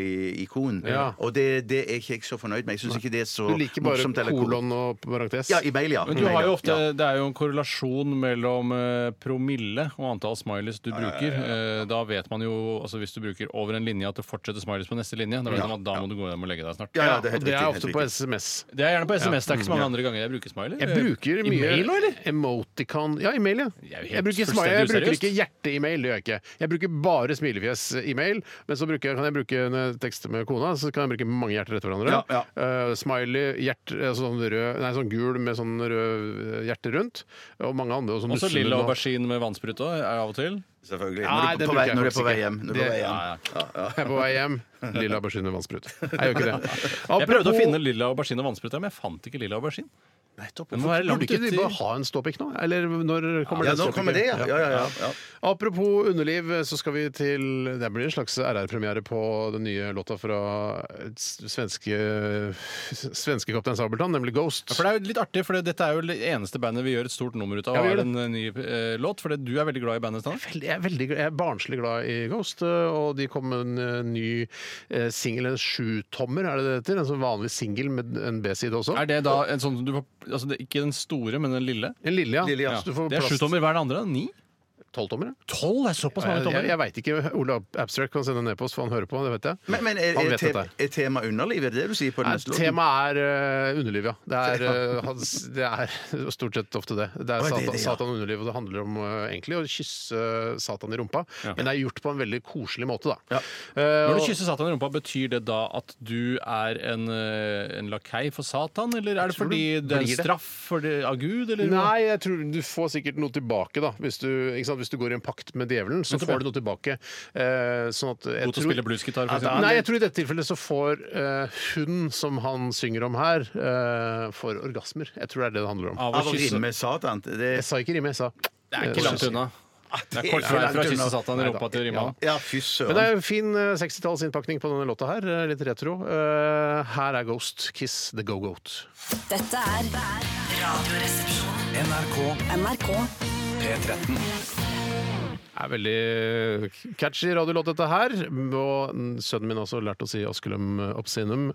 B: smiley-ikon.
A: Ja.
B: Og det, det er ikke jeg så fornøyd med. Jeg syns ikke det er så
A: Du liker bare
B: morsomt. eller-
A: kolon og parentes.
B: Ja, i mail, ja.
C: Men du har jo ofte, Det er jo en korrelasjon mellom eh, promille og antall smileys du bruker. Eh, Da vet man jo, altså Hvis du bruker over en linje, at det fortsetter smileys på neste linje. Da vet man at da må du gå hjem og legge deg snart.
B: Ja, ja, det er
A: Og
B: helt
A: det er
B: riktig.
A: ofte
B: Helt
A: på
B: riktig.
A: SMS.
C: Det er gjerne på SMS. Det er ikke så mange andre ganger jeg bruker smiley.
A: Jeg bruker
C: I
A: mye
C: mail, Eh, eller?
A: Emoticon Ja, i mail, ja.
C: er jo helt
A: Jeg bruker, smile, jeg
C: fullstendig
A: bruker
C: useriøst.
A: ikke hjerte i mail, det gjør jeg ikke. Jeg bruker bare smilefjes i mail, men så bruker, jeg- kan jeg bruke når jeg tekster med kona, så kan jeg bruke mange hjerter etter hverandre.
B: Ja, ja.
A: Eh, smiley, hjert, eh, sånn rød, nei, sånn gul med sånn rød hjerte rundt, og mange andre. sånn Og så
C: Også
A: musler
C: lilla
A: nå.
C: aubergine med vannsprut òg, av og til.
B: Selvfølgelig.
A: Nei,
B: Når du
A: det
B: er på
A: bruker
B: vei-
A: jeg
B: når du er
A: faktisk
B: på vei
A: ikke.
B: hjem. Når du er
A: Det-
B: på vei hjem.
C: Ja, ja.
A: Jeg er på vei hjem. Lilla aubergine med vannsprut. Jeg gjør ikke det.
C: Jeg prøvde å
A: Apropos-
C: finne lilla aubergine og vannsprut, her, men jeg fant ikke lilla aubergine.
A: Nettopp.
C: Den må være
A: Burde
C: langt
A: ikke de
C: uti.
A: bare ha en ståpikk nå? Eller når kommer
B: Ja,
A: den
B: nå kommer det, ja. ja,
A: ståpikken?
B: ja, ja, ja.
A: Apropos underliv, så skal vi til Det blir en slags RR-premiere på den nye låta fra s- svenske svenske Kaptein Sabeltann, nemlig Ghost.
C: For det er jo litt artig, for dette er jo det eneste bandet vi gjør et stort nummer ut av.
A: Ja, vi
C: og
A: gjør
C: har en eh, ny eh, låt, for du er veldig glad i bandet. Steinar.
A: Veldig- Jeg er, veldig, gl- jeg er barnslig glad i Ghost, eh, og de kom med en eh, ny eh, singel, en sjutommer, er det det heter? En sånn vanlig singel med en B-side også.
C: Er det da en sånn du, får- altså det, Ikke den store, men den lille?
A: En lille, ja.
B: Lille, ja.
A: Så du får
C: Det er
A: plass-
C: sju tommer. Hva er den andre? Ni?
A: Tolvtommer, ja. Eh,
C: Tolv? er såpass mange
A: Jeg,
C: tommer?
A: jeg, jeg veit ikke. Ole Abstract kan sende en e-post, for han hører på, det vet jeg.
B: Men, men er,
A: Han
B: er,
A: vet
B: te
A: dette.
B: er tema underliv? Er det det du sier på den
A: Nei,
B: neste låten?
A: Temaet er uh, underliv, ja. Det er, eh, hans, det er stort sett ofte det. Det
B: Å, er
A: er
B: det
A: satan,
B: det, ja?
A: satan og underliv, og det handler om eh, egentlig å kysse eh, Satan i rumpa. Men det er gjort på en veldig koselig måte, da. Eh,
C: Når
A: og-
C: du kysser Satan i rumpa, betyr det da at du er en, eh, en lakei for Satan? Eller er det
A: tror
C: fordi
A: du
C: det er
A: blir det.
C: en straff for det, av Gud? Eller
A: Nei, jeg tror du får sikkert noe tilbake, da. Hvis du, ikke sant? Hvis du går i en pakt med djevelen, så
C: Nettopp,
A: får
C: ja.
A: du noe tilbake. Eh, sånn at jeg
C: God til å
A: tror-
C: spille bluesgitar,
A: Ja,
C: for
A: det er-
C: eksempel.
A: Nei, jeg tror i dette tilfellet så får eh, hun som han synger om her, eh, får orgasmer. Jeg tror det er det det handler om.
C: Av å
B: Av å
C: kysse
B: rimme Satan? Det
A: Jeg sa ikke rime, jeg sa
C: Ah.
A: eh,
C: Det er ikke langt unna.
B: det er
C: Det er kort vei
B: langt
C: fra å
B: unna.
C: kysse Satan i
A: Nei,
C: rumpa
A: da.
C: til å rimme
A: Ja.
C: av.
B: Ja, fy
A: Men det
B: søren.
A: er jo fin eh, 60-tallsinnpakning på denne låta her. eh, Litt retro. Eh, Her er Ghost Kiss The Go-Goat.
D: Dette er Radioresepsjonen.
H: NRK
D: NRK.
H: P13.
A: Det er veldig eh, catchy radiolåt, dette her. Og sønnen min har også lært å si Askelum Obscenum,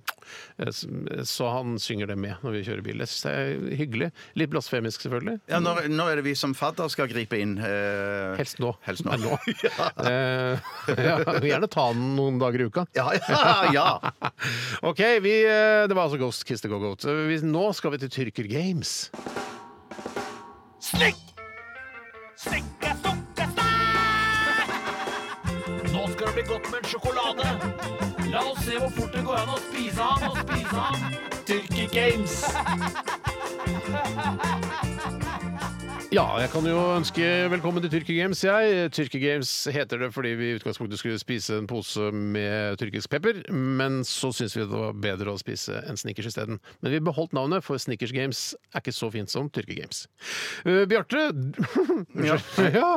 A: eh, s- så han synger det med når vi kjører bil. Jeg synes det er hyggelig. Litt blasfemisk, selvfølgelig.
B: Ja, når, når er det vi som fadder skal gripe inn? eh,
A: Helst nå.
B: Helst nå.
A: Nei, Eh, ja, gjerne ta den noen dager i uka.
B: Ja, ja, ja.
A: OK, vi, eh, det var altså Ghost Kiss the Go-Goat. Eh, vi- Nå skal vi til Tyrker Games.
E: Snikk! Snikke, stukke, Nå skal det bli godt med en sjokolade. La oss se hvor fort det går an å spise han og spise han. Tyrki Games.
A: Ja, jeg kan jo ønske velkommen til Tyrkia Games, jeg. Tyrkia Games heter det fordi vi i utgangspunktet skulle spise en pose med tyrkisk pepper, men så syntes vi det var bedre å spise en Snickers isteden. Men vi beholdt navnet, for Snickers Games er ikke så fint som Tyrkia Games. Eh, Bjarte Unnskyld. Ja.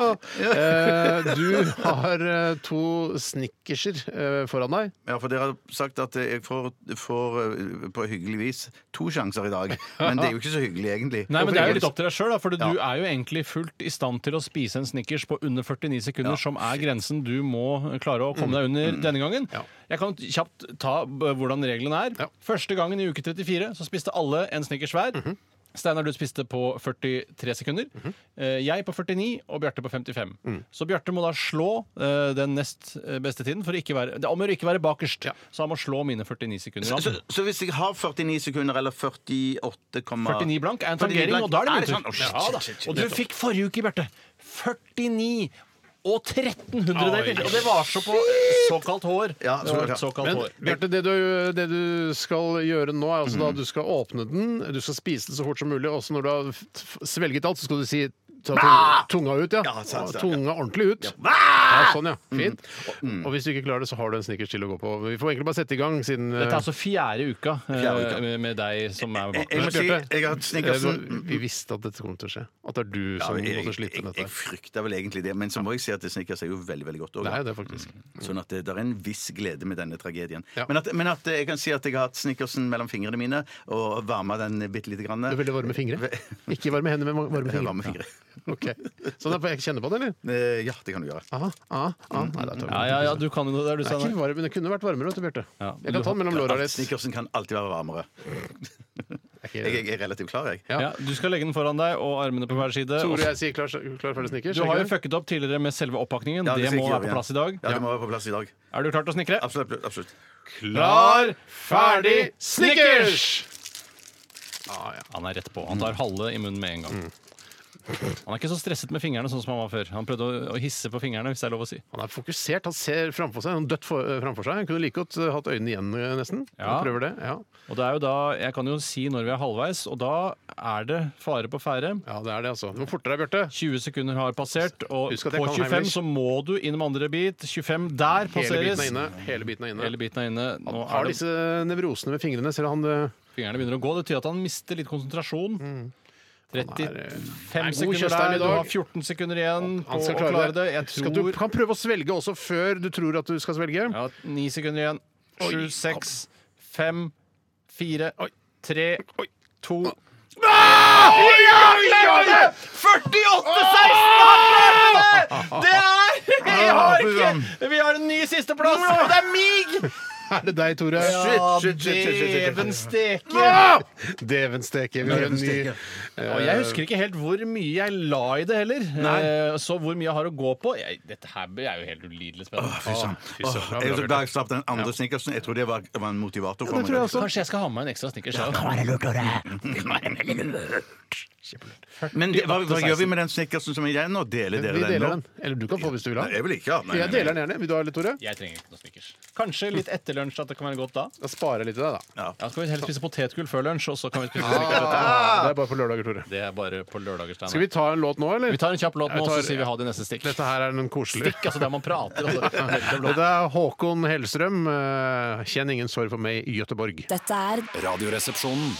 A: Eh, du har eh, to Snickerser eh, foran deg.
B: ja, for dere har sagt at jeg får, får eh, på hyggelig vis to sjanser i dag. Men det er jo ikke så hyggelig, egentlig.
C: Nei, men Det er jo litt opp til deg sjøl, for du
B: Ja.
C: er jo egentlig fullt i stand til å spise en Snickers på under 49 sekunder, som er grensen du må klare å
B: Mm.
C: komme deg under denne gangen.
A: Ja.
C: Jeg kan kjapt ta b- hvordan reglene er.
A: Ja.
C: Første gangen i uke 34 så spiste alle en Snickers hver.
B: Mhm.
C: Steinar, du spiste på 43 sekunder. Eh, Jeg på 49 og Bjarte på 55.
B: Mm.
C: Så Bjarte må da slå eh, den nest eh, beste tiden. For å ikke være, det er om å gjøre å ikke være bakerst, så han må slå mine 49 sekunder.
B: Så,
C: Han.
B: så hvis jeg har 49 sekunder, eller 48,49
C: 49 blank er en tangering, og da er det min
B: sånn?
C: tur. Ja, da. Og du
B: tur.
C: fikk forrige uke, Bjarte, 49 og 13 hundredeler! Og det var så på såkalt hår.
B: Ja,
C: Det
B: såkalt,
C: var
B: ja.
C: såkalt
A: Men
C: hår.
A: Bjarte, det, du- det du skal gjøre nå,
B: Mhm.
A: er altså da du skal åpne den, du skal spise den så fort som mulig, og så når du har f- svelget alt, så skal du si Ta tung- tunga ut, ja.
B: Ja, sant, sant, ja. Mm.
A: tunga ordentlig ut. Ja. sånn, ja. Fint. Og hvis du ikke klarer det, så har du en snickers til å gå på. Vi får egentlig bare sette i gang, siden eh,
C: Dette er altså fjerde uka, eh,
B: Fjerde uka.
C: med- med deg som er
B: Jeg, jeg må
C: vakt.
B: si,
A: Bjarte.
B: jeg har hatt Snickersen
A: eh, vi visste at dette kom til å skje. At det er du
B: Ja,
A: som
B: jeg,
A: måtte
B: jeg,
A: slite med
B: jeg
A: dette.
B: frykter vel egentlig det, men så må jeg si at Snickers er jo veldig veldig godt. Også,
A: Det er jo det, faktisk.
B: Sånn at det, det er en viss glede med denne tragedien.
A: Ja.
B: Men, at, men at eh, jeg kan si at jeg har hatt Snickersen mellom fingrene mine og varma den bitte lite grann.
A: Du er veldig varme fingre. Ikke varme hender, men varme fingre.
B: Varme fingre.
A: Ok. Så da får jeg kjenne på det, eller?
B: Eh, Ja, det kan du gjøre.
A: Aha, aha, aha. Nei, da tar vi
C: Ja, ja, ja, du kan jo det der, du,
A: Det er
C: Steinar.
A: ikke varm, men det kunne vært varmere, vet du, Bjarte.
C: Sånn Ja, men
A: Jeg kan
C: du
A: ta den mellom låra litt.
B: Snickersen kan alltid være varmere. Jeg, jeg er relativt klar, jeg.
A: Ja.
C: Ja, du skal legge den foran deg og armene på hver side.
A: Tore,
C: Og-
A: jeg sier klar, klar ferdig snickers.
C: Du har jo
A: ikke det?
C: fucket opp tidligere med selve oppakningen.
B: Ja,
C: det
B: skal
C: må
B: jeg gjøre
C: være på
B: igjen.
C: plass i dag.
B: Ja, det må være på plass i dag.
C: Er du klar til å snikre?
B: Absolutt. absolutt.
C: Klar, ferdig,
A: Snickers!
C: Han er rett på. Han tar halve i munnen med en gang. Han er ikke så stresset med fingrene sånn som han var før. Han prøvde å- å hisse på fingrene, hvis det er lov å si.
A: Han er fokusert, han ser framfor seg, han er dødt for, framfor seg. Han kunne like godt eh, hatt øynene igjen, eh, nesten.
C: Ja.
A: Han prøver det. Ja.
C: Og det er jo da, Jeg kan jo si når vi er halvveis, og da er det fare på ferde.
A: ja, det er det, altså. Du må fortere deg, Bjarte.
C: 20 sekunder har passert, og
A: Husk at jeg
C: på
A: kan
C: 25
A: Heimlich.
C: så må du inn med andre bit. 25 der
A: Hele
C: passeres.
A: biten er inne. Hele biten er
C: Hele
A: inne.
C: biten er inne. Nå
A: Har
C: er det,
A: disse nevrosene med fingrene, ser han eh, det
C: fingrene begynner å gå. Det betyr at han mister litt konsentrasjon.
A: Mm. Han er, eh,
C: 35
A: er god
C: sekunder
A: Kjøstheim i
C: der, du
A: dag.
C: har 14 sekunder igjen på
A: Han skal
C: å klare det. Jeg
A: Skal du
C: tror
A: kan prøve å svelge også før du tror at du skal svelge.
C: ja, 9 sekunder igjen. 7, 6, 5, 4, 3, 2
B: Ah. Ah!
C: Vi har ikke Vi har en ny sisteplass, og det er mig!
A: Er det deg, Tore?
C: Ja, Deven steke.
A: Ah! Deven steke. Vi har en ny
C: Og jeg husker ikke helt hvor mye jeg la i det heller. Eh, Så hvor mye jeg har å gå på jeg, Dette her er jo helt ulidelig spennende.
B: Fy søren. Åh, Jeg er så glad jeg slapp den andre Snickersen. Jeg tror det var, var en motivator for meg.
C: Kanskje jeg skal ha med meg en ekstra snickers. jeg også.
B: Men det, hva, hva gjør vi med den Snickersen som er igjen nå? Deler dere
A: Vi
B: den
A: deler
B: nå?
A: den. Eller du kan få hvis du vil ha.
B: Nei, jeg vil ikke ha den.
A: Jeg deler den gjerne. Vil du ha litt, Tore?
C: Jeg trenger ikke noe snickers. Kanskje litt etter lunsj at det kan være godt da.
A: Da sparer jeg litt til deg, da.
C: Ja, så kan vi heller spise potetgull før lunsj, og så kan vi spise
A: Ah.
B: Ah!
A: Det
C: snickers.
A: er bare på lørdager, Tore.
C: Det er bare på lørdager.
A: Skal
C: Steinar.
A: vi ta en låt nå, eller?
C: Vi tar en kjapp låt nå,
A: Jeg tar-
C: så sier vi ha det i neste stikk.
A: Dette her er den koselige.
C: Stikk, altså der man prater. Altså. Veldig blå.
A: Dette er Håkon Hellstrøm. eh, Kjenn ingen sorg for meg, Gøteborg.
D: Dette er
H: Radioresepsjonen.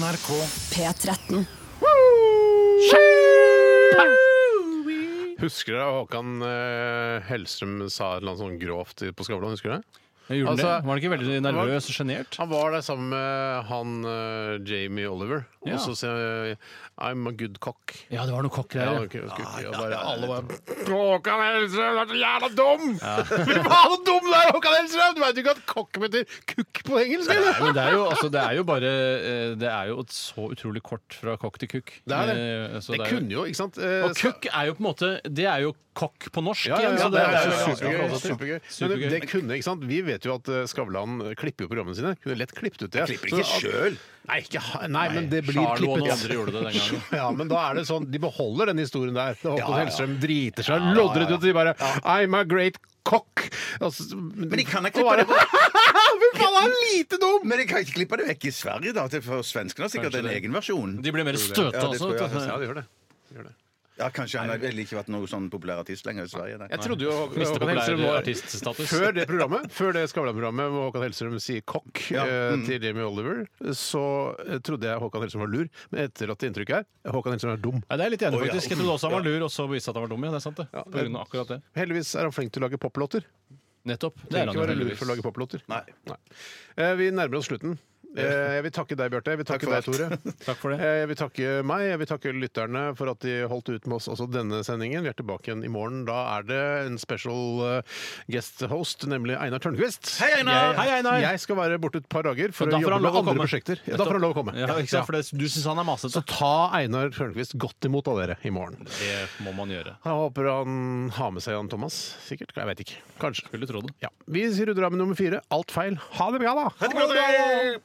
H: NRK.
D: P13.
A: Husker dere Håkan eh, Hellstrøm sa et eller annet sånn grovt på Skavlan? Husker dere?
C: Jeg gjorde det.
A: Altså-
C: Var han ikke veldig nervøs og sjenert?
A: Han var der sammen med han eh, Jamie Oliver,
C: Ja.
A: og så sier han, eh, I'm a good cock.
C: Ja, Ah, det var noe
A: Ja,
C: kokkgreier.
A: ok, ok, ok. Og bare, alle bare Håkan Hellstrøm, du er så jævla dum! Fy faen, så dum du er, Håkan Hellstrøm! Du veit jo ikke at kokk betyr kukk på engelsk, eller?
C: Nei, Men det er jo, altså, det er jo bare eh, Det er jo et så utrolig kort fra kokk til kukk.
A: Det er det.
C: Eh, så
A: Det
C: er jo-
A: kunne jo, ikke sant? eh,
C: Og kukk er jo på en måte Det er jo kokk på norsk.
A: Ja, ja, ja,
C: igjen, så
A: det er
C: jo
A: jo supergøy.
C: ganske bra.
A: supergøy. Men
C: altså. Supergøy.
A: det, det kunne, ikke sant? Vi vet jo at eh, Skavlan klipper jo programmene sine. Kunne lett klippet ut det.
B: Klipper ikke
A: Så at-
B: sjøl.
A: Nei, ikke, ha- nei, men det blir
C: Charlo og
A: klippet.
C: noen andre gjorde det den gangen.
A: Ja, men da er det sånn, De beholder den historien der. Det er Håkon
B: Ja, ja, ja.
A: Hellstrøm driter seg lodder ut og sier bare 'I'm a great cock'. Altså,
B: Men de kan ikke
A: Og
B: klippe
A: bare-
B: det bort.
A: Fy faen, han er lite dum!
B: Men de kan ikke klippe det vekk i Sverige, da. til- For svenskene har sikkert en egen versjon.
C: De ble mer støte
B: Ja, det
C: også.
B: tror jeg,
C: vet du.
A: Ja, det gjør det. Det gjør det.
B: Ja, Kanskje han har vel ikke vært noen sånn populær artist lenger i Sverige. Nei.
A: Jeg trodde jo Hå-
C: Mister
A: Håkan Hellstrøm
C: populær
A: var
C: artiststatus.
A: eh, Før det programmet, før det Skavlan-programmet hvor Håkan Hellstrøm sier 'kokk'
B: Ja,
A: eh, til Jamie Oliver, så eh, trodde jeg Håkan Hellstrøm var lur, men etter at det inntrykket er Håkan Hellstrøm er dum.
C: Nei, det er jeg litt
B: Å,
C: enig,
B: ja.
C: faktisk. Jeg trodde også han var lur, og så viste det seg at han var dum. Ja, det er sant, det. På grunn av akkurat det.
A: Heldigvis er han flink til å lage poplåter.
C: Nettopp. Det er
A: Trenger
C: han
A: ikke
C: jo
A: være lur
C: heldigvis.
A: for å lage poplåter.
B: Nei.
A: Nei. Eh, Vi nærmer oss slutten. Eh, Jeg vil takke deg, Bjarte. Jeg vil takke
B: Takk
A: deg,
B: for
A: Tore.
C: Takk for det.
A: Eh, Jeg vil takke meg. Jeg vil takke lytterne for at de holdt ut med oss også denne sendingen. Vi er tilbake igjen i morgen. Da er det en special eh, guest host, nemlig Einar Tørnquist.
B: Hei, Einar!
A: Jeg,
C: Hei, Einar!
A: Jeg skal være borte et par dager
C: Og
A: for
C: da
A: å
C: får
A: jobbe
C: han
A: med
C: lov å
A: andre
C: komme.
A: prosjekter. Ja, da får han lov å komme.
C: Ja, ikke sant? For det, du syns han er masete.
A: Så ta Einar Tørnquist godt imot av dere i morgen.
C: Det må man gjøre.
A: Jeg håper han har med seg Jan Thomas. Sikkert. Jeg vet ikke. Kanskje.
C: Skulle tro det.
A: Ja. Vi rydder av med nummer fire. Alt feil. Ha det bra, da!
B: Ha det bra, dere!